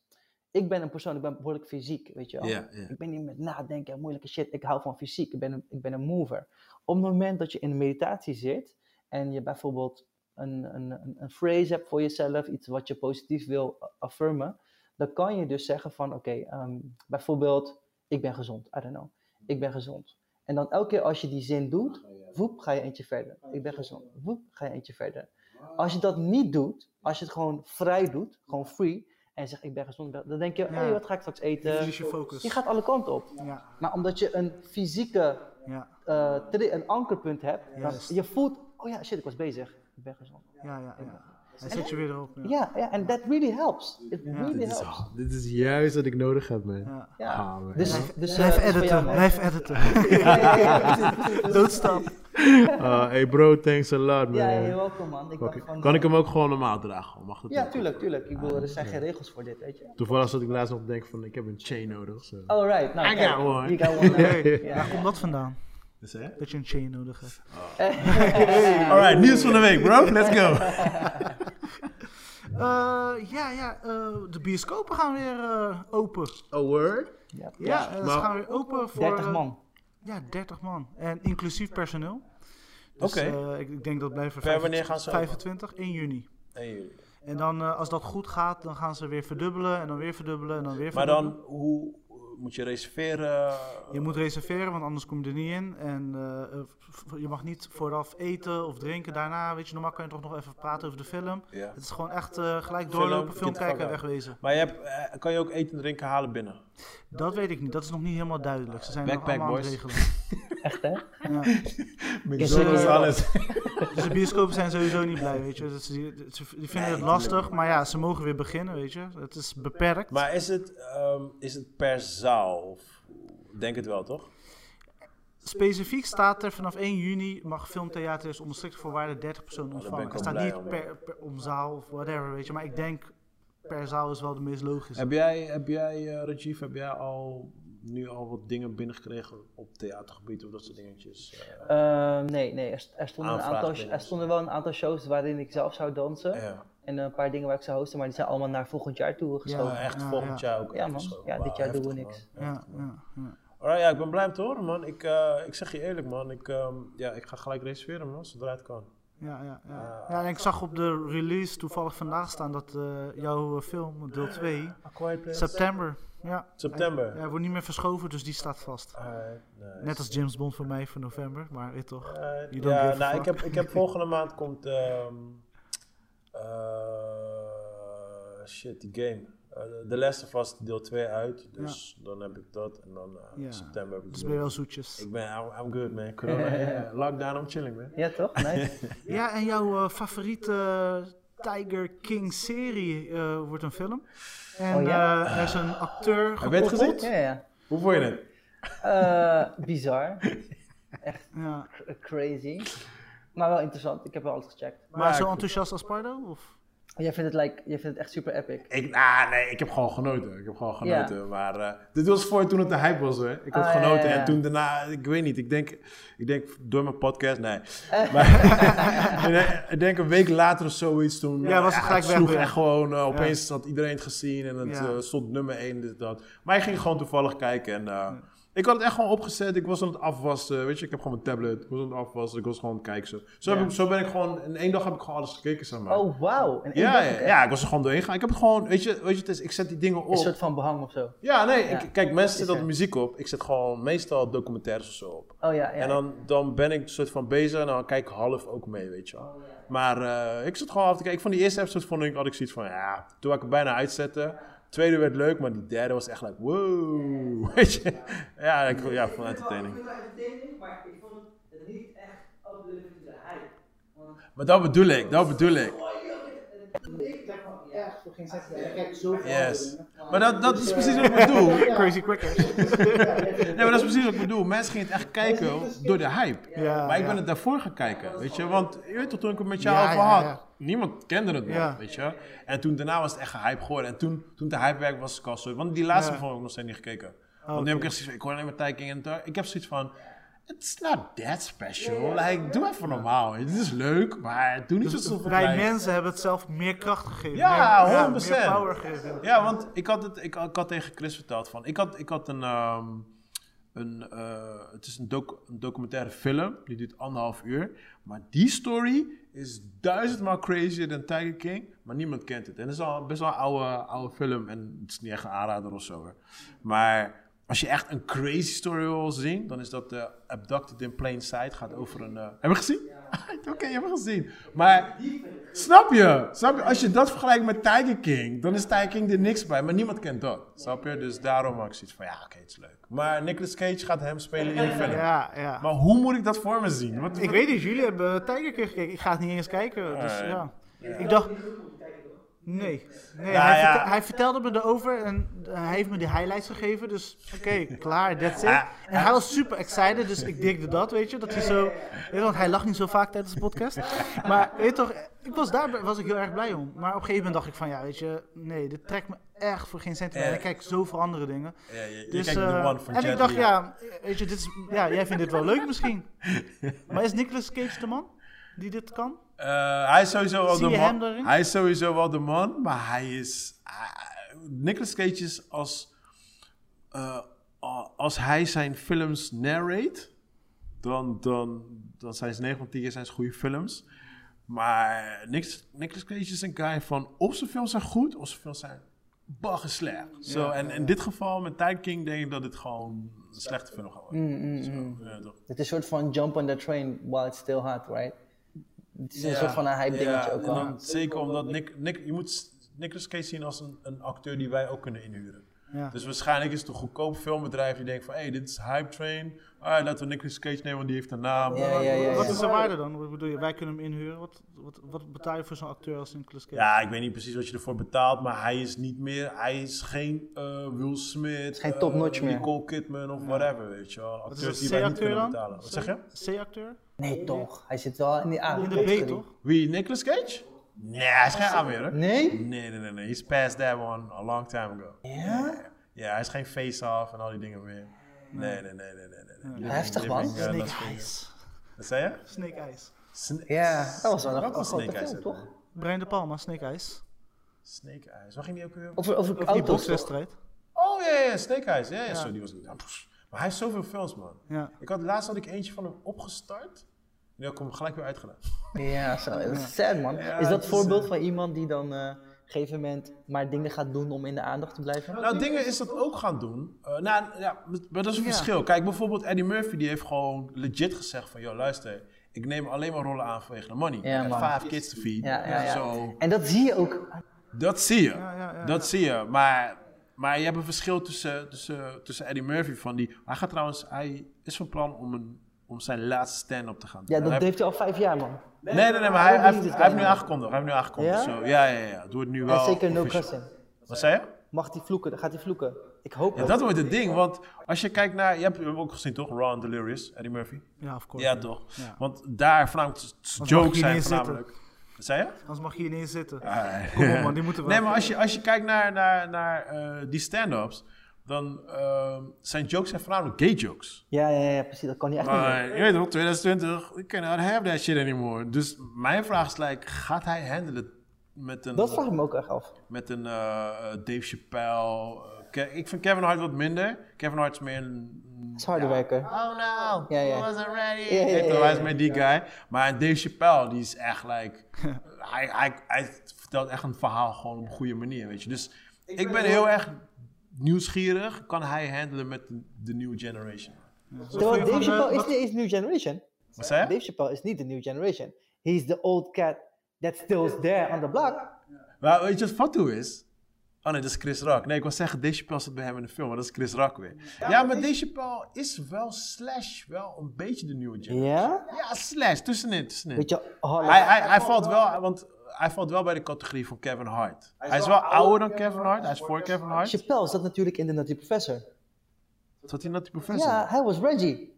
Speaker 4: Ik ben een persoon, ik ben behoorlijk fysiek, weet je wel.
Speaker 1: Ja, ja.
Speaker 4: Ik ben niet met nadenken en moeilijke shit. Ik hou van fysiek. Ik ben, een, ik ben een mover. Op het moment dat je in de meditatie zit en je bijvoorbeeld een, een, een, een phrase hebt voor jezelf, iets wat je positief wil affirmen, dan kan je dus zeggen van oké, ehm, bijvoorbeeld ik ben gezond. I don't know. Ik ben gezond. En dan elke keer als je die zin doet, woep, ga je eentje verder. Ik ben gezond. Woep, ga je eentje verder. Als je dat niet doet, als je het gewoon vrij doet, gewoon free, en zegt ik ben gezond, dan denk je,
Speaker 2: Ja.
Speaker 4: hey, wat ga ik straks
Speaker 2: Je
Speaker 4: eten?
Speaker 2: verliest je focus.
Speaker 4: Je eh, gaat alle kanten op.
Speaker 2: Ja,
Speaker 4: Maar Nou, omdat je een fysieke,
Speaker 2: ja,
Speaker 4: eh, tri- een ankerpunt hebt, dan
Speaker 2: Juist.
Speaker 4: je voelt, oh ja, shit, ik was bezig. Ik ben gezond.
Speaker 2: ja, ja. ja. Hij zet je weer erop. Ja.
Speaker 4: Ja, ja, en that really helps. It really
Speaker 1: Dit is,
Speaker 4: helps.
Speaker 1: dit is juist wat ik nodig heb, man.
Speaker 2: Ja.
Speaker 4: Ja.
Speaker 1: Ah, man.
Speaker 4: Dus,
Speaker 2: Blijf,
Speaker 4: dus, eh,
Speaker 2: blijf
Speaker 4: dus voor
Speaker 2: editen,
Speaker 4: jou, man.
Speaker 2: blijf editen.
Speaker 4: Ja, ja, ja, precies, precies, precies.
Speaker 2: Doodstap.
Speaker 1: Ah, hey bro, thanks a lot, man.
Speaker 2: Eh,
Speaker 4: Ja, you're welcome man. Ik dacht
Speaker 1: Oké.
Speaker 4: van,
Speaker 1: Kan ik hem ook gewoon normaal dragen? gewoon? Mag dat
Speaker 4: Ja,
Speaker 1: ook?
Speaker 4: tuurlijk, tuurlijk. Ik bedoel, er zijn geen regels voor dit, weet je.
Speaker 1: Toevallig zat ik laatst nog te denken van, ik heb een chain nodig. Zo.
Speaker 4: Alright, nou,
Speaker 1: I
Speaker 4: kijk,
Speaker 1: got one.
Speaker 4: you got one.
Speaker 2: Hey,
Speaker 4: Ja.
Speaker 2: Waar komt dat vandaan?
Speaker 1: Dus, hè?
Speaker 2: Dat je een chain nodig hebt.
Speaker 1: Alright, nieuws van de week, bro. Let's go.
Speaker 2: Eh, ja, ja, eh, de bioscopen gaan weer eh, open.
Speaker 1: A word?
Speaker 4: Ja.
Speaker 2: Ja, eh, ze
Speaker 1: Oh, maar-
Speaker 2: gaan weer open voor...
Speaker 4: 30
Speaker 2: eh,
Speaker 4: man.
Speaker 2: ja, 30 man. En inclusief personeel. Dus,
Speaker 1: Oké.
Speaker 2: eh, ik, ik denk dat blijven
Speaker 1: Per wanneer gaan ze open?
Speaker 2: 25 in juni. En dan, eh, als dat goed gaat, dan gaan ze weer verdubbelen en dan weer verdubbelen en dan weer
Speaker 1: Maar
Speaker 2: verdubbelen.
Speaker 1: dan, hoe moet je reserveren?
Speaker 2: Je moet reserveren, want anders kom je er niet in. En eh, eh, v- je mag niet vooraf eten of drinken. Daarna, weet je, normaal kan je toch nog even praten over de film.
Speaker 1: Ja.
Speaker 2: Het is gewoon echt eh, gelijk
Speaker 1: Film,
Speaker 2: doorlopen, film
Speaker 1: kind
Speaker 2: kijken en
Speaker 1: fuck out.
Speaker 2: wegwezen.
Speaker 1: Maar je hebt, eh, kan je ook eten en drinken halen binnen?
Speaker 2: Dat weet ik niet, dat is nog niet helemaal duidelijk. Ze zijn nog
Speaker 1: Backpack
Speaker 2: allemaal aan het
Speaker 1: boys.
Speaker 2: regelen.
Speaker 4: Echt, hè?
Speaker 2: Ja.
Speaker 1: McDonald's,
Speaker 2: eh,
Speaker 1: alles.
Speaker 2: Dus de bioscopen zijn sowieso niet blij, weet je. Dus die, ze- die vinden het lastig, maar ja, ze mogen weer beginnen, weet je. Het is beperkt.
Speaker 1: Maar is het, ehm, is het per zaal? Of- Denk het wel, toch?
Speaker 2: Specifiek staat er vanaf 1 juni mag filmtheaters onder strikte voorwaarden 30 personen
Speaker 1: Oh, daar ben ik
Speaker 2: ontvangen. Het
Speaker 1: al
Speaker 2: staat
Speaker 1: blij
Speaker 2: niet
Speaker 1: om.
Speaker 2: per, per om zaal of whatever, weet je. Maar ik denk per zaal is wel de meest
Speaker 4: Dus-
Speaker 2: logische.
Speaker 1: Heb jij, heb jij eh, Rajiv, heb jij al nu al wat dingen binnengekregen op theatergebied of dat soort dingetjes? Eh,
Speaker 4: Ehm, nee, nee. Er, er stonden een
Speaker 1: Aanvraag
Speaker 4: aantal,
Speaker 1: binnen.
Speaker 4: er stonden wel een aantal shows waarin ik zelf zou dansen.
Speaker 1: ja.
Speaker 4: En een paar dingen waar ik zou hosten, maar die zijn allemaal naar volgend jaar toe geschoven.
Speaker 1: Oh,
Speaker 4: Ja,
Speaker 1: echt
Speaker 2: ja,
Speaker 1: volgend
Speaker 2: ja.
Speaker 1: jaar ook.
Speaker 4: man.
Speaker 1: uitgeschoven.
Speaker 4: Ja, dit
Speaker 1: Wauw,
Speaker 4: jaar doen we
Speaker 1: heftig,
Speaker 4: niks.
Speaker 1: man.
Speaker 2: ja, ja, ja.
Speaker 1: Alright, ja, ik ben blij om te horen, man. Ik, eh, ik zeg je eerlijk, man. Ik, ehm, ja, ik ga gelijk reserveren, man, zodra het kan.
Speaker 2: Ja, ja, ja. ja, en ik zag op de release toevallig vandaag staan dat eh, jouw eh, film, deel 2,
Speaker 1: A Quiet Place.
Speaker 2: september. Ja,
Speaker 1: September.
Speaker 2: hij wordt niet meer verschoven, dus die staat vast.
Speaker 1: Alright, nice.
Speaker 2: Net als James Bond voor mij voor november, maar dit toch.
Speaker 1: Eh,
Speaker 2: You don't
Speaker 1: ja,
Speaker 2: give a
Speaker 1: nou, ik
Speaker 2: fuck.
Speaker 1: heb, ik heb volgende maand komt. ehm, eh, shit, die game. Eh, De The Last of Us deel 2 uit. Dus dan heb ik dat. En dan eh,
Speaker 2: Ja.
Speaker 1: september heb ik
Speaker 2: Dus
Speaker 1: de-
Speaker 2: ben je wel zoetjes.
Speaker 1: Ik ben, I'm, I'm good, man. Corona, yeah. Lockdown, I'm chilling, man.
Speaker 4: Ja, toch? Nice.
Speaker 2: Ja, en jouw eh, favoriete eh, Tiger King serie eh, wordt een film. En
Speaker 4: Oh, ja?
Speaker 2: eh, er is een acteur
Speaker 1: Heb je het
Speaker 2: gekoppeld.
Speaker 1: gezien?
Speaker 4: ja, ja.
Speaker 1: Hoe vond je het?
Speaker 4: Eh, bizar.
Speaker 2: Ja.
Speaker 4: C- Crazy. Maar wel interessant. Ik heb wel alles gecheckt.
Speaker 2: Maar zo
Speaker 1: ik-
Speaker 2: enthousiast als Pardo? Of?
Speaker 4: Jij vindt het, like, jij vindt het echt super epic.
Speaker 1: Ik, ah, nee, ik heb gewoon genoten. Ik heb gewoon
Speaker 4: Ja.
Speaker 1: genoten. Maar eh, dit was voor toen het de hype was, hè. Ik had
Speaker 4: Ah, ja,
Speaker 1: genoten.
Speaker 4: ja, ja.
Speaker 1: En toen daarna, ik weet niet. Ik denk, ik denk door mijn podcast, nee. maar ik denk- ik denk een week later of zoiets. Toen, eh,
Speaker 2: Ja, was het gelijk weg
Speaker 1: sloeg
Speaker 2: weer.
Speaker 1: echt gewoon, eh, opeens had iedereen het gezien. En het
Speaker 2: Ja.
Speaker 1: eh, stond nummer 1, dit, dat. Maar ik ging gewoon toevallig kijken. En eh, ik had het echt gewoon opgezet. Ik was aan het afwassen. Weet je, ik heb gewoon mijn tablet. Ik was aan het afwassen. Ik was gewoon aan het kijken. Zo, zo, heb
Speaker 4: Ja.
Speaker 1: ik, zo ben ik gewoon, in één dag heb ik gewoon alles gekeken, zeg maar.
Speaker 4: Oh, wauw. En één
Speaker 1: Ja,
Speaker 4: dag
Speaker 1: ja,
Speaker 4: ook echt.
Speaker 1: ja, ik was er gewoon doorheen gegaan. Ik heb het gewoon, weet je, weet je het is, ik zet die dingen
Speaker 4: Een
Speaker 1: op.
Speaker 4: soort van behang of zo.
Speaker 1: Ja, nee, ik-
Speaker 4: Ja.
Speaker 1: kijk, mensen zetten
Speaker 4: er.
Speaker 1: altijd muziek op. Ik zet gewoon meestal documentaires of zo op.
Speaker 4: Oh ja, ja.
Speaker 1: En dan, dan ben ik soort van bezig en dan kijk ik half ook mee, weet je wel.
Speaker 4: Oh,
Speaker 1: Maar eh, ik zat gewoon af te kijken. Ik vond die eerste episode, vond ik, had ik zoiets van, ja, toen had ik het bijna uitzetten. Tweede werd leuk, maar die derde was echt like, wow, weet je. Ja, ik, ja, van entertaining.
Speaker 4: maar ik vond het niet echt op de hype.
Speaker 1: Maar dat bedoel ik, dat bedoel ik.
Speaker 4: Ja, voor geen zes jaar. Kijk, zoveel.
Speaker 1: Yes. Maar dat, dat is precies wat ik bedoel.
Speaker 2: Crazy Quicker.
Speaker 1: Nee, maar dat is precies wat ik bedoel. Mensen gingen het echt kijken door de hype.
Speaker 2: Ja,
Speaker 1: Maar ik
Speaker 2: ja.
Speaker 1: ben het daarvoor gaan kijken, weet je. Want je weet toch, toen ik het met jou
Speaker 2: Ja,
Speaker 1: over
Speaker 2: ja,
Speaker 1: had,
Speaker 2: ja.
Speaker 1: niemand kende het nog,
Speaker 2: Ja.
Speaker 1: weet je. En toen daarna was het echt gehyped geworden. En toen, toen de hype werk was ik al zo... Want die laatste
Speaker 2: Ja. Oh,
Speaker 1: vond ik nog steeds niet gekeken. Want nu heb ik echt zoiets van, ik hoor alleen maar Tiger King en Tar- Ik heb zoiets van, It's not that special. Like, doe even normaal. Het is leuk, maar doe niet
Speaker 2: Dus
Speaker 1: zo
Speaker 2: wij mensen hebben het zelf meer kracht gegeven.
Speaker 1: Ja,
Speaker 2: meer, meer
Speaker 1: 100%.
Speaker 2: power gegeven.
Speaker 1: Ja, want ik had, het, ik, ik had tegen Chris verteld van... Ik had, ik had een... ehm, een eh, het is een, docu- een documentaire film. Die duurt anderhalf uur. Maar die story is duizendmaal crazier dan Tiger King. Maar niemand kent het. En het is al best wel een oude, oude film. En het is niet echt een aanrader of zo. hoor. Maar... Als je echt een crazy story wil zien, dan is dat eh, Abducted in Plain Sight. Gaat over een. eh, Heb je gezien? Oké, je hebt hem gezien. Maar Snap je? Snap je? Als je dat vergelijkt met Tiger King, dan is Tiger King er niks bij. Maar niemand kent dat. Snap je? Dus daarom had ik zoiets van, ja, oké, het is leuk. Maar Nicolas Cage gaat hem spelen in de film.
Speaker 2: Ja, ja.
Speaker 1: Maar hoe moet ik dat voor me zien? Wat,
Speaker 2: Ik weet niet, jullie hebben Tiger King gekeken. Ik ga het niet eens kijken. Dus
Speaker 1: Alright.
Speaker 2: ja. Ik dacht. Nee. nee
Speaker 1: Nou
Speaker 2: hij,
Speaker 1: ja.
Speaker 2: vertel- hij vertelde me erover en eh, hij heeft me die highlights gegeven. Dus oké, klaar, that's it.
Speaker 1: Ah,
Speaker 2: En hij was super excited, dus ik dikte dat, weet je. Dat hij zo. Weet je, want hij lacht niet zo vaak tijdens de podcast. Maar weet je toch, ik was daar was ik heel erg blij om. Maar op een gegeven moment dacht ik van ja, weet je, nee, dit trekt me echt voor geen cent meer. En ik kijk zoveel andere dingen.
Speaker 1: Ja, je, je
Speaker 2: Dus,
Speaker 1: kijkt
Speaker 2: eh,
Speaker 1: de one van
Speaker 2: en
Speaker 1: Jet
Speaker 2: ik dacht,
Speaker 1: Li.
Speaker 2: ja, weet je, dit is, ja, jij vindt dit wel leuk misschien. Maar is Nicolas Cage de man die dit kan?
Speaker 1: Eh, hij is sowieso wel
Speaker 2: Zie
Speaker 1: de
Speaker 2: je hem
Speaker 1: man.
Speaker 2: daarin?
Speaker 1: Hij is sowieso wel de man, maar hij is. hij- Nicolas Cage is als. eh, a- als hij zijn films narrate, dan, dan, dan zijn ze 9 van 10 keer zijn ze goede films. Maar Nic- Nicolas Cage is een guy van of zijn films zijn goed of zijn films zijn baggen slecht. Zo, en in dit geval met Tiger King denk ik dat dit gewoon een slechte film gaat worden.
Speaker 2: Mm,
Speaker 1: Zo, ja, toch.
Speaker 4: Het is een soort van jump on the train while it's still hot, right? Het is een
Speaker 1: Ja,
Speaker 4: soort van een hype
Speaker 1: ja,
Speaker 4: dingetje ook
Speaker 1: en
Speaker 4: al.
Speaker 1: dan zeker omdat Nick, Nick, je moet s- Nicolas Cage zien als een, een acteur die wij ook kunnen inhuren.
Speaker 2: Ja.
Speaker 1: Dus waarschijnlijk is het een goedkoop filmbedrijf die denkt van, hé, hey, dit is hype train. Ah, laten we Nicolas Cage nemen, want die heeft een naam.
Speaker 4: Ja, ja, ja, ja.
Speaker 2: Wat is de waarde dan? Wat bedoel je? Wij kunnen hem inhuren. Wat, wat, wat betaal je voor zo'n acteur als Nicolas Cage?
Speaker 1: Ja, ik weet niet precies wat je ervoor betaalt, maar hij is niet meer, hij is geen eh, Will Smith.
Speaker 4: geen
Speaker 1: eh,
Speaker 4: topnotch meer.
Speaker 1: Nicole Kidman of whatever, weet je wel.
Speaker 2: Wat is dat,
Speaker 1: Acteurs die wij niet
Speaker 2: C-acteur
Speaker 1: kunnen
Speaker 2: dan?
Speaker 1: betalen. Wat zeg je?
Speaker 2: C-acteur?
Speaker 4: Nee, toch? Hij zit wel in die A.
Speaker 2: In de B, toch?
Speaker 1: Wie, Nicolas Cage? Nee, hij is geen aanweer,
Speaker 4: Nee?
Speaker 1: Nee, nee, nee, nee. He's past that one a long time ago.
Speaker 4: Ja?
Speaker 1: Ja, hij is geen face-off en al die dingen meer. Nee, nee, nee, nee, nee. nee. Living-
Speaker 4: Heftig, man.
Speaker 1: living, eh, Las
Speaker 2: Snake
Speaker 1: Vegas.
Speaker 2: Eyes.
Speaker 1: Wat zei je?
Speaker 2: Snake Eyes.
Speaker 1: Sna-
Speaker 4: Ja, dat was wel
Speaker 1: Welke
Speaker 4: een
Speaker 1: Snake
Speaker 4: grote
Speaker 1: Eyes
Speaker 4: film,
Speaker 1: uit,
Speaker 4: toch?
Speaker 1: hè?
Speaker 2: Brian De Palma, Snake Eyes.
Speaker 1: Snake Eyes. Waar ging die ook weer?
Speaker 4: Over, over
Speaker 2: Over die
Speaker 4: auto's, toch?
Speaker 2: bokswedstrijd.
Speaker 1: Oh, ja, ja, ja, Snake Eyes. Ja, ja, sorry, die was niet. ja, pff. Maar hij heeft zoveel films, man.
Speaker 2: Ja.
Speaker 1: Ik had, laatst had ik eentje van hem opgestart. Nu heb ik hem gelijk weer uitgedaan.
Speaker 4: Ja, zo. Dat is sad, man. is
Speaker 1: het
Speaker 4: dat
Speaker 1: is,
Speaker 4: voorbeeld
Speaker 1: eh,
Speaker 4: van iemand die dan eh, op een gegeven moment maar dingen gaat doen om in de aandacht te blijven?
Speaker 1: Nou, dingen is dat ook gaan doen. Eh, nou, ja, maar dat is een
Speaker 2: Ja.
Speaker 1: verschil. Kijk, bijvoorbeeld Eddie Murphy, die heeft gewoon legit gezegd van... ...joh, luister, ik neem alleen maar rollen aan vanwege de money.
Speaker 4: Ja,
Speaker 1: ik heb
Speaker 4: man.
Speaker 1: vijf kids te feeden.
Speaker 4: Ja, ja, ja.
Speaker 1: Zo,
Speaker 4: En dat zie je ook.
Speaker 1: Dat zie je.
Speaker 2: Ja, ja, ja,
Speaker 1: dat zie je. Maar, maar je hebt een verschil tussen, tussen, tussen Eddie Murphy van die. Hij gaat trouwens, hij is van plan om, een, om zijn laatste stand-up te gaan doen.
Speaker 4: Ja, dat
Speaker 1: Hij-
Speaker 4: heeft hij al vijf jaar, man.
Speaker 1: Nee, nee, nee, maar hij,
Speaker 4: dat
Speaker 1: hij,
Speaker 4: doet
Speaker 1: heeft,
Speaker 4: hij
Speaker 1: hij heeft
Speaker 4: niet.
Speaker 1: nu aangekondigd. Hij heeft nu aangekondigd.
Speaker 4: Ja?
Speaker 1: Zo. Ja, ja, ja. Doe het nu wel.
Speaker 4: en zeker no
Speaker 1: officieel.
Speaker 4: cussing.
Speaker 1: Wat zei je?
Speaker 4: Mag hij vloeken? Dan gaat hij vloeken. Ik hoop
Speaker 1: Ja,
Speaker 4: het.
Speaker 1: dat wordt het ding. Want als je kijkt naar. Je hebt hem ook gezien, toch? Ron Delirious, Eddie Murphy.
Speaker 2: Ja, of course.
Speaker 1: Ja, toch?
Speaker 2: Ja.
Speaker 1: Want daar voornamelijk
Speaker 2: mag je
Speaker 1: jokes
Speaker 2: niet
Speaker 1: zijn
Speaker 2: eens zitten.
Speaker 1: voornamelijk. Wat zei je?
Speaker 2: Anders mag je hier niet eens zitten.
Speaker 1: Ah,
Speaker 2: Kom op, man, die moeten we-
Speaker 1: Nee, maar als je, als je kijkt naar, naar, naar eh, die stand-ups, dan ehm, zijn jokes zijn voornamelijk gay jokes.
Speaker 4: Ja, ja, ja, precies. Dat kan hij echt niet meer.
Speaker 1: Maar Ah, je weet toch, 2020, we cannot have that shit anymore. Dus mijn vraag is, like, gaat hij handelen met een,
Speaker 4: Dat vraag ik me ook echt af.
Speaker 1: met een eh, eh, Dave Chappelle? eh, Ke- ik vind Kevin Hart wat minder. Kevin Hart is meer een...
Speaker 4: Dat is harde werken.
Speaker 1: Oh no,
Speaker 4: Ja, ja.
Speaker 1: I wasn't ready.
Speaker 4: Ja, ja,
Speaker 1: Weet je,
Speaker 4: ja,
Speaker 1: Hij is
Speaker 4: ja.
Speaker 1: met die guy. Maar Dave Chappelle, die is echt like... hij, hij, hij vertelt echt een verhaal gewoon op een goede manier, weet je. Dus ik, ben heel erg nieuwsgierig. Kan hij handelen met de, de nieuwe generation?
Speaker 4: Terwijl
Speaker 2: Van,
Speaker 4: Dave
Speaker 2: eh,
Speaker 4: Chappelle is
Speaker 2: wat-
Speaker 4: niet eens New Generation.
Speaker 1: Wat zei je?
Speaker 4: Dave Chappelle is niet de New Generation. He's the old cat that still is there on the block.
Speaker 1: Maar weet je wat Fatou is? Oh nee, dat is Chris Rock. Nee, ik wil zeggen, Dave Chappelle zat bij hem in de film, maar dat is Chris Rock weer. Ja, maar Dave Chappelle is wel slash wel een beetje de nieuwe generation.
Speaker 4: Ja?
Speaker 1: Ja, slash, tussenin, tussenin.
Speaker 4: Weet je, oh,
Speaker 1: Hij,
Speaker 4: Holland.
Speaker 1: hij, hij valt wel, want hij valt wel bij de categorie van Kevin Hart. Hij is wel ouder dan Kevin Hart, hij is voor Kevin Hart.
Speaker 4: Chappelle zat natuurlijk in de Nutty Professor.
Speaker 1: Zat hij net die professor?
Speaker 4: Ja, hij was Reggie.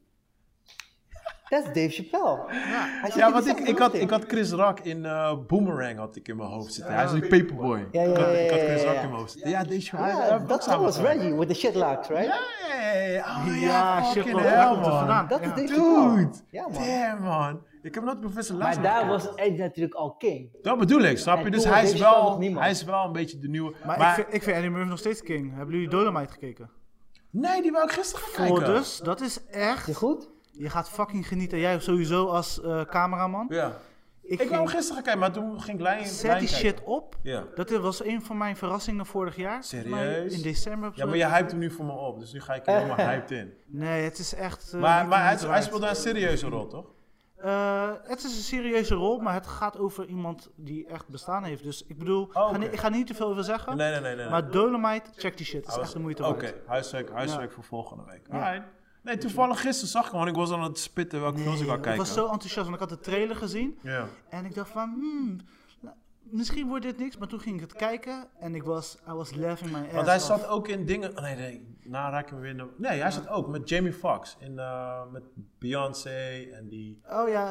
Speaker 4: Dat is Dave Chappelle.
Speaker 2: Ja.
Speaker 4: Hij zit
Speaker 1: Ja,
Speaker 4: in
Speaker 1: want ik,
Speaker 4: diezelfde
Speaker 1: ik, had,
Speaker 4: routing.
Speaker 1: ik had Chris Rock in eh, Boomerang had ik in mijn hoofd zitten. Hij is een paperboy.
Speaker 4: Ja, ja,
Speaker 1: Ik, had,
Speaker 4: ja,
Speaker 1: ik had
Speaker 4: ja,
Speaker 1: Chris
Speaker 4: ja,
Speaker 1: Rock
Speaker 4: ja.
Speaker 1: in mijn hoofd zitten. Ja, deze eh, hij- hij heeft
Speaker 4: Ja, dat,
Speaker 1: ook
Speaker 4: dat was
Speaker 1: samengewerkt.
Speaker 4: Reggie with the shitlocks, right?
Speaker 1: Ja, ja, ja, ja. Oh,
Speaker 2: Ja,
Speaker 1: ja,
Speaker 2: shit,
Speaker 1: fucking
Speaker 2: man. Waar
Speaker 1: hell,
Speaker 2: komt het
Speaker 1: man.
Speaker 2: vandaan?
Speaker 4: Dat is
Speaker 2: Ja.
Speaker 4: Dave Chappelle.
Speaker 1: Dude,
Speaker 4: Ja, man.
Speaker 1: damn, man. Ik heb nooit Professor Laszlo
Speaker 4: Maar daar
Speaker 1: gekeken.
Speaker 4: was Eddie natuurlijk al king.
Speaker 1: Dat bedoel ik, snap je?
Speaker 4: En
Speaker 1: Dus
Speaker 4: toen
Speaker 1: hij
Speaker 4: was
Speaker 1: is,
Speaker 4: Dave Chappelle
Speaker 1: wel,
Speaker 4: nog niemand.
Speaker 1: hij is wel een beetje de nieuwe...
Speaker 2: Maar,
Speaker 1: maar-
Speaker 2: Ik, vind, ik vind Eddie Murphy nog steeds king. Hebben jullie Dolomite gekeken?
Speaker 1: Nee, die wou ik gisteren gaan
Speaker 2: Oh,
Speaker 1: kijken.
Speaker 2: dus, dat is
Speaker 4: Is die
Speaker 2: echt...
Speaker 4: goed?
Speaker 2: Je gaat fucking genieten. Jij sowieso als eh, cameraman.
Speaker 1: Ja. Ik
Speaker 2: ging-
Speaker 1: wou hem gisteren gaan kijken, maar toen ging ik lijn
Speaker 2: Zet die
Speaker 1: kijken.
Speaker 2: shit op.
Speaker 1: Ja.
Speaker 2: Dat was een van mijn verrassingen vorig jaar.
Speaker 1: Serieus?
Speaker 2: Maar In december. of
Speaker 1: Ja,
Speaker 2: zo.
Speaker 1: maar je hypt hem nu voor me op, dus nu ga ik er helemaal hyped in.
Speaker 2: Nee, het is echt. eh,
Speaker 1: Maar,
Speaker 2: niet-
Speaker 1: maar hij,
Speaker 2: niet
Speaker 1: hij
Speaker 2: waard.
Speaker 1: speelde een serieuze rol, toch?
Speaker 2: Eh, het is een serieuze rol, maar het gaat over iemand die echt bestaan heeft. Dus ik bedoel, ik ga
Speaker 1: Oh, oké.
Speaker 2: niet- ik ga niet te veel over zeggen.
Speaker 1: Nee, nee, nee. nee.
Speaker 2: Oh. Maar Dolomite, check die shit. Het is
Speaker 1: Hij
Speaker 2: echt
Speaker 1: was-
Speaker 2: de moeite waard.
Speaker 1: Oké, huiswerk, huiswerk voor volgende week. Alright. Nee, toevallig gisteren zag ik hem, want ik was aan het spitten welke films ik wou
Speaker 2: Ik
Speaker 1: kijken.
Speaker 2: was zo enthousiast, want ik had de trailer gezien.
Speaker 1: Ja.
Speaker 2: En ik dacht van, hmm, nou, misschien wordt dit niks. Maar toen ging ik het kijken en ik was, I was laughing my ass
Speaker 1: Want hij
Speaker 2: off.
Speaker 1: zat ook in dingen... oh, Nee, nee, na raak ik hem weer... in de- Nee, hij zat ook met Jamie Foxx. In, eh, met Beyoncé en die...
Speaker 2: Oh ja,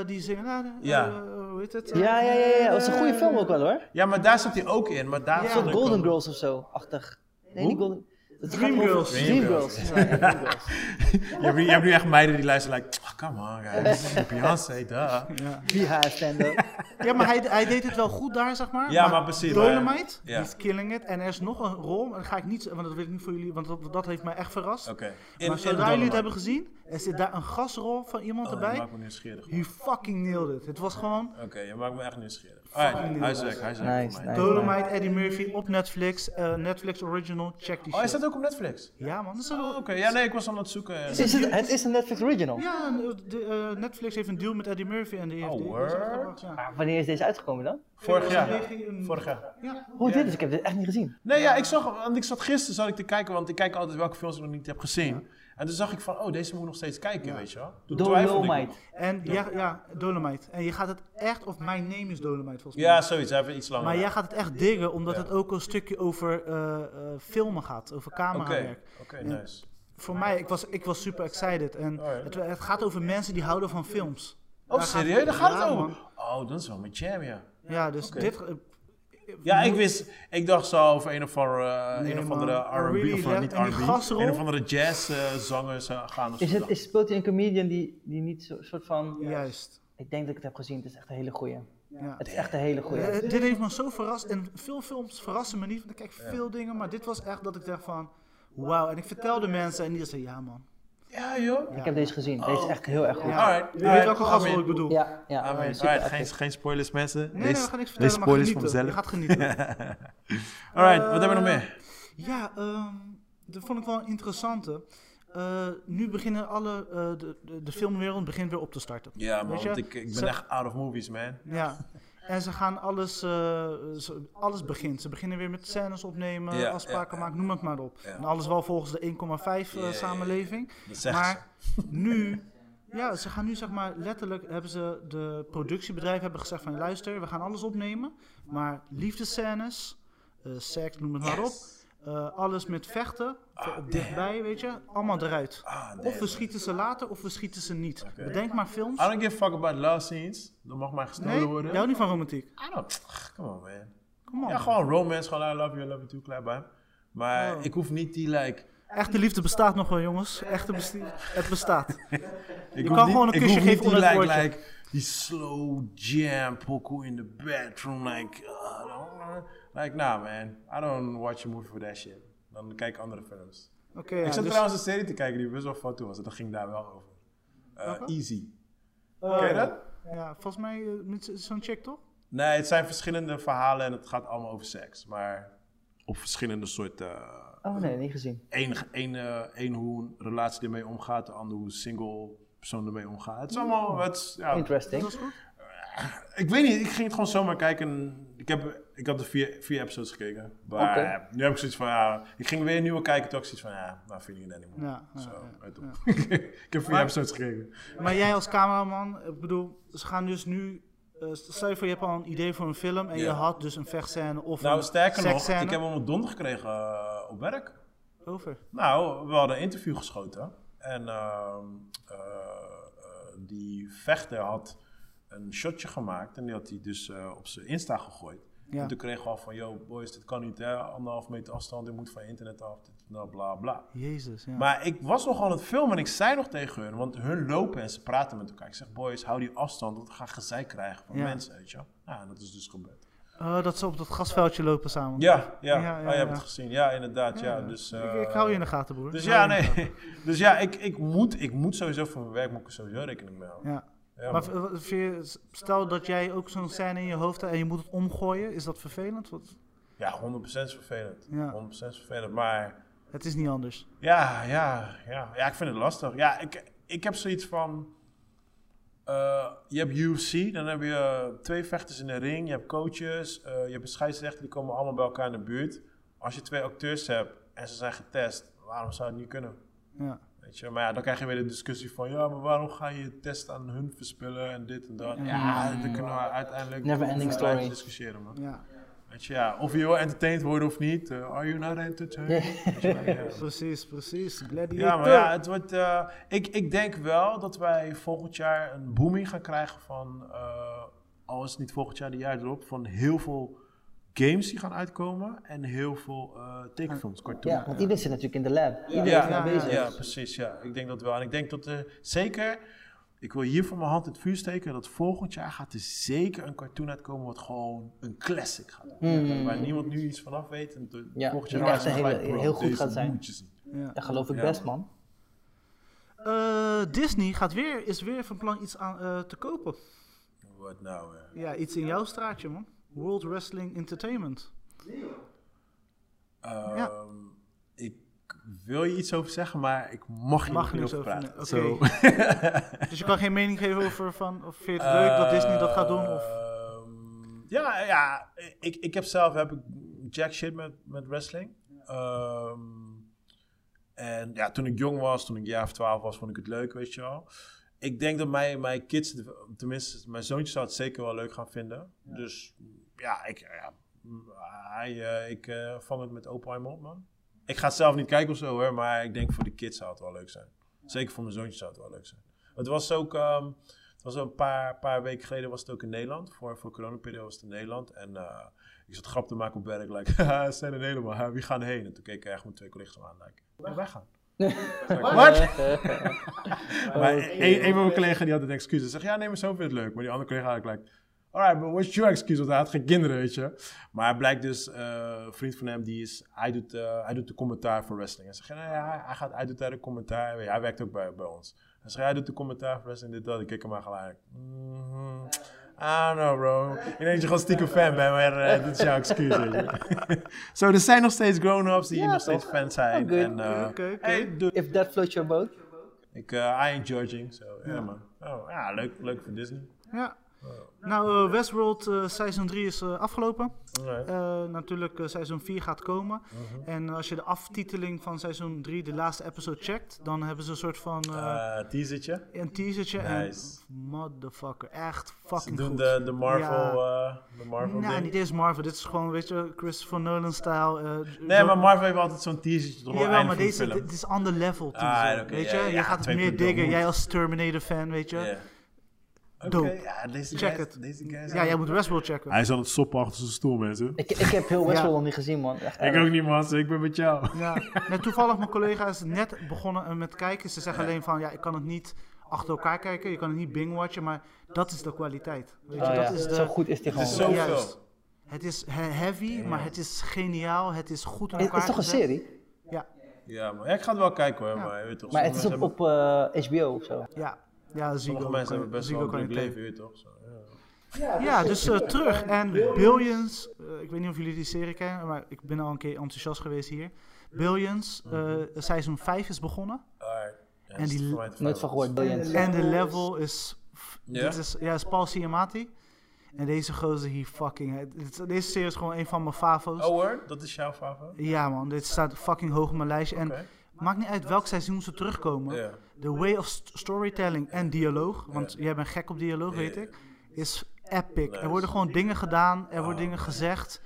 Speaker 2: eh, die zingen. nou, eh,
Speaker 1: Ja.
Speaker 2: eh, hoe heet het?
Speaker 4: Ja, ja, ja, ja. Dat was een goede film ook wel hoor.
Speaker 1: Ja, maar daar zat hij ook in, maar daar...
Speaker 2: Ja.
Speaker 4: Een soort
Speaker 1: vond ik
Speaker 4: Golden
Speaker 1: hem-
Speaker 4: Girls of zo, achtig. Nee,
Speaker 1: Hoe?
Speaker 4: niet Golden het gaat
Speaker 2: Dream
Speaker 4: over-
Speaker 2: Girls.
Speaker 4: Dream Girls. Ja, ja, Dream Girls.
Speaker 1: Je hebt, nu- je hebt nu echt meiden die luisteren, like, "Ah, come on guys, Beyoncé, duh.
Speaker 4: Die haar stand-up.
Speaker 2: Eh, Ja, maar hij, hij deed het wel goed daar, zeg maar.
Speaker 1: Ja, maar precies, maar ja.
Speaker 2: Dolomite,
Speaker 1: Ja.
Speaker 2: die is killing it. En er is nog een rol, maar dat ga ik niet... Want dat wil ik niet voor jullie, want dat, dat heeft mij echt verrast.
Speaker 1: Oké.
Speaker 2: maar zodra jullie het hebben gezien, er zit daar een gasrol van iemand
Speaker 1: Je
Speaker 2: erbij.
Speaker 1: Oh, maakt me nieuwsgierig. man.
Speaker 2: You fucking nailed it. Het was gewoon
Speaker 1: Oké, je maakt me echt nieuwsgierig. Alright, hij zegt, hij zegt.
Speaker 4: Nice, nice.
Speaker 2: Dolomite, Eddie Murphy op Netflix. eh, Netflix original, check die
Speaker 1: Oh, is
Speaker 2: shit.
Speaker 1: dat ook op Netflix?
Speaker 2: Ja man, dat is
Speaker 1: Oh,
Speaker 2: wel...
Speaker 1: Oké, ja nee, ik was aan het zoeken. eh, en-
Speaker 4: Is het, het is een Netflix original.
Speaker 2: Ja, en, de, eh, Netflix heeft een deal met Eddie Murphy en die heeft...
Speaker 1: Oh,
Speaker 2: die- die
Speaker 1: word.
Speaker 2: is uitgebracht, ja.
Speaker 4: Maar wanneer is deze uitgekomen dan?
Speaker 1: Vorig jaar.
Speaker 2: Tegen-
Speaker 1: Vorig jaar.
Speaker 2: Ja.
Speaker 4: Hoe dit is, ik heb dit echt niet gezien.
Speaker 1: Nee, ja, ik zag, want ik zat gisteren zat ik te kijken, want ik kijk altijd welke films ik nog niet heb gezien. En toen zag ik van, oh, deze moet ik nog steeds kijken, weet je wel. Toen twijfelde ik nog.
Speaker 4: Dolomite.
Speaker 2: En ja, ja, Dolomite. En je gaat het echt... Of mijn name is Dolomite volgens mij.
Speaker 1: Ja, zoiets, even iets langer.
Speaker 2: Maar jij gaat het echt diggen, omdat
Speaker 1: Ja.
Speaker 2: het ook een stukje over eh, eh, filmen gaat, over
Speaker 1: Oké,
Speaker 2: camerawerk.
Speaker 1: oké, nice.
Speaker 2: Voor mij, ik was, ik was super excited. En
Speaker 1: Alright.
Speaker 2: het, het gaat over mensen die houden van films.
Speaker 1: Oh,
Speaker 2: Daar gaat
Speaker 1: serieus? Daar gaat
Speaker 2: Ja,
Speaker 1: het
Speaker 2: man.
Speaker 1: over? Oh, dat is wel mijn jam, ja.
Speaker 2: Ja, dus
Speaker 1: Oké.
Speaker 2: dit... eh,
Speaker 1: Ja, ik wist, ik dacht zo over een of andere, eh,
Speaker 2: Nee,
Speaker 1: een of
Speaker 2: man.
Speaker 1: andere
Speaker 2: I
Speaker 1: R&B,
Speaker 2: really
Speaker 1: of eh,
Speaker 2: left-
Speaker 1: niet
Speaker 2: en die
Speaker 1: R&B,
Speaker 2: gasrol?
Speaker 1: een of andere jazzzangers eh, gaan of zo.
Speaker 4: Is het, is, speelt hij een comedian die, die niet zo, soort van...
Speaker 2: Juist.
Speaker 4: Ik denk dat ik het heb gezien, het is echt een hele goeie.
Speaker 2: Ja.
Speaker 4: Het is echt een hele
Speaker 2: Eh,
Speaker 4: goeie.
Speaker 2: dit heeft me zo verrast. En veel films verrassen me niet, want ik kijk veel dingen. Maar dit was echt dat ik dacht van... Wauw. En ik vertelde mensen en die zeiden, ja man.
Speaker 1: Ja, joh.
Speaker 4: Ik heb deze gezien, deze is echt heel erg goed.
Speaker 2: Oh. Ja.
Speaker 1: Alright,
Speaker 2: Je
Speaker 1: alright,
Speaker 2: weet welke
Speaker 1: amen.
Speaker 2: gasrol ik bedoel.
Speaker 4: Ja, ja.
Speaker 1: Amen.
Speaker 4: super
Speaker 1: Alright, geen,
Speaker 4: actief.
Speaker 1: geen spoilers mensen.
Speaker 2: Nee, nee,
Speaker 1: Wees-
Speaker 2: we gaan niks
Speaker 1: wees
Speaker 2: vertellen, maar
Speaker 1: spoilers voor
Speaker 2: genieten. eh, Je
Speaker 1: mezelf.
Speaker 2: gaat genieten.
Speaker 1: Alright, wat hebben we nog meer?
Speaker 2: Ja, ehm, dat vond ik wel een interessante. Eh, nu beginnen alle, eh, de, de, de filmwereld begint weer op te starten.
Speaker 1: Ja man,
Speaker 2: Weet je,
Speaker 1: want ik, ik ben
Speaker 2: ze-
Speaker 1: echt out of movies man.
Speaker 2: Ja. En ze gaan alles, eh, ze- alles begint. Ze beginnen weer met scènes opnemen,
Speaker 1: Ja,
Speaker 2: afspraken
Speaker 1: ja, ja.
Speaker 2: maken, noem het maar op.
Speaker 1: Ja.
Speaker 2: En alles wel volgens de 1,5 eh,
Speaker 1: Ja, ja, ja.
Speaker 2: samenleving.
Speaker 1: Dat zegt
Speaker 2: Maar nu, ja, ze gaan nu zeg maar letterlijk hebben ze de productiebedrijven hebben gezegd van luister, we gaan alles opnemen, maar liefdescènes, eh, seks, noem het maar op, eh, alles met vechten,
Speaker 1: Ah,
Speaker 2: op dichtbij, weet je, allemaal eruit.
Speaker 1: Ah, damn.
Speaker 2: Of we schieten ze later, of we schieten ze niet.
Speaker 1: Oké.
Speaker 2: Bedenk maar films.
Speaker 1: I don't give a fuck about love scenes. Dat mag maar gestolen
Speaker 2: Nee, jij
Speaker 1: worden.
Speaker 2: houdt niet van romantiek.
Speaker 1: I don't, Ach, come on man.
Speaker 2: Kom op.
Speaker 1: Ja, gewoon romance, gewoon I love you, I love you too, klaar bij. Maar
Speaker 2: Oh.
Speaker 1: ik hoef niet die like...
Speaker 2: Echte liefde bestaat nog wel, jongens. Echte besti- het bestaat.
Speaker 1: Ik
Speaker 2: Je
Speaker 1: hoef
Speaker 2: kan gewoon een
Speaker 1: ik
Speaker 2: kusje
Speaker 1: hoef niet
Speaker 2: geven onder het
Speaker 1: die, like,
Speaker 2: woordje.
Speaker 1: like, die slow jam pokoe in the bedroom. Like, uh, like, nah man. I don't watch a movie for that shit. Dan kijk ik andere films.
Speaker 2: Oké,
Speaker 1: ik
Speaker 2: ja,
Speaker 1: zat
Speaker 2: dus-
Speaker 1: trouwens een serie te kijken die best wel fout toe was. en Dat ging daar wel over. Eh, Easy.
Speaker 2: Oh,
Speaker 1: Ken je
Speaker 2: ja.
Speaker 1: dat?
Speaker 2: Ja, volgens mij eh, met z- zo'n chick, toch?
Speaker 1: Nee, het zijn verschillende verhalen en het gaat allemaal over seks. Maar op verschillende soorten...
Speaker 4: Oh nee, niet gezien.
Speaker 1: Eén één, eh, één hoe een relatie ermee omgaat, de ander hoe een single persoon ermee omgaat. Het is allemaal... Het, Oh. is- ja,
Speaker 2: Dat
Speaker 4: Interesting.
Speaker 2: was goed.
Speaker 1: Ik weet niet, ik ging het gewoon zomaar kijken. Ik, heb, ik had de vier, vier episodes gekeken. Maar
Speaker 4: Oké.
Speaker 1: eh, nu heb ik zoiets van, ja, ik ging weer een nieuwe kijken. Toen had ik zoiets van, ja, nou vind ik het anymore.
Speaker 2: Ja, ja,
Speaker 1: Zo,
Speaker 2: ja,
Speaker 1: uit op. ik heb vier episodes gekeken.
Speaker 2: Maar jij als cameraman, ik bedoel, ze gaan dus nu... eh, stel je voor, je hebt al een idee voor een film en je
Speaker 1: Ja.
Speaker 2: had dus een vechtscène of
Speaker 1: Nou,
Speaker 2: een
Speaker 1: sterker nog,
Speaker 2: seksscène.
Speaker 1: ik heb hem op donder gekregen eh, op werk.
Speaker 2: Over.
Speaker 1: Nou, we hadden een interview geschoten. En ehm, eh, eh, die vechter had een shotje gemaakt en die had hij dus eh, op zijn Insta gegooid.
Speaker 2: Ja.
Speaker 1: En toen kregen we al van, yo boys, dit kan niet hè, anderhalf meter afstand, dit moet van internet af, dit, nou, bla bla.
Speaker 2: Jezus, ja.
Speaker 1: Maar ik was nog aan het filmen en ik zei nog tegen hun, want hun lopen en ze praten met elkaar. Ik zeg, boys, hou die afstand, want we gaan gezeik krijgen van
Speaker 2: Ja.
Speaker 1: mensen, weet je wel. Nou, en dat is dus gebeurd.
Speaker 2: Oh, dat ze op dat gasveldje lopen samen.
Speaker 1: Ja, ja,
Speaker 2: Ja, ja,
Speaker 1: oh,
Speaker 2: ja.
Speaker 1: jij hebt het gezien. Ja, inderdaad, ja.
Speaker 2: Ja.
Speaker 1: Dus,
Speaker 2: Ik-
Speaker 1: eh,
Speaker 2: ik, hou je in de gaten, broer.
Speaker 1: Dus
Speaker 2: Ik
Speaker 1: ja,
Speaker 2: hou je in de
Speaker 1: nee. Dus ja, ik, ik, moet, ik moet sowieso voor mijn werk moet ik er sowieso rekening mee houden.
Speaker 2: gaten. Ja.
Speaker 1: Ja,
Speaker 2: maar
Speaker 1: man.
Speaker 2: v- wat vind je- stel dat jij ook zo'n scène in je hoofd hebt en je moet het omgooien, is dat vervelend? Want
Speaker 1: Ja, 100% is vervelend.
Speaker 2: Ja.
Speaker 1: 100% is vervelend. Maar
Speaker 2: het is niet anders.
Speaker 1: ja, ja, ja. Ja, ik vind het lastig. Ja, ik, ik heb zoiets van... eh, je hebt UFC, dan heb je twee vechters in de ring. Je hebt coaches, eh, je hebt een scheidsrechter. Die komen allemaal bij elkaar in de buurt. Als je twee acteurs hebt en ze zijn getest, waarom zou het niet kunnen?
Speaker 2: Ja,
Speaker 1: Weet je, maar ja, dan krijg je weer de discussie van... Ja, maar waarom ga je je test aan hun verspillen en dit en dat? Ja, dan kunnen we uiteindelijk...
Speaker 4: Never ending
Speaker 1: blijven
Speaker 4: story.
Speaker 1: discussiëren, man.
Speaker 2: ja.
Speaker 1: Weet je, ja, of je wil entertained worden of niet. eh, are you not entertained? Weet je wel, ja.
Speaker 2: precies, precies. Gladiator.
Speaker 1: Ja, maar ja, het wordt, eh, ik, ik denk wel dat wij volgend jaar een booming gaan krijgen van... eh, al is het niet volgend jaar, de jaar erop. Van heel veel games die gaan uitkomen. En heel veel eh, tekenfilms, cartoons.
Speaker 4: Ja, want iedereen zit natuurlijk in de lab. Iedereen
Speaker 1: Ja,
Speaker 4: is daar
Speaker 1: ja,
Speaker 4: bezig.
Speaker 1: ja, precies. Ja. Ik denk dat wel. En ik denk dat er zeker, ik wil hier voor mijn hand in het vuur steken, dat volgend jaar gaat er zeker een cartoon uitkomen wat gewoon een classic gaat worden. Waar niemand nu iets vanaf weet. En de-
Speaker 4: Hmm. Ja,
Speaker 1: volgend
Speaker 4: die
Speaker 1: jaar gaan
Speaker 4: echt
Speaker 1: ze
Speaker 4: een
Speaker 1: gelijk,
Speaker 4: hele-
Speaker 1: bro,
Speaker 4: heel goed
Speaker 1: deze
Speaker 4: gaat zijn.
Speaker 1: moet je zien.
Speaker 2: Ja.
Speaker 4: Dat geloof ik best, man.
Speaker 2: Eh, Disney gaat weer, is weer van plan iets aan, eh, te kopen.
Speaker 1: Wat nou, eh.
Speaker 2: Ja, iets in jouw straatje, man. World Wrestling Entertainment.
Speaker 1: Ehm,
Speaker 2: Ja.
Speaker 1: Ik wil je iets over zeggen, maar ik mag hier
Speaker 2: Mag
Speaker 1: nog niet
Speaker 2: niks
Speaker 1: over
Speaker 2: over,
Speaker 1: praten.
Speaker 2: nee. Oké.
Speaker 1: Zo.
Speaker 2: Dus je kan geen mening geven over van, of vind je het leuk dat Disney dat gaat doen? Of...
Speaker 1: Ehm, ja, ja ik, ik heb zelf heb ik jack shit met, met wrestling. Ehm, en ja, toen ik jong was, toen ik een jaar of twaalf was, vond ik het leuk, weet je wel. Ik denk dat mijn, mijn kids, het- tenminste mijn zoontje zou het zeker wel leuk gaan vinden. Dus ja, ik, ja, mm, hij, eh, ik eh, vang het met open armen op, man. Ik ga het zelf niet kijken of zo hoor, maar ik denk voor de kids zou het wel leuk zijn. Zeker voor mijn zoontje zou het wel leuk zijn. Het was ook, ehm, het was een paar, paar weken geleden was het ook in Nederland. Voor, voor de coronaperiode was het in Nederland. En eh, ik zat grap te maken op werk, like, haha, ze zijn er helemaal, hè, eh, wie gaan er heen? En toen keken echt mijn twee collega's me aan, like, wij- wij gaan. Wat? Maar een, een van mijn collega's die had een excuus. Hij zegt, ja, nee, maar zo vind ik het leuk. Maar die andere collega had ik like, alright, but what's your excuse? Want hij had geen kinderen, weet je. Maar hij blijkt dus, eh, een vriend van hem, die is, hij doet, eh, hij doet de commentaar voor wrestling. Hij zegt, ja, ja, hij- hij, gaat, hij doet daar de commentaar. Hij werkt ook bij, bij ons. Hij zegt, hij doet de commentaar voor wrestling, dit, dat. Ik kijk hem aan gelijk. Mhm. I don't know, bro. Ik denk dat je gewoon stiekem fan bent, maar eh, dit is jouw excuus. weet je. Zo, er zijn nog steeds grown-ups die nog steeds fan zijn.
Speaker 4: good.
Speaker 1: en, eh,
Speaker 2: Oh, Oké, oké.
Speaker 1: hey, doe-
Speaker 4: If that floats your boat.
Speaker 1: ik, eh I ain't judging, so, ja. man. Oh, ja, leuk, leuk voor Disney.
Speaker 2: Ja.
Speaker 1: Oh.
Speaker 2: Nou, eh, Westworld eh, seizoen 3 is eh, afgelopen. Eh, natuurlijk, eh, seizoen 4 gaat komen.
Speaker 1: Mhm.
Speaker 2: En als je de aftiteling van seizoen 3, de laatste episode, checkt, dan hebben ze een soort van eh,
Speaker 1: Eh teasertje.
Speaker 2: een teasertje.
Speaker 1: nice.
Speaker 2: En motherfucker, echt
Speaker 1: Ze
Speaker 2: fucking
Speaker 1: doen
Speaker 2: goed.
Speaker 1: de, de Marvel,
Speaker 2: Ja.
Speaker 1: eh, de Marvel
Speaker 2: nou,
Speaker 1: ding.
Speaker 2: niet eens Marvel. Dit is gewoon, weet je, Christopher Nolan-stijl. eh,
Speaker 1: Nee, maar Marvel heeft altijd zo'n teasertje toch wel
Speaker 2: Jawel,
Speaker 1: einde
Speaker 2: maar
Speaker 1: van de
Speaker 2: deze,
Speaker 1: film.
Speaker 2: dit is ander level. teaser,
Speaker 1: Ah, oké,
Speaker 2: weet je,
Speaker 1: ja, ja,
Speaker 2: je gaat het meer
Speaker 1: 2.0
Speaker 2: diggen.
Speaker 1: moet.
Speaker 2: Jij als Terminator-fan, weet je.
Speaker 1: Ja. Oké,
Speaker 2: Dope.
Speaker 1: ja, deze
Speaker 2: Check
Speaker 1: guys,
Speaker 2: het.
Speaker 1: deze guys.
Speaker 2: Ja, jij moet Westworld checken.
Speaker 1: Hij is aan het soppen achter zijn stoel, mensen.
Speaker 4: Ik, ik heb heel Westworld
Speaker 2: Ja.
Speaker 4: nog niet gezien, man. Echt,
Speaker 1: Ik
Speaker 4: eh,
Speaker 1: ook niet, man. Ik ben met jou.
Speaker 2: Ja. Net toevallig, mijn collega is net begonnen eh, met kijken. Ze zeggen alleen van, ja, ik kan het niet achter elkaar kijken. Je kan het niet bingwatchen, maar dat is de kwaliteit. Weet je,
Speaker 4: oh
Speaker 2: dat
Speaker 4: ja,
Speaker 2: is eh, de...
Speaker 4: Zo goed is die gewoon.
Speaker 1: is zo- Zoveel.
Speaker 2: Juist. Het is he- heavy, maar het is geniaal. Het is goed aan
Speaker 4: Het
Speaker 2: elkaar
Speaker 4: is toch een
Speaker 2: gezet.
Speaker 4: serie?
Speaker 2: Ja,
Speaker 1: Ja, maar ik ga het wel kijken hoor, maar je weet toch.
Speaker 4: Maar het
Speaker 1: sommige
Speaker 4: is op,
Speaker 1: mensen
Speaker 4: op eh, HBO of zo.
Speaker 2: ja. Ja,
Speaker 1: hebben-
Speaker 2: Ziggo.
Speaker 1: sommige mensen hebben best wel
Speaker 2: Ziggo
Speaker 1: een druk
Speaker 2: kwaliteit.
Speaker 1: leven, je weet toch. Zo, ja.
Speaker 2: Ja, dus eh, terug. En Billions, eh, ik weet niet of jullie die serie kennen, maar ik ben al een keer enthousiast geweest hier. Billions, eh
Speaker 1: Mhm.
Speaker 2: seizoen 5 is begonnen.
Speaker 1: Alright. Ja,
Speaker 2: En
Speaker 1: is
Speaker 2: die-
Speaker 1: voor mij te
Speaker 4: Nooit
Speaker 1: fijn,
Speaker 4: van
Speaker 1: man.
Speaker 4: gehoord, Billions.
Speaker 2: En de level is. f-
Speaker 1: Ja?
Speaker 2: Dit is, ja, is Paul Ciamatti. En deze gozer hier fucking. het- het- Deze serie is gewoon een van mijn favo's.
Speaker 1: Oh, hoor, dat is jouw favoriet?
Speaker 2: Ja, man, dit staat fucking hoog op mijn lijstje. En
Speaker 1: Oké.
Speaker 2: maakt niet uit welk seizoen ze terugkomen.
Speaker 1: Ja.
Speaker 2: De way of st- storytelling en dialoog. Want jij bent gek op dialoog, weet
Speaker 1: Ja.
Speaker 2: ik. Is epic.
Speaker 1: Nice.
Speaker 2: Er worden gewoon dingen gedaan, er worden dingen gezegd.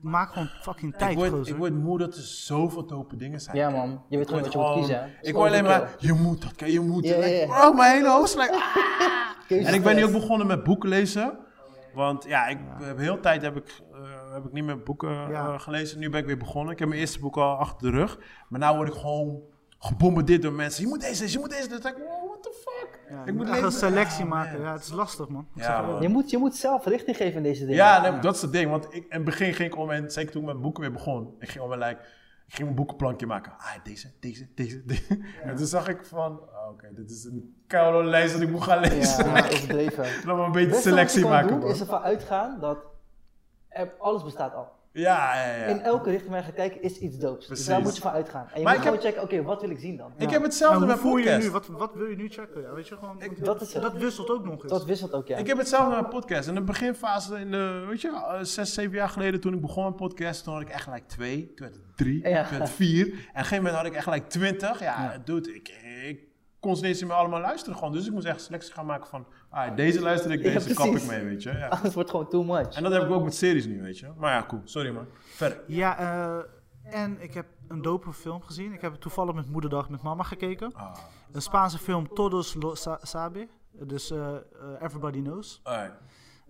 Speaker 2: Maak gewoon fucking tijd,
Speaker 1: ik, word,
Speaker 2: gozer.
Speaker 1: ik word moe dat er zoveel dope dingen zijn.
Speaker 4: Ja, man. Je weet gewoon wat je moet
Speaker 1: Gewoon-
Speaker 4: kiezen. hè.
Speaker 1: Ik hoor alleen maar, je moet dat, je moet
Speaker 4: Ja,
Speaker 1: dat.
Speaker 4: ja, ja.
Speaker 1: Bro, mijn hele hoofd is like,
Speaker 4: Keuzestress.
Speaker 1: En ik ben nu ook begonnen met boeken lezen. Want ja, ik heb heel de tijd heb ik, eh, heb ik niet meer boeken eh,
Speaker 2: Ja.
Speaker 1: gelezen. Nu ben ik weer begonnen. Ik heb mijn eerste boek al achter de rug. Maar nu word ik gewoon gebombardeerd door mensen. Je moet deze lezen, je moet deze lezen. Dan denk ik, wow, what the fuck?
Speaker 2: Ja,
Speaker 1: ik
Speaker 2: je moet
Speaker 1: moet
Speaker 2: echt
Speaker 1: leven-
Speaker 2: een selectie
Speaker 1: Ah,
Speaker 2: maken.
Speaker 1: man.
Speaker 2: Ja, het is lastig, man. Ik
Speaker 1: Ja,
Speaker 2: zeg je
Speaker 1: man.
Speaker 2: eerlijk.
Speaker 4: Je moet, je moet zelf richting geven in deze dingen.
Speaker 1: Ja, nee, dat is het ding. Want ik, in het begin ging ik om en zeker toen ik met mijn boeken weer begon. Ik ging om en like, ik ging mijn boekenplankje maken. Ah, deze, deze, deze, deze. En toen zag ik van, oh, oké, dit is een koude lijst dat ik moet gaan lezen.
Speaker 4: Ja, dat is overdreven.
Speaker 1: Laten we een beetje
Speaker 4: Het beste wat je
Speaker 1: selectie
Speaker 4: kan
Speaker 1: maken,
Speaker 4: doen,
Speaker 1: man.
Speaker 4: is ervan uitgaan dat er- alles bestaat al.
Speaker 1: Ja, ja, ja.
Speaker 4: In elke richting waar je gaat kijken is iets doops. Dus
Speaker 1: Precies.
Speaker 4: daar moet je van uitgaan. En je
Speaker 1: Maar
Speaker 4: moet
Speaker 1: ik
Speaker 4: gewoon checken, oké, wat wil ik zien dan?
Speaker 1: Ik
Speaker 2: Ja.
Speaker 1: heb hetzelfde
Speaker 2: En
Speaker 1: met
Speaker 2: Nou, hoe voel je
Speaker 1: podcast.
Speaker 2: nu? Wat, wat wil je nu checken? Ja, weet je, gewoon, want
Speaker 4: dat is het.
Speaker 2: dat wisselt ook nog eens.
Speaker 4: Dat wisselt ook, ja.
Speaker 1: Ik heb hetzelfde met podcast. In de beginfase, in de, weet je, eh, zes, zeven jaar geleden toen ik begon met podcast, toen had ik echt gelijk twee, toen werd het drie,
Speaker 4: Ja.
Speaker 1: toen werd het vier. En op een gegeven moment had ik echt gelijk twintig. Ja, dude, ik, ik kon ze niet eens meer allemaal luisteren gewoon. Dus ik moest echt selectie gaan maken van, ah, deze luister ik,
Speaker 4: Ja,
Speaker 1: deze kap ik
Speaker 4: precies.
Speaker 1: mee, weet je. Ja.
Speaker 4: Anders wordt het gewoon too much.
Speaker 1: En dat heb ik ook met series nu, weet je. Maar ja, cool. Sorry man. Verder.
Speaker 2: Ja, eh, en ik heb een dope film gezien. Ik heb toevallig met moederdag met mama gekeken.
Speaker 1: Ah,
Speaker 2: Een Spaanse film, Todos lo Sa- Sabe. Dus eh, eh, Everybody Knows.
Speaker 1: alright.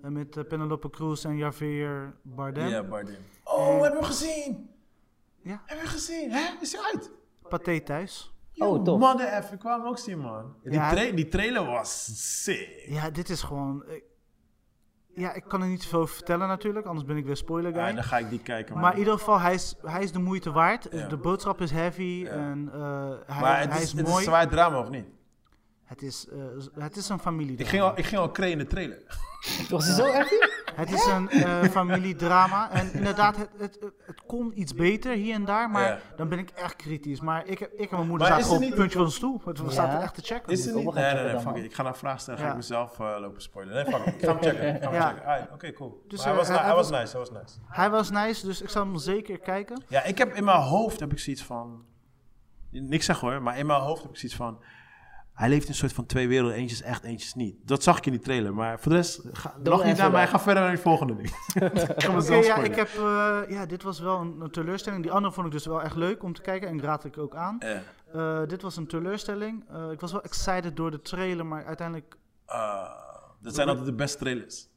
Speaker 2: Eh, met eh, Penelope Cruz en Javier Bardem.
Speaker 1: Ja, Bardem. Oh, heb je hem gezien?
Speaker 2: Ja.
Speaker 1: Heb je hem gezien? Hè? Is hij uit?
Speaker 2: Pathé thuis.
Speaker 4: Oh,
Speaker 1: Yo,
Speaker 4: tof.
Speaker 1: Mother F, ik kwam hem ook zien, man. Die,
Speaker 2: Ja.
Speaker 1: tra- die trailer was sick.
Speaker 2: Ja, dit is gewoon... eh, ja, ik kan er niet zoveel over vertellen natuurlijk, anders ben ik weer spoiler guy.
Speaker 1: Ja, dan ga ik die kijken, man.
Speaker 2: Maar in ieder geval, hij is, hij is de moeite waard.
Speaker 1: Ja.
Speaker 2: De boodschap is heavy en eh, hij,
Speaker 1: Maar het,
Speaker 2: hij
Speaker 1: is,
Speaker 2: is,
Speaker 1: het is
Speaker 2: mooi.
Speaker 1: een zwaar drama, of niet?
Speaker 2: het, is, eh, z- het is een familie.
Speaker 1: Ik ging al, ik ging al creëren in de trailer.
Speaker 4: Was het zo echt?
Speaker 2: Het is een eh, familiedrama. En inderdaad, het, het, het kon iets beter hier en daar. Maar
Speaker 1: Ja.
Speaker 2: dan ben ik echt kritisch. Maar ik, heb, ik en mijn moeder
Speaker 1: Maar
Speaker 2: zaten
Speaker 1: is
Speaker 2: gewoon
Speaker 1: het
Speaker 2: op
Speaker 1: niet-
Speaker 2: het puntje van de stoel. We we
Speaker 4: Ja.
Speaker 2: zaten echt te checken.
Speaker 1: Is er
Speaker 4: ik
Speaker 1: niet?
Speaker 4: ook wel gaan
Speaker 1: Nee, nee,
Speaker 4: checken
Speaker 1: nee,
Speaker 4: dan,
Speaker 1: fuck
Speaker 4: man.
Speaker 1: it. Ik ga naar vraag stellen, ga
Speaker 2: Ja.
Speaker 1: ik mezelf eh, lopen spoileren. Nee, fuck it. Ik ga hem checken. Ik ga hem
Speaker 2: Ja.
Speaker 1: checken. Alright, Oké, cool.
Speaker 2: Dus,
Speaker 1: Maar hij,
Speaker 2: eh,
Speaker 1: was,
Speaker 2: hij-
Speaker 1: ni- hij
Speaker 2: hij
Speaker 1: was nice, hij was nice.
Speaker 2: Hij was nice, dus ik zal hem zeker kijken.
Speaker 1: Ja, ik heb in mijn hoofd heb ik zoiets van... Niks zeg hoor, maar in mijn hoofd heb ik zoiets van... Hij leeft in een soort van twee werelden. Eentje is echt, eentje is niet. Dat zag ik in die trailer. Maar voor de rest, ga, nog niet
Speaker 4: answer
Speaker 1: naar mij.
Speaker 4: that.
Speaker 1: Ga verder naar het volgende ding. ik ga
Speaker 2: Oké,
Speaker 1: mezelf
Speaker 2: ja,
Speaker 1: spoileren.
Speaker 2: ik heb, eh, ja, dit was wel een, een teleurstelling. Die andere vond ik dus wel echt leuk om te kijken. En raad ik ook aan.
Speaker 1: Eh,
Speaker 2: Eh, dit was een teleurstelling. Eh, ik was wel excited door de trailer, maar uiteindelijk...
Speaker 1: Ah, dat zijn altijd de beste trailers.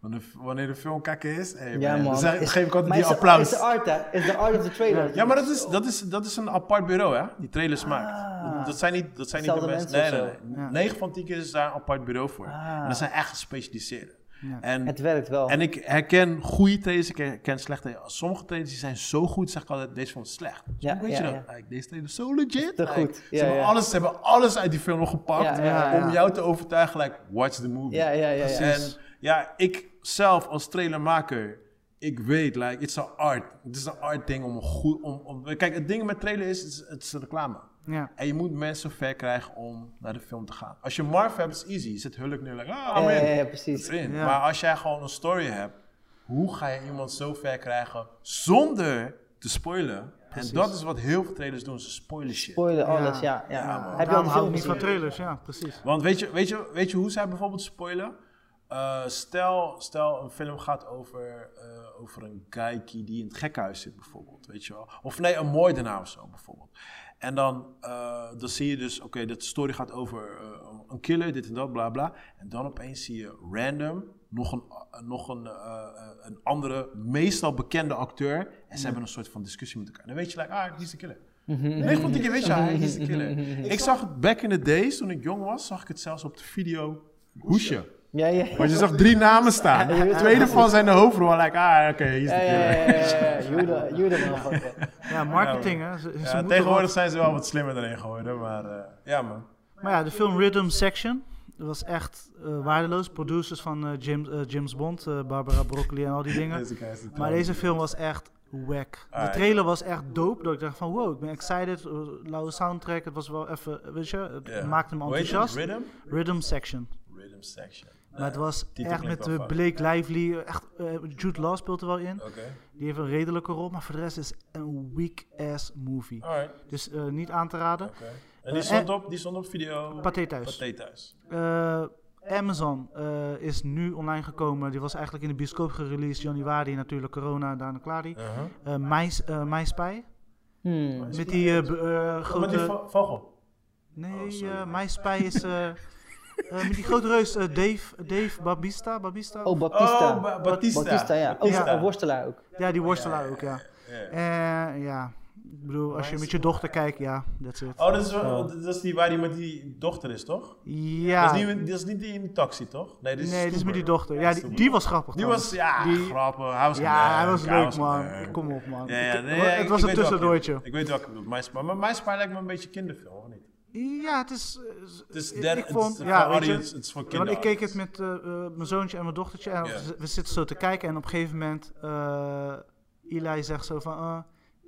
Speaker 1: Wanneer, wanneer de film kakken is, hey
Speaker 4: Ja,
Speaker 1: man,
Speaker 4: man.
Speaker 1: dan zeg-
Speaker 4: Is-
Speaker 1: geef ik altijd
Speaker 4: maar
Speaker 1: die
Speaker 4: is de-
Speaker 1: applaus.
Speaker 4: Is de art, hè? Is de art of the trailer.
Speaker 1: Ja, maar dat is, dat, is, dat is een apart bureau, hè? Die trailers maakt. Dat- Dat zijn niet, dat zijn niet de
Speaker 4: Hetzelfde
Speaker 1: mensen. Nee,
Speaker 4: Ah. mensen
Speaker 1: nee, nee.
Speaker 4: of zo.
Speaker 2: Ja.
Speaker 1: 9 van 10 keer is daar een apart bureau voor.
Speaker 4: Ah.
Speaker 1: En dat zijn echt gespecialiseerden.
Speaker 2: Ja.
Speaker 1: En,
Speaker 4: Het werkt wel.
Speaker 1: en ik herken goede trailers, ik herken slechte trailers. Sommige trailers die zijn zo goed, zeg ik altijd, deze vond ik slecht.
Speaker 4: Ja,
Speaker 1: Hoe weet
Speaker 4: ja,
Speaker 1: je dat?
Speaker 4: ja.
Speaker 1: Like, deze trailer is zo legit.
Speaker 4: Te goed.
Speaker 1: Ze,
Speaker 4: Ja,
Speaker 1: hebben
Speaker 4: ja.
Speaker 1: Alles, ze hebben alles uit die film nog gepakt
Speaker 4: Ja, ja,
Speaker 2: ja.
Speaker 1: om jou te overtuigen, like, watch the movie.
Speaker 4: Ja, ja, ja. ja.
Speaker 1: En ja, ik zelf als trailermaker, ik weet, like, it's an art. Het is een art ding om een goed... Om, om, kijk, het ding met trailer is, het is, het is reclame.
Speaker 2: Ja.
Speaker 1: En je moet mensen ver krijgen om naar de film te gaan. Als je Marvel hebt, is easy. Je zit hulk nu, like, ah, I'm
Speaker 4: Ja,
Speaker 1: in.
Speaker 4: ja, ja,
Speaker 1: Dat is
Speaker 4: precies.
Speaker 1: in.
Speaker 2: Ja.
Speaker 1: Maar als jij gewoon een story hebt, hoe ga je iemand zo ver krijgen zonder te spoilen? En dat is wat heel veel trailers doen, ze spoilen shit.
Speaker 4: Spoiler, alles, ja.
Speaker 2: Ja.
Speaker 4: ja.
Speaker 1: Ja, man.
Speaker 4: Heb je al
Speaker 2: Daarom hou
Speaker 4: de
Speaker 2: ik
Speaker 4: film
Speaker 2: niet van
Speaker 4: gezien?
Speaker 2: trailers, ja, precies.
Speaker 1: Want weet je, weet je, weet je hoe zij bijvoorbeeld spoilen? Eh, stel, stel, een film gaat over, eh, over een geikie die in het gekkenhuis zit, bijvoorbeeld. Weet je wel? Of nee, een moordenaar of zo, bijvoorbeeld. En dan, eh, dan zie je dus, oké, dat story gaat over eh, een killer, dit en dat, bla bla. En dan opeens zie je random nog een, eh, nog een, eh, eh, een andere, meestal bekende acteur. En ze hebben een soort van discussie met elkaar. Dan weet je, like, ah, die is de killer. Nee, want ik weet je, hij is de killer. Ik zag het back in the days, toen ik jong was, zag ik het zelfs op de video Hoesje.
Speaker 4: Ja, ja. ja.
Speaker 1: Want je zag drie namen staan.
Speaker 4: Ja, je weet
Speaker 1: Tweede van zijn de hoofdrol, like, ah, oké, hier is de
Speaker 4: Ja, ja, ja,
Speaker 1: killer.
Speaker 4: ja, ja, ja. Jude- Jude, motherfucker.
Speaker 2: Ja, marketing, hè. Ze- ze
Speaker 1: Ja,
Speaker 2: moeten
Speaker 1: tegenwoordig zijn ze wel wat slimmer erin geworden, maar eh, ja man.
Speaker 2: Maar ja, de film Rhythm Section dat was echt eh, waardeloos. Producers van eh, James, eh, James Bond, eh, Barbara Broccoli en al die dingen.
Speaker 1: Deze guy is de
Speaker 2: Maar
Speaker 1: troon.
Speaker 2: deze film was echt wack. De
Speaker 1: Alright.
Speaker 2: trailer was echt dope. Dat ik dacht van wow, ik ben excited. eh, Lauwe soundtrack, het was wel even, weet je, het
Speaker 1: Ja.
Speaker 2: maakte me
Speaker 1: Hoe heet het?
Speaker 2: enthousiast.
Speaker 1: Rhythm?
Speaker 2: Rhythm Section.
Speaker 1: Rhythm section.
Speaker 2: Maar het was
Speaker 1: titel
Speaker 2: echt
Speaker 1: klinkt
Speaker 2: met
Speaker 1: wel Oh.
Speaker 2: eh, Blake Lively, eh, echt, eh, Jude Law speelt er wel in.
Speaker 1: Oké,
Speaker 2: Die heeft een redelijke rol, maar voor de rest is het een weak ass movie.
Speaker 1: alright,
Speaker 2: Dus eh, niet aan te raden.
Speaker 1: oké. En die stond op, die stond op video
Speaker 2: Pathé thuis.
Speaker 1: Pathé thuis.
Speaker 2: Eh, Amazon eh, is nu online gekomen. Die was eigenlijk in de bioscoop gereleased. Januari natuurlijk, corona, daarna klaar die.
Speaker 1: Uh-huh.
Speaker 2: Eh My, eh, MySpy.
Speaker 4: Hmm.
Speaker 2: Met die eh, b- eh,
Speaker 1: Oh, met die
Speaker 2: grote...
Speaker 1: vo- vogel.
Speaker 2: Nee,
Speaker 1: Oh,
Speaker 2: eh
Speaker 1: sorry.
Speaker 2: MySpy is... eh, eh, met die grote reus eh, Dave, Dave Babista. Babista?
Speaker 4: Oh, Baptista.
Speaker 1: Oh, Ba- Batista.
Speaker 4: Baptista, ja. Oh,
Speaker 2: Batista.
Speaker 4: een worstelaar ook.
Speaker 2: ja, die worstelaar ook, ja.
Speaker 1: Ja.
Speaker 2: Eh, ja, ik bedoel, als je met je dochter kijkt, ja, that's it.
Speaker 1: Oh, dat is, wel- dat is die waar die met die dochter is, toch?
Speaker 2: Ja,
Speaker 1: Dat, is niet, dat is niet die in de taxi, toch? Nee, dit is,
Speaker 2: Ah, nee, dit is met die
Speaker 1: Stuber.
Speaker 2: dochter.
Speaker 1: Ja,
Speaker 2: Ja, die,
Speaker 1: Stuber.
Speaker 2: die was grappig
Speaker 1: Die
Speaker 2: trouwens.
Speaker 1: was, ja,
Speaker 2: Die-
Speaker 1: grappig. Hij was
Speaker 2: Ja, hij
Speaker 1: leuk,
Speaker 2: was leuk,
Speaker 1: was
Speaker 2: man.
Speaker 1: leuk.
Speaker 2: Kom op, man.
Speaker 1: Ja, ja,
Speaker 2: Ik-
Speaker 1: nee,
Speaker 2: wa-
Speaker 1: ik- ik weet
Speaker 2: het was een
Speaker 1: welke je
Speaker 2: tussendoortje.
Speaker 1: bedoelt. Ik weet welke ik bedoel. MySpy. Maar MySpy lijkt me een beetje kinderfilm, of niet?
Speaker 2: Ja, het is... eh,
Speaker 1: Het is
Speaker 2: ik-
Speaker 1: dead,
Speaker 2: ik
Speaker 1: het
Speaker 2: vond-
Speaker 1: is voor
Speaker 2: ja, weet je,
Speaker 1: audience, het is voor
Speaker 2: Ja, want
Speaker 1: kinderen.
Speaker 2: ik keek het met eh, eh, mijn zoontje en mijn dochtertje en
Speaker 1: Ja.
Speaker 2: we, we zitten zo te kijken en op een gegeven moment eh Eli zegt zo van, eh,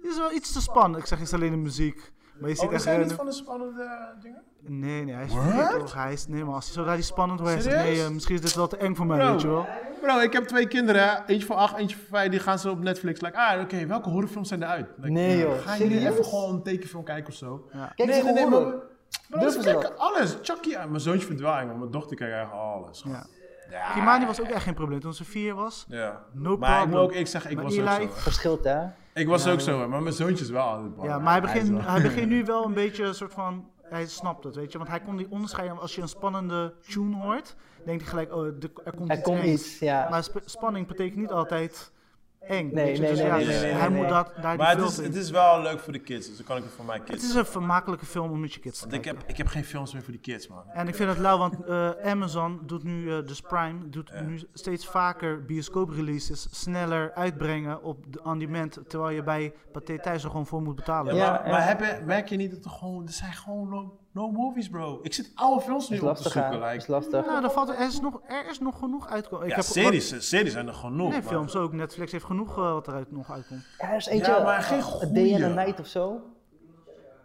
Speaker 2: dit is wel iets te spannend. Ik zeg, het is alleen de muziek. Maar je ziet
Speaker 1: Oh,
Speaker 2: echt...
Speaker 1: is hij
Speaker 2: eh,
Speaker 1: niet van de spannende eh, dingen?
Speaker 2: Nee, nee, hij is
Speaker 1: What?
Speaker 2: verkeerd, toch? Hij is, nee, maar als hij zodra die spannend wordt, hij zegt,
Speaker 1: Serieus?
Speaker 2: nee, eh, misschien is dit wel te eng voor mij,
Speaker 1: Bro.
Speaker 2: weet je wel.
Speaker 1: Bro, ik heb twee kinderen. Eentje van acht, eentje van vijf. Die gaan ze op Netflix. Like, ah, oké, welke horrorfilms zijn er uit? Like,
Speaker 4: Nee, joh.
Speaker 1: Ga je
Speaker 4: Serieus?
Speaker 1: even gewoon een tekenfilm kijken of zo?
Speaker 2: Ja.
Speaker 4: Kijk eens nee,
Speaker 1: maar-
Speaker 4: horror.
Speaker 1: Bro,
Speaker 4: Durven
Speaker 1: ze
Speaker 4: ze
Speaker 1: kijken alles. Chucky, ja, mijn zoontje verdwaalt, maar mijn dochter kijkt eigenlijk alles.
Speaker 2: Ja.
Speaker 1: Ja.
Speaker 2: Kimani was ook echt geen probleem. Toen ze vier was,
Speaker 1: Ja.
Speaker 2: no
Speaker 1: maar ik
Speaker 2: problem.
Speaker 1: moet ook ik zeggen, ik
Speaker 2: Maar
Speaker 1: was
Speaker 2: Eli-
Speaker 1: ook zo. hè.
Speaker 4: Verschilt hè?
Speaker 1: Ik was ook zo, hè, maar mijn zoontje is wel altijd bang.
Speaker 2: ja, maar hij begint,
Speaker 1: Oh, is wel-
Speaker 2: hij begint nu wel een beetje een soort van... Hij snapt het, weet je. Want hij kon die onderscheiden. Als je een spannende tune hoort, denkt hij gelijk, oh, de- er komt
Speaker 4: Er
Speaker 2: iets
Speaker 4: komt
Speaker 2: engs.
Speaker 4: iets, ja.
Speaker 2: Maar sp- spanning betekent niet altijd eng.
Speaker 4: Nee,
Speaker 2: weet je?
Speaker 4: nee,
Speaker 2: dus
Speaker 4: nee,
Speaker 2: ja,
Speaker 1: nee, nee, nee,
Speaker 2: hij
Speaker 4: nee.
Speaker 2: moet dat,
Speaker 1: Maar
Speaker 2: daar die
Speaker 1: het
Speaker 2: filter
Speaker 1: is,
Speaker 2: in.
Speaker 1: het is wel leuk voor de kids, dus dan kan ik het voor mijn
Speaker 2: Het
Speaker 1: kids.
Speaker 2: is een vermakelijke film om met je kids te
Speaker 1: Want ik
Speaker 2: kijken.
Speaker 1: heb, ik heb geen films meer voor de kids, man.
Speaker 2: En ik vind het lauw, want eh, Amazon doet nu, eh, dus Prime, doet nu steeds vaker bioscoop-releases sneller uitbrengen op de on-demand, terwijl je bij Pathé thuis er gewoon voor moet betalen.
Speaker 1: Ja,
Speaker 4: Ja,
Speaker 1: maar
Speaker 4: ja.
Speaker 1: maar heb je, merk je niet dat er gewoon... Er zijn gewoon no, no movies, bro. Ik zit oude films nu
Speaker 4: Is
Speaker 1: op te
Speaker 4: lastig
Speaker 1: zoeken.
Speaker 4: hè?
Speaker 1: like.
Speaker 4: Is lastig.
Speaker 2: Nou, er, valt, er, is nog, er is nog genoeg uitkomen.
Speaker 1: ja, series, series zijn er genoeg.
Speaker 2: Nee,
Speaker 1: maar-
Speaker 2: films ook. Netflix heeft genoeg eh, wat eruit nog uitkomt.
Speaker 4: Ja, er is eentje.
Speaker 1: Ja, maar
Speaker 4: eh,
Speaker 1: geen
Speaker 4: A Day
Speaker 1: goeie.
Speaker 4: and a Night of zo.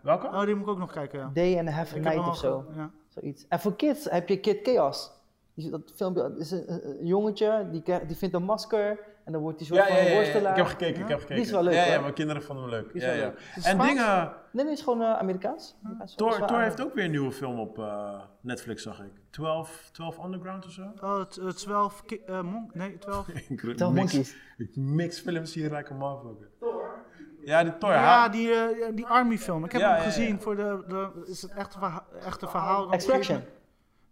Speaker 1: Welke?
Speaker 2: Oh, die moet ik ook nog kijken, ja.
Speaker 4: Day and a Half a
Speaker 2: Ik heb
Speaker 4: Night
Speaker 2: hem
Speaker 4: of
Speaker 2: al
Speaker 4: zo.
Speaker 2: ge- ja.
Speaker 4: Zoiets. En voor kids heb je Kid Chaos. Die- Dat filmpje dat is een, een jongetje die, krijgt- die vindt een masker en dan wordt hij soort
Speaker 1: ja,
Speaker 4: van
Speaker 1: ja, ja,
Speaker 4: een
Speaker 1: ja,
Speaker 4: worstelaar.
Speaker 1: ik heb gekeken, ik heb gekeken.
Speaker 4: Die is wel leuk,
Speaker 1: Ja, ja,
Speaker 4: hoor.
Speaker 1: mijn kinderen vonden hem leuk.
Speaker 4: Die
Speaker 1: Ja,
Speaker 4: is wel
Speaker 1: ja.
Speaker 4: leuk.
Speaker 2: is
Speaker 1: En
Speaker 2: Spaans?
Speaker 1: dingen...
Speaker 4: Nee, nee, is gewoon eh, Amerikaans. Amerikaans. Is
Speaker 1: Thor,
Speaker 4: wel
Speaker 1: Thor
Speaker 4: aan-
Speaker 1: heeft ook weer een nieuwe film op eh, Netflix, zag ik. 12, 12 Underground of zo?
Speaker 2: Oh, het- het 12... ki- eh, monk, nee, 12...
Speaker 1: Ik mix-
Speaker 4: Twelve Monkeys.
Speaker 1: Ik mix films hier rijke motherfucker. Thor? Ja, die Thor.
Speaker 2: Ja,
Speaker 1: Ja,
Speaker 2: die, eh, die Army film. Ik heb
Speaker 1: Ja,
Speaker 2: hem
Speaker 1: ja, ja.
Speaker 2: gezien voor de, de... Is het echte, verha echte verhaal? dan-
Speaker 4: Extraction.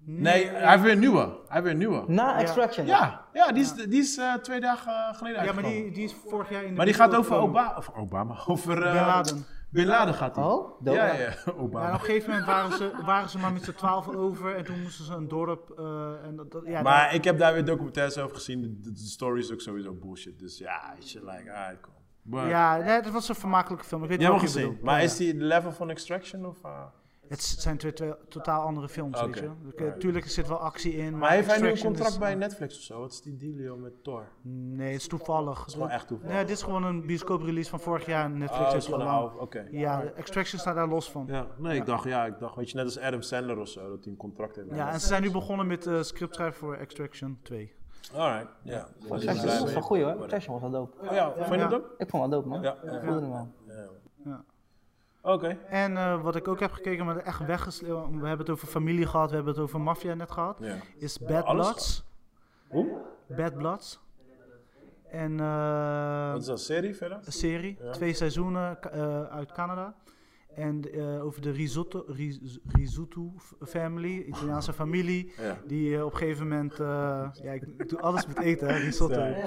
Speaker 1: Nee, hij heeft weer een nieuwe. Hij heeft weer een nieuwe.
Speaker 4: Na Extraction.
Speaker 1: Ja, ja die is, die is eh, twee dagen geleden
Speaker 2: Ja, maar
Speaker 1: uitgekomen.
Speaker 2: die, die is vorig jaar in de...
Speaker 1: Maar die
Speaker 2: bioscoop
Speaker 1: gaat over
Speaker 2: gekomen.
Speaker 1: Obama. Of Obama. Over eh,
Speaker 2: Bin Laden.
Speaker 1: Bin Laden gaat hij.
Speaker 4: Oh, dope.
Speaker 1: ja, ja, ja,
Speaker 2: Ja, en
Speaker 1: Obama.
Speaker 2: op een gegeven moment waren ze, waren ze maar met z'n twaalf over en toen moesten ze een dorp. eh, en dat, dat- ja,
Speaker 1: Maar ik heb daar weer documentaires over gezien. De, de- de story is ook sowieso bullshit. Dus ja, shit like, ah, alright, cool.
Speaker 2: dat-
Speaker 1: Maar,
Speaker 2: ja nee, dat was een vermakelijke film. Ik weet
Speaker 1: Jij hebt
Speaker 2: wel
Speaker 1: hem
Speaker 2: wat
Speaker 1: gezien.
Speaker 2: je bedoelt.
Speaker 1: Maar
Speaker 2: Ja.
Speaker 1: is die de level van Extraction of... eh?
Speaker 2: Het s- zijn twee, twee totaal andere films,
Speaker 1: Oké.
Speaker 2: weet je. Ik- eh, Tuurlijk, er zit wel actie in.
Speaker 1: Maar heeft hij nu een
Speaker 2: Extraction
Speaker 1: contract
Speaker 2: is-
Speaker 1: bij Netflix of zo? Wat is die dealio met Thor? Dat
Speaker 2: Nee, het is toevallig.
Speaker 1: is gewoon echt toeval.
Speaker 2: Nee, dit is gewoon een bioscoop-release van vorig jaar en Netflix
Speaker 1: Oh, dat
Speaker 2: heeft
Speaker 1: is gewoon een
Speaker 2: gewoon-
Speaker 1: oude- Oké.
Speaker 2: Ja, de Extraction staat daar los van. Ja,
Speaker 1: Ja, nee, ik dacht, ja, ik dacht, weet je, net als Adam Sandler of zo, dat hij een contract heeft.
Speaker 2: en ze zijn nu begonnen met eh scriptschrijven voor Extraction 2.
Speaker 1: Alright, ja.
Speaker 4: Oh, Extraction was wel goed hoor. Extraction was wel dope.
Speaker 1: Oh ja, vond je dat
Speaker 2: Ja.
Speaker 1: ook?
Speaker 4: Ik vond het wel dope man.
Speaker 1: Ja.
Speaker 4: Ik voelde hem wel.
Speaker 1: Ja.
Speaker 2: Ja.
Speaker 1: Oké.
Speaker 2: En eh, wat ik ook heb gekeken, maar echt weggesleept. We hebben het over familie gehad, we hebben het over maffia net gehad.
Speaker 1: Ja.
Speaker 2: Is Bad
Speaker 1: alles
Speaker 2: Bloods.
Speaker 1: Hoe?
Speaker 2: Bad Bloods. En eh,
Speaker 1: Wat is dat, een serie verder?
Speaker 2: een serie, twee seizoenen Ka- eh, uit Canada. En eh, over de risotto, ris- risotto f- family, Italiaanse familie.
Speaker 1: Ja.
Speaker 2: Die eh, op een gegeven moment. eh, ja, ik, ik doe alles met eten, hè, risotto.
Speaker 1: Ja.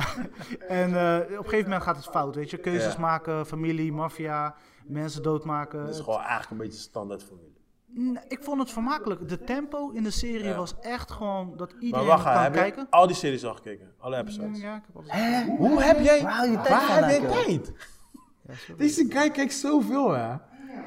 Speaker 2: en eh, op een gegeven moment gaat het fout, weet je. Keuzes
Speaker 1: Ja.
Speaker 2: maken, familie, maffia, mensen doodmaken.
Speaker 1: Dat is
Speaker 2: Het-
Speaker 1: gewoon eigenlijk een beetje standaard formule.
Speaker 2: Nee, ik vond het vermakelijk. De tempo in de serie
Speaker 1: Ja.
Speaker 2: was echt gewoon dat
Speaker 1: Maar
Speaker 2: iedereen
Speaker 1: wacht,
Speaker 2: kan
Speaker 1: heb
Speaker 2: kijken.
Speaker 1: je al die series al gekeken? Alle episodes?
Speaker 2: Ja, ik heb alles.
Speaker 1: Hoe heb jij...
Speaker 4: Waar haal je tijd
Speaker 1: Waar
Speaker 4: vandaan,
Speaker 1: heb jij
Speaker 4: joh?
Speaker 1: tijd?
Speaker 2: Ja, sorry.
Speaker 1: Deze guy kijkt zoveel, hè?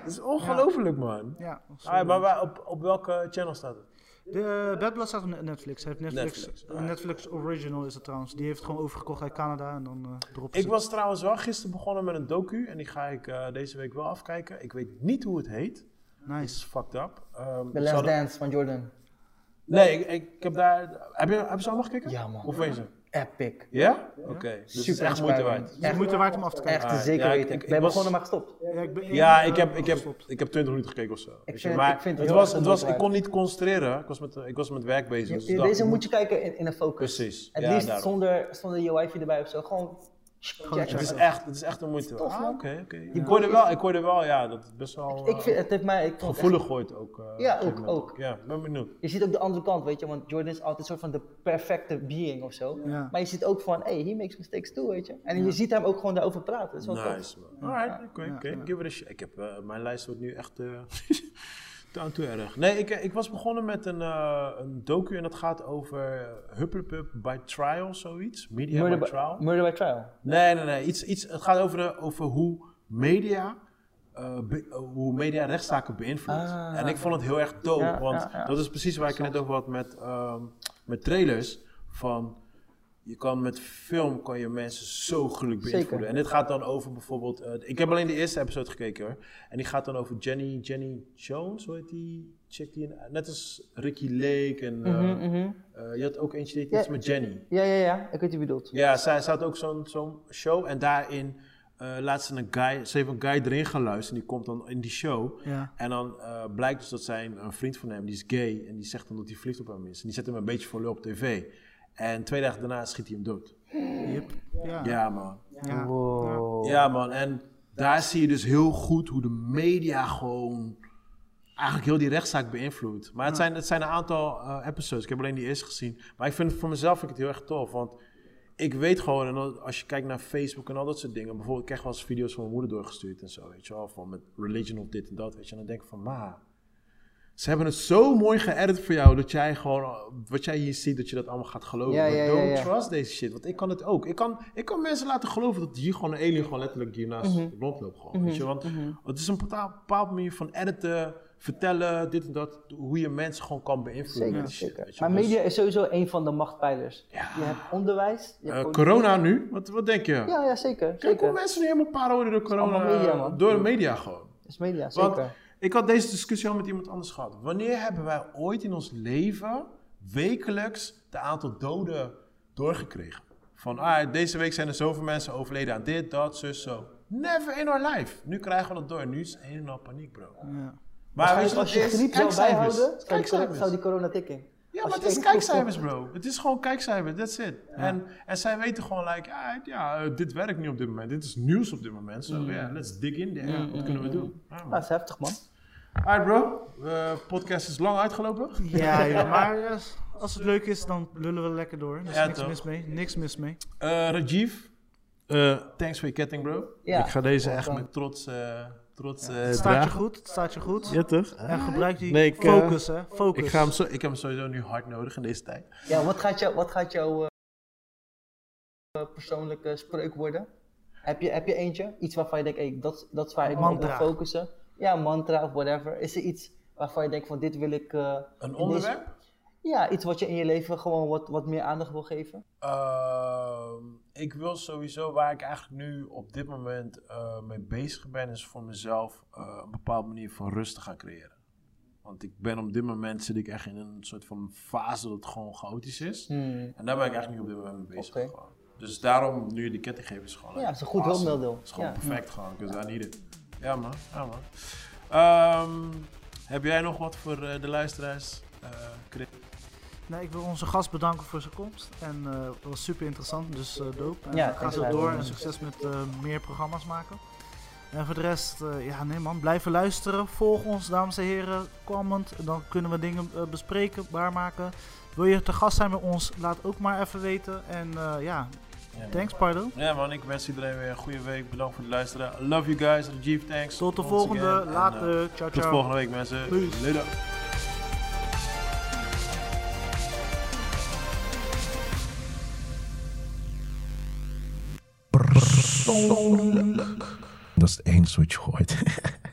Speaker 1: Dat is ongelooflijk, man.
Speaker 2: Ja,
Speaker 1: Ah,
Speaker 2: sorry.
Speaker 1: maar waar, op, op welke channel staat het?
Speaker 2: De Bad Blood staat op Netflix. Hij heeft Netflix,
Speaker 1: Netflix,
Speaker 2: Netflix,
Speaker 1: ah.
Speaker 2: Original is het trouwens. Die heeft het gewoon overgekocht uit Canada en dan eh droppen
Speaker 1: Ik
Speaker 2: ze.
Speaker 1: was trouwens wel gisteren begonnen met een docu en die ga ik eh, deze week wel afkijken. Ik weet niet hoe het heet. Het
Speaker 2: Nice.
Speaker 1: is fucked up. Ehm, ik
Speaker 4: The
Speaker 1: zou
Speaker 4: Last
Speaker 1: dat-
Speaker 4: Dance van Jordan.
Speaker 1: Nee, ik, ik heb daar... Heb je, heb je ze allemaal gekeken?
Speaker 4: Ja, man.
Speaker 1: Of weet je ze?
Speaker 4: epic.
Speaker 1: Ja? Oké. Dus het is
Speaker 4: Super
Speaker 1: echt moeite
Speaker 4: inspirerend.
Speaker 1: waard.
Speaker 2: Het is
Speaker 4: Echt,
Speaker 2: moeite waard om af te kijken.
Speaker 4: echt
Speaker 1: Ah,
Speaker 4: zeker
Speaker 1: ja, ik-
Speaker 4: weten.
Speaker 1: ik- ik
Speaker 4: we hebben
Speaker 1: was-
Speaker 4: gewoon er maar gestopt.
Speaker 2: Ja, ik ben- eh,
Speaker 1: Ja, ik heb, ik, heb,
Speaker 2: gestopt.
Speaker 1: ik heb 20 minuten gekeken of zo. weet je.
Speaker 4: vind het-
Speaker 1: maar
Speaker 4: ik vind
Speaker 1: het,
Speaker 4: het heel
Speaker 1: was,
Speaker 4: erg
Speaker 1: het was, ik
Speaker 4: waard.
Speaker 1: kon niet concentreren. Ik was met, ik was met werk bezig. dus ik dacht,
Speaker 4: Deze moet je kijken in, in een focus.
Speaker 1: Precies.
Speaker 4: Het
Speaker 1: Ja,
Speaker 4: liefst
Speaker 1: daarom.
Speaker 4: zonder, zonder wifi erbij of zo. Gewoon. check
Speaker 1: Het is
Speaker 4: it.
Speaker 1: echt, het is echt een moeite.
Speaker 4: Tof,
Speaker 1: Ah,
Speaker 4: man.
Speaker 1: Oké, oké.
Speaker 4: Die
Speaker 1: Ik hoorde
Speaker 4: boy is-
Speaker 1: wel, ik hoorde wel, ja, dat het best wel
Speaker 4: Dus Ik vind, het heeft mij, ik
Speaker 1: eh,
Speaker 4: vond het echt-
Speaker 1: gevoelig gooit ook. eh,
Speaker 4: Ja,
Speaker 1: op een
Speaker 4: ook,
Speaker 1: gegeven moment.
Speaker 4: ook.
Speaker 1: Ja, ben benieuwd.
Speaker 4: je ziet ook de andere kant, weet je, want Jordan is altijd soort van de perfecte being of zo.
Speaker 2: Ja.
Speaker 4: Maar je ziet ook van, hey, he makes mistakes too, weet je. En je ziet hem ook gewoon daarover praten. Dat is wel tof.
Speaker 1: Nice, man. Alright, oké, oké. Give it a shot. Ik heb, eh, mijn lijst wordt nu echt eh down to erg. Nee, ik, ik was begonnen met een, eh, een docu en dat gaat over Hupplepup by Trial, zoiets. Media
Speaker 4: Murder,
Speaker 1: by
Speaker 4: by,
Speaker 1: Trial.
Speaker 4: Murder by Trial.
Speaker 1: Nee, nee, nee. Iets, iets, het gaat over, eh, over hoe media. eh, be- eh, hoe media rechtszaken beïnvloedt.
Speaker 4: Ah.
Speaker 1: en ik vond het heel erg dope,
Speaker 4: Ja,
Speaker 1: want
Speaker 4: ja, ja.
Speaker 1: dat is precies waar ik het net over had met, ehm, met trailers. Van je kan met film kan je mensen zo gruwelijk beïnvloeden.
Speaker 4: Zeker.
Speaker 1: En dit gaat dan over bijvoorbeeld. eh, ik heb alleen de eerste episode gekeken hoor. En die gaat dan over Jenny, Jenny Jones, hoe heet die? Check die in- net als Ricky Lake. En, eh,
Speaker 4: Mhm, mhm.
Speaker 1: eh, je had ook eentje die deed
Speaker 4: Ja.
Speaker 1: iets met Jenny.
Speaker 4: Ja, ja, ja. Ik weet wie je bedoelt.
Speaker 1: Ja, zij, zij had ook zo'n zo'n show en daarin eh, laat ze een guy, ze heeft een guy erin geluisterd en die komt dan in die show.
Speaker 2: Ja.
Speaker 1: En dan eh, blijkt dus dat zijn een vriend van hem, die is gay en die zegt dan dat hij verliefd op hem is. En die zet hem een beetje voor lul op tv. En twee dagen daarna schiet hij hem dood.
Speaker 2: Yep. Ja.
Speaker 1: Ja man,
Speaker 2: Ja.
Speaker 4: Wow.
Speaker 1: ja man. En daar zie je dus heel goed hoe de media gewoon eigenlijk heel die rechtszaak beïnvloedt. Maar het zijn, het zijn een aantal eh, episodes. Ik heb alleen die eerste gezien. Maar ik vind het voor mezelf vind ik het heel erg tof. Want ik weet gewoon, en dan- als je kijkt naar Facebook en al dat soort dingen. Bijvoorbeeld, ik krijg wel eens video's van mijn moeder doorgestuurd en zo. Weet je wel, van met religion of dit en dat. Weet je. En dan denk ik van, ma, ze hebben het zo mooi geëdit voor jou. Dat jij gewoon, eh, wat jij hier ziet, dat je dat allemaal gaat geloven.
Speaker 4: Ja,
Speaker 1: Maar
Speaker 4: ja, ja,
Speaker 1: don't
Speaker 4: ja.
Speaker 1: trust deze shit. Want ik kan het ook. Ik kan, ik kan mensen laten geloven dat hier gewoon een alien gewoon letterlijk hiernaast
Speaker 4: Mhm.
Speaker 1: rondloopt. Gewoon, weet je. Want het is een bepaalde bepaalde manier van editen, vertellen, dit en dat. Hoe je mensen gewoon kan beïnvloeden
Speaker 4: Zeker,
Speaker 1: met die shit.
Speaker 4: zeker.
Speaker 1: weet je.
Speaker 4: Maar
Speaker 1: Dus-
Speaker 4: media is sowieso een van de machtpijlers.
Speaker 1: Ja.
Speaker 4: Je hebt onderwijs. Je hebt
Speaker 1: Eh,
Speaker 4: politiek.
Speaker 1: corona nu, wat, wat denk je?
Speaker 4: Ja, ja, zeker.
Speaker 1: Kijk hoe
Speaker 4: zeker.
Speaker 1: mensen nu helemaal paar worden door corona.
Speaker 4: allemaal media, man.
Speaker 1: door de media gewoon.
Speaker 4: Dat is media,
Speaker 1: Want
Speaker 4: zeker.
Speaker 1: ik had deze discussie al met iemand anders gehad. Wanneer hebben wij ooit in ons leven wekelijks de aantal doden doorgekregen? Van ah, deze week zijn er zoveel mensen overleden aan dit, dat, zus, zo. Never in our life. Nu krijgen we dat door. Nu is het een en al paniek, bro.
Speaker 2: Ja.
Speaker 1: Maar weet je wat
Speaker 4: Als je
Speaker 1: het is?
Speaker 4: griep zou
Speaker 1: Kijkcijfers.
Speaker 4: bijhouden, zou die, corona-
Speaker 1: Kijkcijfers.
Speaker 4: zou die corona tikken.
Speaker 1: Ja,
Speaker 4: Als
Speaker 1: maar
Speaker 4: je
Speaker 1: het is
Speaker 4: kijkt-
Speaker 1: kijkcijfers, bro. Het is gewoon kijkcijfers, that's it. En, en zij weten gewoon, like, ah, ja, eh, dit werkt niet op dit moment. Dit is nieuws op dit moment. So, yeah, let's dig in there. Wat kunnen we doen? Ah,
Speaker 4: Ah,
Speaker 1: man.
Speaker 4: dat is heftig, man.
Speaker 1: Alright, bro. Eh, podcast is lang uitgelopen.
Speaker 2: Ja, joh, maar eh, als het leuk is, dan lullen we lekker door. Er is
Speaker 1: Ja,
Speaker 2: niks
Speaker 1: toch.
Speaker 2: mis mee. Niks mis mee.
Speaker 1: Eh Rajiv, eh, thanks voor je ketting, bro.
Speaker 4: Ja,
Speaker 1: Ik ga deze echt
Speaker 4: welcome.
Speaker 1: met trots, eh trots eh,
Speaker 2: Het staat je
Speaker 1: dragen.
Speaker 2: goed. Het staat je goed.
Speaker 5: Ja, toch?
Speaker 2: En gebruik die
Speaker 5: Nee, ik, eh,
Speaker 2: focus, hè. Focus.
Speaker 1: Ik, ga hem zo, ik heb hem sowieso nu hard nodig in deze tijd.
Speaker 4: Ja, wat gaat jouw wat gaat jouw eh, persoonlijke spreuk worden? Heb je, heb je eentje? Iets waarvan je denkt, hey, dat, dat is waar ik me op wil
Speaker 2: Mantra.
Speaker 4: focussen. Ja, mantra of whatever. Is er iets waarvan je denkt van dit wil ik... eh, in
Speaker 1: Een
Speaker 4: deze-
Speaker 1: onderwerp?
Speaker 4: ja, iets wat je in je leven gewoon wat, wat meer aandacht wil geven.
Speaker 1: Ehm, ik wil sowieso, waar ik eigenlijk nu op dit moment eh, mee bezig ben, is voor mezelf eh, een bepaalde manier van rust te gaan creëren. Want ik ben op dit moment zit ik echt in een soort van fase dat het gewoon chaotisch is. En daar ben ik eigenlijk nu op dit moment mee bezig.
Speaker 4: Hmm. Oké.
Speaker 1: gewoon. Dus daarom nu die ketting geven is gewoon.
Speaker 4: Ja, is een goed hulpmiddel.
Speaker 1: Het is gewoon
Speaker 4: Ja.
Speaker 1: perfect gewoon, because I need it. Ja man, ja man. Ehm, heb jij nog wat voor eh, de luisteraars? eh, Chris?
Speaker 2: Nee, ik wil onze gast bedanken voor zijn komst. En eh, het was super interessant, dus eh dope. En
Speaker 4: Ja,
Speaker 2: ga
Speaker 4: thanks
Speaker 2: zo
Speaker 4: voor
Speaker 2: door
Speaker 4: having
Speaker 2: en
Speaker 4: me.
Speaker 2: succes met eh, meer programma's maken. En voor de rest, eh, ja nee man, blijven luisteren. Volg ons, dames en heren. Comment, dan kunnen we dingen eh, bespreken, waarmaken. Wil je te gast zijn bij ons, laat ook maar even weten. En eh, ja,
Speaker 1: Ja, man.
Speaker 2: thanks Pardo.
Speaker 1: Ja man, ik wens iedereen weer een goede week. Bedankt voor het luisteren. I love you guys. Rajiv, thanks.
Speaker 2: Tot de
Speaker 1: Once
Speaker 2: volgende,
Speaker 1: again. En, eh,
Speaker 2: later. Ciao,
Speaker 1: tot
Speaker 2: ciao.
Speaker 1: volgende week mensen.
Speaker 2: Peace.
Speaker 1: Later.
Speaker 5: Persoonlijk. Dat is het enige wat je gooit.